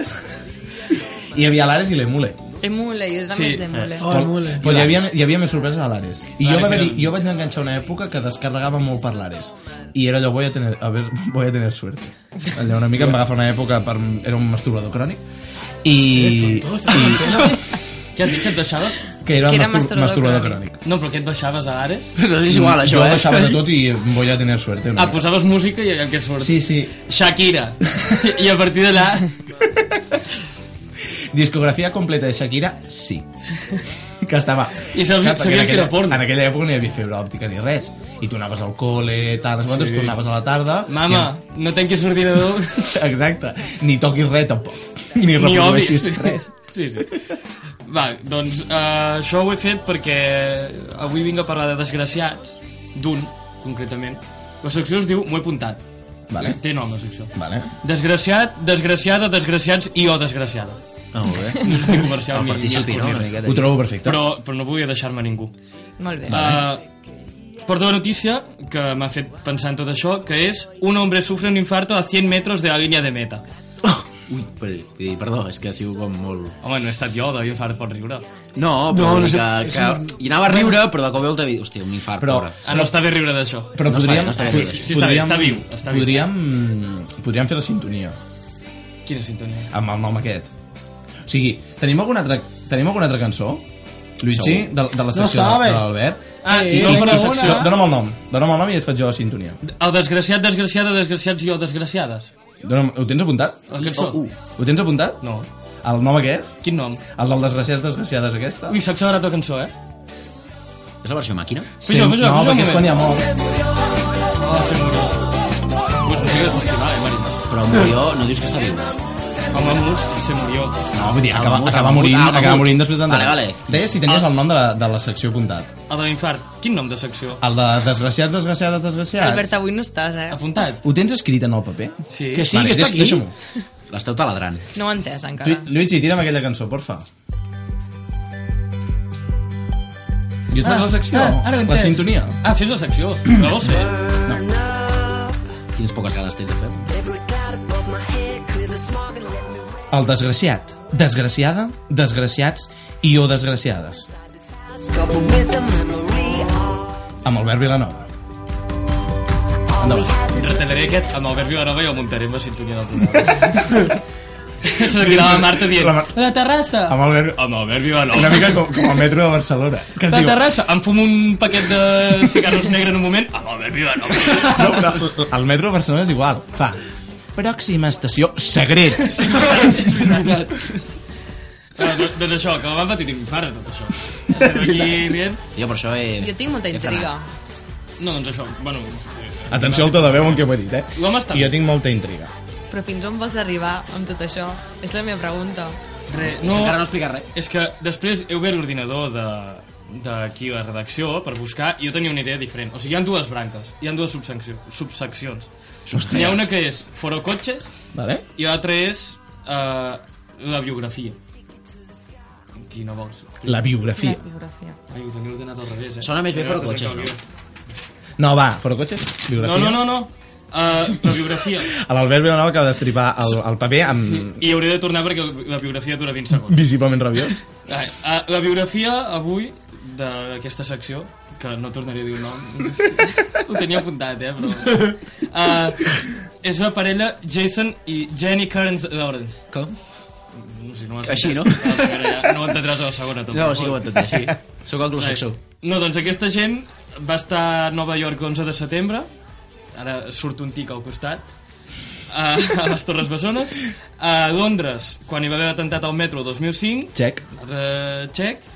[SPEAKER 1] Hi havia l'Ares i l'Emule.
[SPEAKER 5] Emule, jo també
[SPEAKER 6] Sí.
[SPEAKER 5] és d'Emule.
[SPEAKER 6] Ah,
[SPEAKER 3] Oh, el mule.
[SPEAKER 1] Però hi havia, hi havia més sorpreses a l'Ares. I jo,
[SPEAKER 6] L'Ares
[SPEAKER 1] va haver,
[SPEAKER 6] era-
[SPEAKER 1] jo vaig enganxar una època que descarregava molt per l'Ares. I era allò, voy a tener, a ver, [laughs] voy a tener suerte. Allà una mica em va agafar una època, per, era un masturbador crònic. I... i
[SPEAKER 6] Què has dit, que et deixaves?
[SPEAKER 1] que era,
[SPEAKER 5] Que era
[SPEAKER 1] mastur-
[SPEAKER 5] masturbador
[SPEAKER 1] masturbador
[SPEAKER 5] crònic.
[SPEAKER 1] crònic.
[SPEAKER 6] No, però què et baixaves a Ares?
[SPEAKER 4] Però és igual, això,
[SPEAKER 1] jo
[SPEAKER 4] eh?
[SPEAKER 1] deixava de tot i voy a tener suerte. una
[SPEAKER 6] Ah,
[SPEAKER 1] mica.
[SPEAKER 6] posaves música i allà el que surt.
[SPEAKER 1] Sí, sí.
[SPEAKER 6] Shakira. I a partir d'allà...
[SPEAKER 1] Discografia completa de Shakira, sí. [laughs] Que estava...
[SPEAKER 6] I sabies-
[SPEAKER 1] Clar, perquè
[SPEAKER 6] sabies
[SPEAKER 1] en
[SPEAKER 6] que era
[SPEAKER 1] aquella-
[SPEAKER 6] porno.
[SPEAKER 1] En aquella època no hi havia febre òptica ni res. I tu anaves al col·le, tal, no sé quantos,
[SPEAKER 6] Sí.
[SPEAKER 1] tornaves a la tarda...
[SPEAKER 6] Mama, no tanquis l'ordinador.
[SPEAKER 1] I... Exacte. Ni toquis res, tampoc. Ni
[SPEAKER 6] Ni obvis.
[SPEAKER 1] reprodueixis res.
[SPEAKER 6] Sí, sí. Va, doncs uh, això ho he fet perquè avui vinc a parlar de desgraciats, d'un, concretament. La secció es diu M'ho he apuntat.
[SPEAKER 1] Vale.
[SPEAKER 6] Té nom, la secció.
[SPEAKER 1] Vale.
[SPEAKER 6] Desgraciat, desgraciada, desgraciats i o desgraciada.
[SPEAKER 4] Ah, molt bé.
[SPEAKER 6] Ni
[SPEAKER 4] El
[SPEAKER 6] comercial
[SPEAKER 4] eh,
[SPEAKER 6] ni, ni
[SPEAKER 4] participi, no? Una
[SPEAKER 6] esportiva.
[SPEAKER 4] miqueta.
[SPEAKER 1] Ho trobo perfecte.
[SPEAKER 6] Però, però no volia deixar-me ningú.
[SPEAKER 1] Eh.
[SPEAKER 5] Molt bé.
[SPEAKER 6] Uh, porto una notícia que m'ha fet pensar en tot això, que és un hombre sufre un infarto a 100 metros de la línia de meta.
[SPEAKER 4] Ui, per, eh, perdó, és que ha sigut com molt...
[SPEAKER 6] Home, no he estat jo, de l'infart pot riure.
[SPEAKER 4] No, però
[SPEAKER 3] No,
[SPEAKER 4] no,
[SPEAKER 3] no
[SPEAKER 4] no,
[SPEAKER 3] sé,
[SPEAKER 4] que,
[SPEAKER 3] és
[SPEAKER 4] que... I anava a riure, però de cop i volta... vi- Hòstia, un infart,
[SPEAKER 1] Però-
[SPEAKER 4] pobre.
[SPEAKER 6] Ah, no està bé riure d'això.
[SPEAKER 1] Però
[SPEAKER 4] No està
[SPEAKER 1] podríem...
[SPEAKER 4] bé, no està bé, sí, sí,
[SPEAKER 6] sí, està bé, està viu, està viu.
[SPEAKER 1] podríem, podríem fer la sintonia
[SPEAKER 6] Quina sintonia.
[SPEAKER 1] amb el nom aquest. O sigui, tenim alguna altra, tenim alguna altra cançó? Luigi, de, de la secció de-
[SPEAKER 3] sabe.
[SPEAKER 1] de l'Albert?
[SPEAKER 6] Ah,
[SPEAKER 3] Sí,
[SPEAKER 6] no per
[SPEAKER 3] una,
[SPEAKER 6] la secció.
[SPEAKER 3] una.
[SPEAKER 1] Dóna'm el nom, dóna'm el nom i et faig jo la sintonia.
[SPEAKER 6] El desgraciat, desgraciada, desgraciats i o desgraciades.
[SPEAKER 1] Dóna'm, ho tens apuntat?
[SPEAKER 6] La cançó.
[SPEAKER 4] Oh, uh.
[SPEAKER 1] Ho tens apuntat?
[SPEAKER 6] No.
[SPEAKER 1] El nom aquest?
[SPEAKER 6] Quin nom?
[SPEAKER 1] El del desgraciats desgraciades aquesta?
[SPEAKER 6] Ui, s'ha accelerat la cançó, eh?
[SPEAKER 4] És la versió màquina?
[SPEAKER 1] no,
[SPEAKER 6] puja, puja, puja un
[SPEAKER 1] perquè és quan hi ha molt.
[SPEAKER 6] Oh, sí, murió. Pues música de festival, eh, Marina?
[SPEAKER 4] Però murió, no dius que està viu.
[SPEAKER 6] Home, mus, se murió.
[SPEAKER 1] No, vull dir,
[SPEAKER 4] El
[SPEAKER 1] acaba,
[SPEAKER 4] mamut,
[SPEAKER 1] acaba
[SPEAKER 4] el mamut,
[SPEAKER 1] morint,
[SPEAKER 4] ah, el
[SPEAKER 1] acaba
[SPEAKER 4] mamut.
[SPEAKER 1] morint després d'entrar.
[SPEAKER 4] Vale, vale.
[SPEAKER 1] Deia si tenies el nom de la, de la secció apuntat.
[SPEAKER 6] El de l'infart. Ah, Quin nom de secció?
[SPEAKER 1] El de desgraciats, desgraciades, desgraciats.
[SPEAKER 5] Albert, avui no estàs, eh?
[SPEAKER 6] Apuntat?
[SPEAKER 1] Ho tens escrit en el paper?
[SPEAKER 6] Sí.
[SPEAKER 4] Que sí,
[SPEAKER 1] Vale,
[SPEAKER 4] que està
[SPEAKER 1] deix-
[SPEAKER 4] aquí.
[SPEAKER 1] deixa-m'ho.
[SPEAKER 4] L'esteu taladrant.
[SPEAKER 5] No ho he entès, encara.
[SPEAKER 1] Lu- Luigi, tira'm aquella cançó, porfa. Jo et faig la secció, la sintonia.
[SPEAKER 6] Ah, fes la secció. [clears throat] No vols fer?
[SPEAKER 4] Quines poques ganes tens de fer-ho.
[SPEAKER 1] El desgraciat, desgraciada, desgraciats i o desgraciades. Amb Albert Vilanova. Endavant.
[SPEAKER 6] Retendré aquest amb el Verbi Barova i el muntaré amb la sintonia del programa. [laughs] Servirà la Marta dient...
[SPEAKER 1] La Mar-
[SPEAKER 6] La Terrassa!
[SPEAKER 1] Amb Albert...
[SPEAKER 6] Amb el Verbi
[SPEAKER 1] Una
[SPEAKER 6] Barova.
[SPEAKER 1] mica com, com el metro de Barcelona. Que es
[SPEAKER 6] La
[SPEAKER 1] diu...
[SPEAKER 6] Terrassa! Em fumo un paquet de cigarros negre en un moment. Ah, Amb el Verbi Barova.
[SPEAKER 1] No, però el metro de Barcelona és igual. Fa. Pròxima estació,
[SPEAKER 6] [laughs]
[SPEAKER 1] Segret.
[SPEAKER 6] Ah, És veritat. Doncs doncs això, que m'han patit un infart de tot això. Aquí, bien.
[SPEAKER 4] Jo per això he...
[SPEAKER 5] Jo tinc molta
[SPEAKER 4] he
[SPEAKER 5] intriga.
[SPEAKER 6] No, doncs això, bueno... eh,
[SPEAKER 4] Ah.
[SPEAKER 1] Atenció al to de veu en què ho he dit, eh?
[SPEAKER 6] L'home està
[SPEAKER 1] I jo tinc molta intriga.
[SPEAKER 5] Però fins on vols arribar amb tot això? És la meva pregunta.
[SPEAKER 6] Re,
[SPEAKER 4] no, encara no explica res.
[SPEAKER 6] És que després heu obert l'ordinador de d'aquí la redacció per buscar i jo tenia una idea diferent. O sigui, hi ha dues branques, hi ha dues subsecció, subseccions.
[SPEAKER 1] Ostres.
[SPEAKER 6] Hi ha una que és Foro Cotxes
[SPEAKER 1] Vale?
[SPEAKER 6] i l'altra és eh, la biografia. Qui no vols?
[SPEAKER 1] La biografia.
[SPEAKER 5] Biografia.
[SPEAKER 6] Ai, ho teniu ordenat al revés, eh?
[SPEAKER 4] Sona més bé
[SPEAKER 6] Tenia
[SPEAKER 4] Foro
[SPEAKER 6] ordenat al
[SPEAKER 4] Cotxes,
[SPEAKER 6] revés.
[SPEAKER 1] No, va, Foro Cotxes?
[SPEAKER 6] No,
[SPEAKER 1] Biografia?
[SPEAKER 6] no, no, no. Uh, la biografia.
[SPEAKER 1] A l'Albert Vilanova acaba d'estripar el, el paper amb...
[SPEAKER 6] I hauré de tornar perquè la biografia dura 20 segons.
[SPEAKER 1] Visiblement rabiós.
[SPEAKER 6] Ai, eh, La biografia avui d'aquesta secció, que no tornaré a dir el nom, ho tenia apuntat, eh, però... Uh, és la parella Jason i Jenny Kearns Lawrence.
[SPEAKER 4] Com?
[SPEAKER 6] No, si no m'has
[SPEAKER 4] Així, no?
[SPEAKER 6] entès. La primera ja- No ho entendràs a la segona, tampoc.
[SPEAKER 4] No, sí que ho entenc, sí.
[SPEAKER 6] [laughs]
[SPEAKER 4] Sóc anglosaxó.
[SPEAKER 6] Ai. No, doncs aquesta gent va estar a Nova York 11 de setembre, ara surt un tic al costat, a, a les Torres Bessones, a Londres, quan hi va haver l'atemptat al metro 2005,
[SPEAKER 1] Check.
[SPEAKER 6] eh, txec,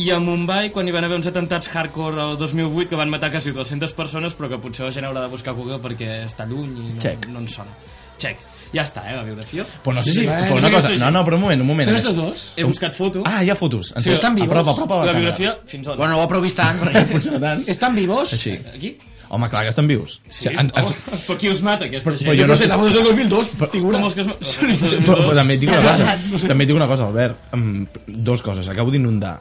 [SPEAKER 6] i a Mumbai, quan hi van haver uns atemptats hardcore el 2008 que van matar quasi 200 persones, però que potser la gent haurà de buscar a Google perquè està lluny i no,
[SPEAKER 1] Check.
[SPEAKER 6] no en sona. Check. Ja està, eh, la biografia.
[SPEAKER 1] Però no sé si...
[SPEAKER 6] Sí, eh?
[SPEAKER 1] Però una cosa... No, no, però un moment, un moment.
[SPEAKER 6] Són
[SPEAKER 1] Aquest-
[SPEAKER 6] estos dos? He buscat foto.
[SPEAKER 1] Ah, hi ha fotos. Ens Apropa, apropa la,
[SPEAKER 6] la,
[SPEAKER 1] càmera.
[SPEAKER 6] biografia, fins on?
[SPEAKER 4] Bueno, ho aprovís tant, perquè...
[SPEAKER 1] Potser no tant.
[SPEAKER 3] ¿Están vivos?
[SPEAKER 1] Així.
[SPEAKER 6] Aquí?
[SPEAKER 1] Home, clar que estan vius.
[SPEAKER 6] Sí,
[SPEAKER 1] O sigui, ens- ens-
[SPEAKER 6] home, [laughs] però qui us mata, aquesta
[SPEAKER 1] Però-
[SPEAKER 6] gent?
[SPEAKER 1] però jo no sé, la
[SPEAKER 3] foto és del 2002,
[SPEAKER 6] figura. Com els que es mata? Són els
[SPEAKER 1] Però, però
[SPEAKER 6] 2002.
[SPEAKER 1] també et dic una cosa, també et dic una cosa, Albert. Em- dos coses. Acabo d'inundar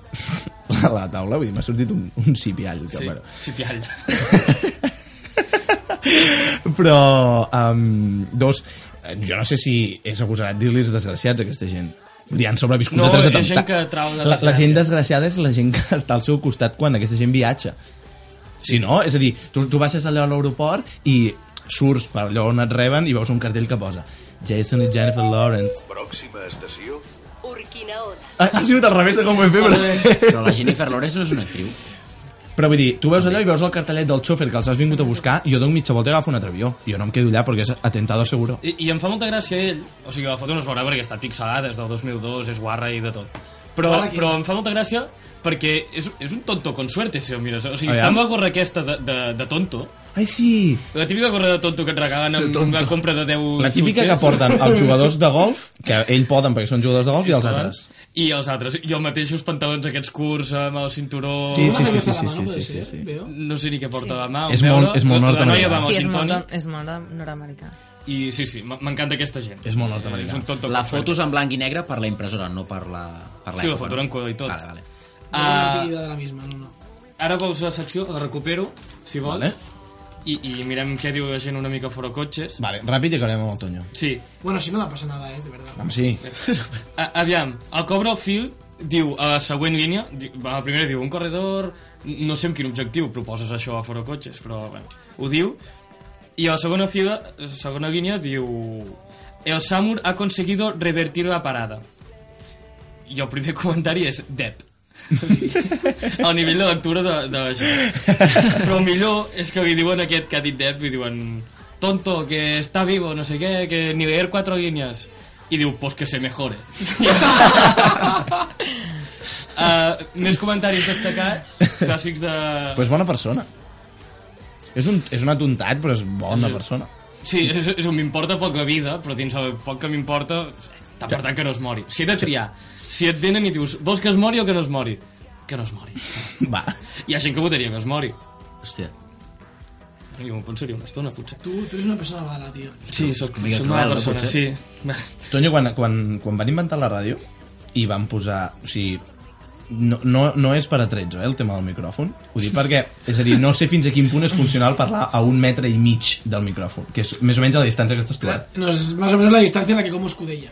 [SPEAKER 1] la, la taula, vull dir, m'ha sortit un, un cipiall. Que,
[SPEAKER 6] Sí,
[SPEAKER 1] bueno.
[SPEAKER 6] sí, piall.
[SPEAKER 1] Però, um, dos, eh, jo no sé si és agosarat dir-los desgraciats, a aquesta gent. Vull dir, han sobreviscut
[SPEAKER 6] No,
[SPEAKER 1] a tres
[SPEAKER 6] és gent
[SPEAKER 1] atemptats.
[SPEAKER 6] que trau de
[SPEAKER 1] la, la
[SPEAKER 6] desgràcia.
[SPEAKER 1] gent desgraciada és la gent que està al seu costat quan aquesta gent viatja. Si no, és a dir, tu, tu baixes allò a l'aeroport i surts per allò on et reben i veus un cartell que posa Jason i Jennifer Lawrence.
[SPEAKER 10] Pròxima estació.
[SPEAKER 1] Ha, ha sigut al revés de com ho hem fet, però...
[SPEAKER 4] Però la Jennifer Lawrence no és una actriu.
[SPEAKER 1] Però vull dir, tu veus allò i veus el cartellet del xòfer que els has vingut a buscar i jo dono mitja volta i agafo un altre avió. Jo no em quedo allà perquè és atentado seguro.
[SPEAKER 6] I, I em fa molta gràcia ell, o sigui, la foto no es veurà perquè està pixelada, és del 2002, és guarra i de tot. Però,
[SPEAKER 3] Guarra qui?
[SPEAKER 6] però em fa molta gràcia perquè és, és un tonto con suerte, si ho mires. O sigui,
[SPEAKER 1] Aviam.
[SPEAKER 6] està amb la gorra aquesta de, de, de tonto,
[SPEAKER 1] Ai, sí!
[SPEAKER 6] la típica gorra de tonto que et regalen amb una compra de 10
[SPEAKER 1] La típica que
[SPEAKER 6] xutxes.
[SPEAKER 1] porten els jugadors de golf, que ell poden perquè són jugadors de golf, i els altres.
[SPEAKER 6] I els altres. I els mateixos pantalons aquests curts amb el cinturó...
[SPEAKER 1] Sí, sí, sí, sí, sí,
[SPEAKER 3] mano,
[SPEAKER 1] sí,
[SPEAKER 3] puede
[SPEAKER 1] sí, sí,
[SPEAKER 3] ser,
[SPEAKER 1] sí.
[SPEAKER 3] veo.
[SPEAKER 6] No sé ni què porta sí. la mà.
[SPEAKER 1] És
[SPEAKER 6] un
[SPEAKER 1] molt-
[SPEAKER 6] euro.
[SPEAKER 1] és molt
[SPEAKER 6] La- la noia
[SPEAKER 1] nord-americà.
[SPEAKER 6] va amb el
[SPEAKER 5] Sí, és molt,
[SPEAKER 6] Sintoni.
[SPEAKER 5] de- és molt de nord-americà.
[SPEAKER 6] I sí, sí, m- m'encanta aquesta gent.
[SPEAKER 1] És molt nord-americà.
[SPEAKER 6] És un tonto.
[SPEAKER 4] La
[SPEAKER 6] com
[SPEAKER 4] foto és en blanc i negre per la impressora, no per la... Per
[SPEAKER 6] Sí, la
[SPEAKER 4] l'època, no?
[SPEAKER 6] foto era en color i tot.
[SPEAKER 4] Vale, vale.
[SPEAKER 6] fred.
[SPEAKER 3] Ah.
[SPEAKER 6] Ah,
[SPEAKER 3] de la misma, no, no.
[SPEAKER 6] ara veus la secció, la recupero, si vols.
[SPEAKER 1] Vale.
[SPEAKER 6] I, I mirem què diu la gent una mica fora cotxes.
[SPEAKER 1] Vale, ràpid i acabarem amb el Toño.
[SPEAKER 6] Sí.
[SPEAKER 3] Bueno, si no da pasa nada, eh, de verdad.
[SPEAKER 1] Home, sí.
[SPEAKER 6] A, aviam, el Cobra Phil diu a la següent línia, di- a la primera diu un corredor, no sé amb quin objectiu proposes això a fora cotxes, però bueno, ho diu. I a la segona, fila, a la segona línia diu el Samur ha conseguido revertir la parada. I el primer [laughs] comentari és Dep. [laughs] al nivell de lectura de, de la gent. [laughs] Però el millor és que li diuen a aquest que ha dit Depp, li diuen tonto, que està vivo, no sé què, que ni leer cuatro líneas. I diu, pues que se mejore. [laughs] uh, més comentaris destacats, clàssics de...
[SPEAKER 1] Però és bona persona. És un, és un atontat, però és bona
[SPEAKER 6] Sí.
[SPEAKER 1] persona. [laughs]
[SPEAKER 6] Sí, és, és un m'importa poca vida, però dins el poc que m'importa, tant per tant que no es mori. Si he de triar, si et venen i dius, vols que es mori o que no es mori? Que no es mori.
[SPEAKER 1] Va.
[SPEAKER 6] Hi ha gent que votaria que es mori.
[SPEAKER 4] Hòstia.
[SPEAKER 6] Jo m'ho pensaria una estona, potser.
[SPEAKER 3] Uh, Tú, tú eres una persona mala, tío.
[SPEAKER 6] Sí, soc,
[SPEAKER 4] Mica
[SPEAKER 6] soc mala
[SPEAKER 4] cruel, no pot
[SPEAKER 6] persona, sí.
[SPEAKER 4] ser?
[SPEAKER 1] Toño, quan, quan, quan van inventar la ràdio i van posar... O sigui, no, no, no és per a 13, eh, el tema del micròfon. Ho dic perquè, és a dir, no sé fins a quin punt és funcional parlar a un metre i mig del micròfon, que és més o menys a la distància que estàs tu. ara.
[SPEAKER 3] No, es más o menos la distancia en la que como escudella.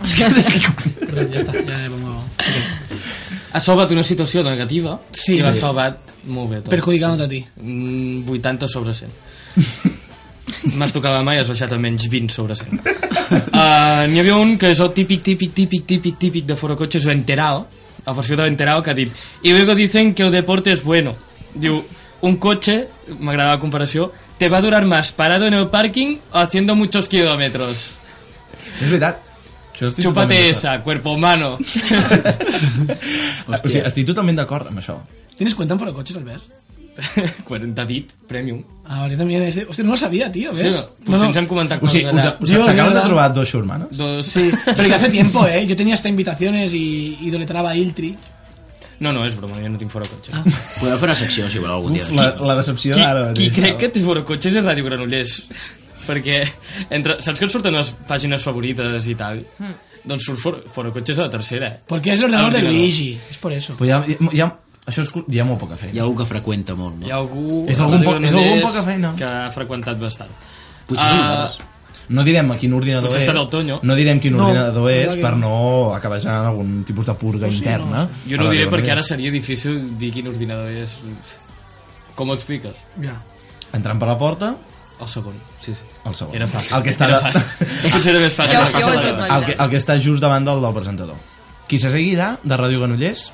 [SPEAKER 3] Perdón, ya está, ya le pongo.
[SPEAKER 6] Ha salvat una situació negativa
[SPEAKER 3] Sí,
[SPEAKER 6] i l'ha
[SPEAKER 3] sí.
[SPEAKER 6] salvat molt bé. Tot.
[SPEAKER 3] Perjudicándote a ti.
[SPEAKER 6] Mm, 80 sobre 100. [laughs] M'has tocat la mà i has baixat a menys 20 sobre 100. Uh, N'hi havia un que és el típic, típic, típic, típic, típic de fora cotxes, Venterao, la versió de Venterao que ha dit y luego dicen que el deporte es bueno. Diu, un cotxe, m'agrada la comparació, te va a durar más parado en el parking o haciendo muchos kilómetros.
[SPEAKER 1] És veritat. Això estic
[SPEAKER 6] Chúpate
[SPEAKER 1] totalment
[SPEAKER 6] esa, cuerpo humano. [laughs]
[SPEAKER 1] d'acord. O sigui, estic totalment d'acord amb això.
[SPEAKER 3] ¿Tienes cuenta en Foro Coches, Albert?
[SPEAKER 6] 40 VIP, premium.
[SPEAKER 3] Ah, vale, también es de... Hostia, no lo sabía, tío,
[SPEAKER 6] Sí, pues
[SPEAKER 3] ¿ves?
[SPEAKER 6] no, potser ens han comentat
[SPEAKER 1] O sigui,
[SPEAKER 6] coses
[SPEAKER 1] us,
[SPEAKER 6] allà.
[SPEAKER 1] us, us acabes de trobar dos xurmanes?
[SPEAKER 6] Dos...
[SPEAKER 3] Sí, pero que hace tiempo, ¿eh? Yo tenía hasta invitaciones y idolatraba a Iltri.
[SPEAKER 6] [laughs] No, no, és broma, jo no tinc fora cotxe. Ah.
[SPEAKER 4] Podeu fer una secció, si voleu, algun dia.
[SPEAKER 1] Uf, la, la decepció
[SPEAKER 6] Qui,
[SPEAKER 1] ara
[SPEAKER 6] qui
[SPEAKER 1] mateix.
[SPEAKER 6] crec que té fora cotxes és Ràdio Granollers. Perquè entre, saps que et surten les pàgines favorites i tal?
[SPEAKER 3] Mm.
[SPEAKER 6] Doncs surt fora, fora cotxes a la tercera. eh?
[SPEAKER 3] Porque es el ordenador de
[SPEAKER 6] Ordenador.
[SPEAKER 3] Luigi, es por eso.
[SPEAKER 1] Però hi ha, hi ha, això és, cul- hi ha molt poca feina.
[SPEAKER 4] Hi ha algú que freqüenta molt, no?
[SPEAKER 6] Hi ha algú...
[SPEAKER 1] És
[SPEAKER 6] a
[SPEAKER 1] algun po-
[SPEAKER 6] Ràdio
[SPEAKER 1] és algun
[SPEAKER 6] Granollers
[SPEAKER 1] poca feina.
[SPEAKER 6] Que ha freqüentat bastant.
[SPEAKER 4] Potser
[SPEAKER 6] Ah.
[SPEAKER 4] som nosaltres.
[SPEAKER 1] No direm a quin ordinador
[SPEAKER 6] Potser ha
[SPEAKER 1] és,
[SPEAKER 6] estat el Toño.
[SPEAKER 1] no direm quin
[SPEAKER 6] No,
[SPEAKER 1] ordinador
[SPEAKER 6] no
[SPEAKER 1] és
[SPEAKER 6] direm.
[SPEAKER 1] per no acabar generant algun tipus de purga interna.
[SPEAKER 6] Jo no ho diré perquè ara seria difícil dir quin ordinador és. Com ho expliques?
[SPEAKER 3] Ja.
[SPEAKER 1] Entrant per la porta,
[SPEAKER 6] El segon, sí, sí.
[SPEAKER 1] el segon.
[SPEAKER 6] Era fàcil.
[SPEAKER 1] El que està...
[SPEAKER 6] Era
[SPEAKER 1] [laughs]
[SPEAKER 6] fàcil. Potser era més fàcil.
[SPEAKER 1] El,
[SPEAKER 6] Jo- jo ho he estat imaginant.
[SPEAKER 1] que, el que està just davant del, del presentador. Qui se seguirà de Ràdio Granollers,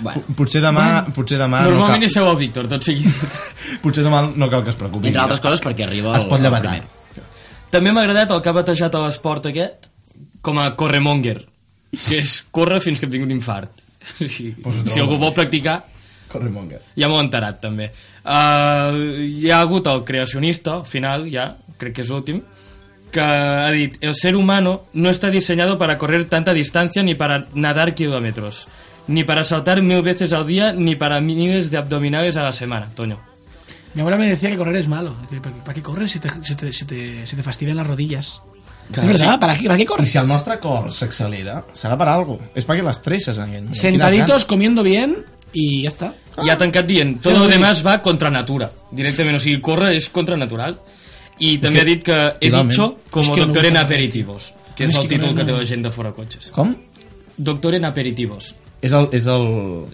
[SPEAKER 4] Bueno.
[SPEAKER 1] potser demà, potser demà no
[SPEAKER 6] Normalment
[SPEAKER 1] cal,
[SPEAKER 6] és seu el Víctor, tot sigui.
[SPEAKER 1] potser demà no cal que es preocupi.
[SPEAKER 4] Entre altres coses perquè arriba
[SPEAKER 1] Es
[SPEAKER 4] el,
[SPEAKER 1] pot
[SPEAKER 4] el
[SPEAKER 1] llevar
[SPEAKER 4] primer.
[SPEAKER 6] També m'ha agradat el que ha batejat a l'esport aquest com a corremonger, que és córrer fins que et vingui un infart. [laughs] Sí. Si algú vol practicar,
[SPEAKER 1] Corremonger.
[SPEAKER 6] ja m'ho he enterat, també. Uh, hi ha hagut el creacionista, al final, ja, crec que és l'últim, que ha dit el ser humano no está diseñado para correr tanta distancia ni para nadar kilómetros, ni para saltar mil veces al día, ni para miles de abdominales a la semana, Toño.
[SPEAKER 3] Mi abuela me decía que correr es malo. Dice, ¿para qué- ¿Para qué corres si te, si te, si te, si te fastidian las rodillas?
[SPEAKER 1] Claro,
[SPEAKER 3] es verdad,
[SPEAKER 1] sí.
[SPEAKER 3] ¿para, qué, ¿para qué corres?
[SPEAKER 1] I si el nostre cor s'accelera, serà per algo. És perquè l'estresses en aquest moment.
[SPEAKER 3] Sentaditos, comiendo bien y ya está.
[SPEAKER 6] I ha tancat dient, tot
[SPEAKER 3] Sí,
[SPEAKER 6] lo
[SPEAKER 3] sí.
[SPEAKER 6] demás va contra natura. Directament, o sigui, córrer és contra natural. I també
[SPEAKER 1] que-
[SPEAKER 6] ha dit que he
[SPEAKER 1] totalment.
[SPEAKER 6] dicho
[SPEAKER 1] És
[SPEAKER 6] como
[SPEAKER 1] que no
[SPEAKER 6] doctor
[SPEAKER 1] gusta
[SPEAKER 6] en
[SPEAKER 1] nada.
[SPEAKER 6] aperitivos, que
[SPEAKER 1] A mi
[SPEAKER 6] és
[SPEAKER 1] és
[SPEAKER 6] el
[SPEAKER 1] que
[SPEAKER 6] títol
[SPEAKER 1] no-
[SPEAKER 6] que té la gent de fora cotxes.
[SPEAKER 1] Com?
[SPEAKER 6] Doctor en aperitivos.
[SPEAKER 1] És el... És el...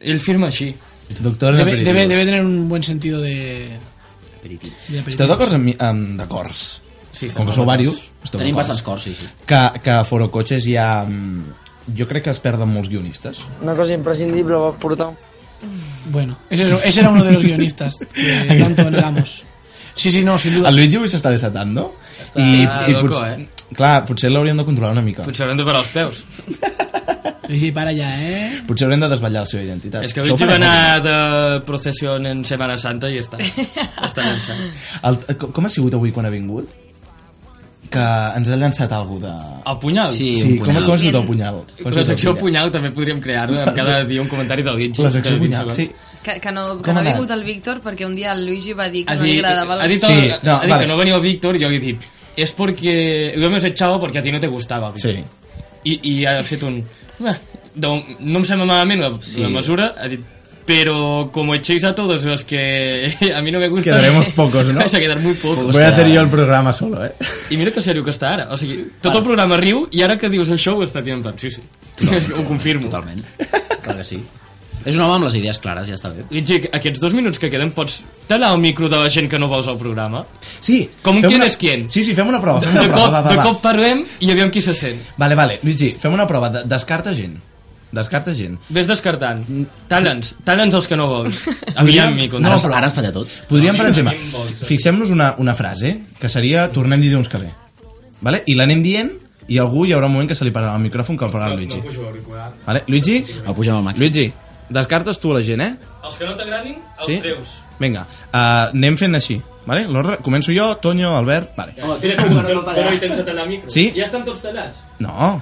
[SPEAKER 6] Ell firma així.
[SPEAKER 1] Doctor en
[SPEAKER 3] Debe,
[SPEAKER 1] aperitivos.
[SPEAKER 3] debe, debe tener un buen sentido de... de aperitivos.
[SPEAKER 1] Esteu d'acord amb, mi- amb d'acords?
[SPEAKER 6] Sí,
[SPEAKER 1] Com que sou diversos, esteu
[SPEAKER 4] Tenim
[SPEAKER 1] d'acords.
[SPEAKER 4] bastants cors, sí,
[SPEAKER 6] [laughs]
[SPEAKER 4] sí.
[SPEAKER 1] Que, que a Foro Cotxes hi ha... mm, Jo crec que es perden molts guionistes.
[SPEAKER 14] Una cosa imprescindible va portar
[SPEAKER 3] Bueno, ese, era- ese era uno de los guionistas que tanto anhelamos. Sí, sí, no, sin duda.
[SPEAKER 1] El Luigi avui s'està desatant, no? Està
[SPEAKER 6] loco,
[SPEAKER 1] eh? Clar, potser l'hauríem de controlar una mica.
[SPEAKER 6] Potser haurem de parar els peus.
[SPEAKER 3] Luigi, para ya, ¿eh?
[SPEAKER 1] Potser haurem de desvetllar la seva identitat.
[SPEAKER 6] És que
[SPEAKER 1] Això ho
[SPEAKER 6] avui va
[SPEAKER 1] farem.
[SPEAKER 6] anar de processió en Semana Santa i ja
[SPEAKER 1] [laughs]
[SPEAKER 6] està. Està llançant.
[SPEAKER 1] El, com- com ha sigut avui quan ha vingut? Que ens ha llançat algú de...
[SPEAKER 6] El punyal?
[SPEAKER 1] Sí, com, com ha sigut el punyal? Com ha
[SPEAKER 6] La
[SPEAKER 1] sigut el
[SPEAKER 6] secció punyal també podríem crear-la amb cada dia un comentari del Guitxi.
[SPEAKER 1] La secció
[SPEAKER 6] de vint
[SPEAKER 1] punyal,
[SPEAKER 6] segons.
[SPEAKER 1] sí.
[SPEAKER 5] Que, que no, que
[SPEAKER 1] Com ha
[SPEAKER 5] no ha
[SPEAKER 1] anat?
[SPEAKER 5] vingut el Víctor perquè un dia el Luigi va dir que
[SPEAKER 6] Ha
[SPEAKER 5] no li
[SPEAKER 6] dit,
[SPEAKER 5] agradava
[SPEAKER 6] ha
[SPEAKER 5] la...
[SPEAKER 6] dit,
[SPEAKER 1] Sí,
[SPEAKER 6] el,
[SPEAKER 1] no,
[SPEAKER 6] ha dit
[SPEAKER 1] vale.
[SPEAKER 6] que no venia el Víctor i jo li he dit és porque lo hemos echado porque a ti no te gustaba, Víctor.
[SPEAKER 1] Sí.
[SPEAKER 6] I, I ha fet un... "Bah, No, no em sembla malament la, sí. la mesura, ha dit pero como echéis a todos los que [laughs] a mí no me gustan...
[SPEAKER 1] Quedaremos
[SPEAKER 6] [laughs]
[SPEAKER 1] pocos, ¿no?
[SPEAKER 6] Vais a quedar muy pocos.
[SPEAKER 1] Voy a hacer yo el programa solo, eh?
[SPEAKER 6] I mira que serio que està ara. O sigui, tot el programa riu i ara que dius això ho està tirant tant. Sí, sí. [laughs] No, ho confirmo.
[SPEAKER 4] Totalment. Clar que sí. És un home amb les idees clares, ja està bé.
[SPEAKER 6] Guitxi, aquests dos minuts que queden pots talar el micro de la gent que no vols al programa?
[SPEAKER 1] Sí.
[SPEAKER 6] Com
[SPEAKER 1] Fem
[SPEAKER 6] qui
[SPEAKER 1] una-
[SPEAKER 6] és qui?
[SPEAKER 1] Sí, sí, fem una prova. Fem una
[SPEAKER 6] De
[SPEAKER 1] prova,
[SPEAKER 6] cop,
[SPEAKER 1] va, va,
[SPEAKER 6] de
[SPEAKER 1] va.
[SPEAKER 6] cop parlem i aviam qui se sent.
[SPEAKER 1] Vale, vale, Luigi, fem una prova. de- Descarta gent. Descarta gent.
[SPEAKER 6] Ves descartant. Talla'ns, talla'ns els que no
[SPEAKER 1] [laughs]
[SPEAKER 6] vols.
[SPEAKER 1] Podríem-
[SPEAKER 6] Aviam, Mico.
[SPEAKER 1] No, però-
[SPEAKER 4] Ara ens talla tot.
[SPEAKER 1] Podríem, per
[SPEAKER 6] Ah,
[SPEAKER 1] exemple,
[SPEAKER 6] quin vol, això.
[SPEAKER 1] fixem-nos una, una frase, que seria tornem dilluns que ve. Vale? I l'anem dient i algú hi haurà un moment que se li pararà el micròfon que el parlarà el Luigi. Vale? Luigi,
[SPEAKER 4] El pugem al màxim.
[SPEAKER 1] Luigi, descartes tu a la gent, eh?
[SPEAKER 6] Els que no t'agradin, els
[SPEAKER 1] Sí?
[SPEAKER 6] treus.
[SPEAKER 1] Vinga, uh, anem fent així. Vale? L'ordre, començo jo, Toño, Albert... Vale.
[SPEAKER 6] Home, tira que no però hi tens a tallar micro.
[SPEAKER 1] Sí?
[SPEAKER 6] Ja estan tots tallats.
[SPEAKER 1] No.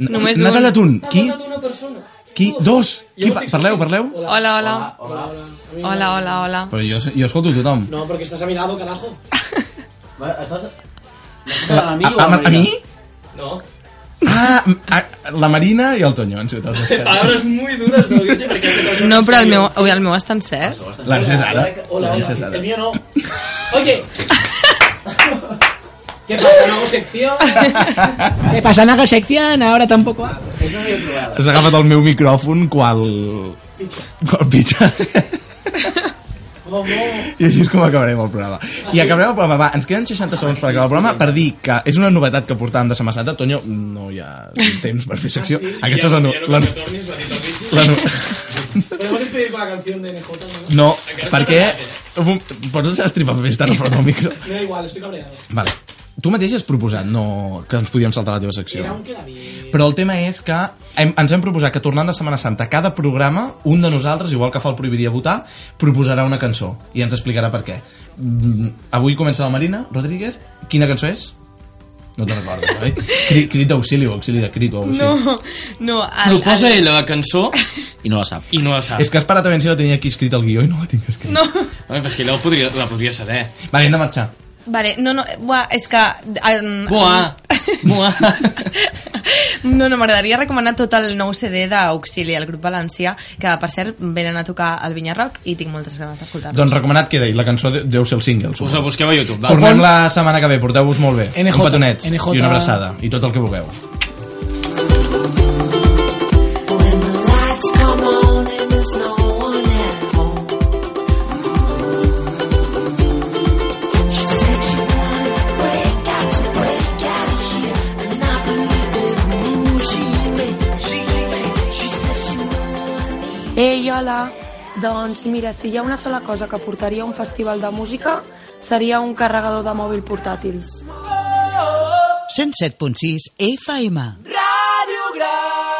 [SPEAKER 5] Només
[SPEAKER 1] N'ha
[SPEAKER 5] un.
[SPEAKER 1] tallat un.
[SPEAKER 6] Ha
[SPEAKER 1] Qui?
[SPEAKER 6] votat una persona.
[SPEAKER 1] Qui? Dos. Qui? Pa- Parleu, parleu.
[SPEAKER 5] Hola, hola. Hola, hola, hola.
[SPEAKER 1] Però jo, jo escolto tothom.
[SPEAKER 3] No, porque estás a mi lado, carajo.
[SPEAKER 4] Estàs...
[SPEAKER 1] A, a, a, a mi?
[SPEAKER 6] No.
[SPEAKER 1] Ah, a, la Marina i el Toño han sigut els
[SPEAKER 3] [laughs]
[SPEAKER 1] experts.
[SPEAKER 6] Paraules muy duras del Guitxi perquè...
[SPEAKER 5] No, però el meu, ui, el meu està encès.
[SPEAKER 1] L'ha encès ara.
[SPEAKER 3] Hola,
[SPEAKER 1] L'ha
[SPEAKER 3] hola.
[SPEAKER 1] encès ara.
[SPEAKER 3] El mío no. Oye. ¿Qué pasa? ¿No hago sección? ¿Qué pasa? ¿No hago sección? Ahora tampoco hago.
[SPEAKER 1] Has agafat el meu micròfon qual... Qual pitxa.
[SPEAKER 3] Oh, no.
[SPEAKER 1] I així és com acabarem el programa. I acabarem el programa, va, ens queden 60 segons per acabar el programa per dir que és una novetat que portàvem de Sema Santa. Toño, no hi ha temps per fer
[SPEAKER 3] Ah,
[SPEAKER 1] secció. Aquesta és la... no- la, no- la, no-
[SPEAKER 3] Podemos despedir con la canción de NJ, ¿no?
[SPEAKER 1] no, perquè... Pots deixar estripar més tard, però no el micro.
[SPEAKER 3] Me da igual, estoy cabreado.
[SPEAKER 1] Vale. Tu mateix has proposat no, que ens podíem saltar la teva secció.
[SPEAKER 3] Era un queda bien.
[SPEAKER 1] Però el tema és que hem, ens hem proposat que tornant de Setmana Santa a cada programa, un de nosaltres, igual que fa el Prohibiria Votar, proposarà una cançó i ens explicarà per què. Mm, avui comença la Marina Rodríguez. Quina cançó és? No te'n recordes,
[SPEAKER 5] [laughs]
[SPEAKER 1] oi? Crit, crit d'auxili o auxili de crit o auxili.
[SPEAKER 5] No, no. El,
[SPEAKER 6] Proposa ella la cançó
[SPEAKER 4] i no la sap.
[SPEAKER 6] i no la sap.
[SPEAKER 1] És que has parat a veure si la tenia aquí escrit el guió i no la tinc escrit.
[SPEAKER 5] No.
[SPEAKER 6] Home, però és que ella la podria, la podria saber.
[SPEAKER 1] Vale, hem de marxar.
[SPEAKER 5] Vale, no, no, buah, és que... Um,
[SPEAKER 1] [laughs]
[SPEAKER 6] Buah! Buah!
[SPEAKER 5] No, no, m'agradaria recomanar tot el nou CD d'Auxili, el grup valencià, que, per cert, venen a tocar al Vinyarroc i tinc moltes ganes d'escoltar-los.
[SPEAKER 1] Doncs recomanat queda i la cançó de- deu ser el single.
[SPEAKER 6] Us la
[SPEAKER 1] suposo.
[SPEAKER 6] busqueu a YouTube, va?
[SPEAKER 1] Tornem la setmana que ve, porteu-vos molt bé.
[SPEAKER 3] NJ,
[SPEAKER 1] un petonet
[SPEAKER 3] NJ.
[SPEAKER 1] i una abraçada i tot el que vulgueu.
[SPEAKER 9] lights come on and there's no one at home. She said she wanted to break out, to break out of here, and I believe it. Ooh, she made, she made. She said she
[SPEAKER 12] Ei, hola! Doncs mira, si hi ha una sola cosa que portaria a un festival de música, seria un carregador de mòbil portàtil.
[SPEAKER 15] 107.6 FM.
[SPEAKER 9] Radio Gran.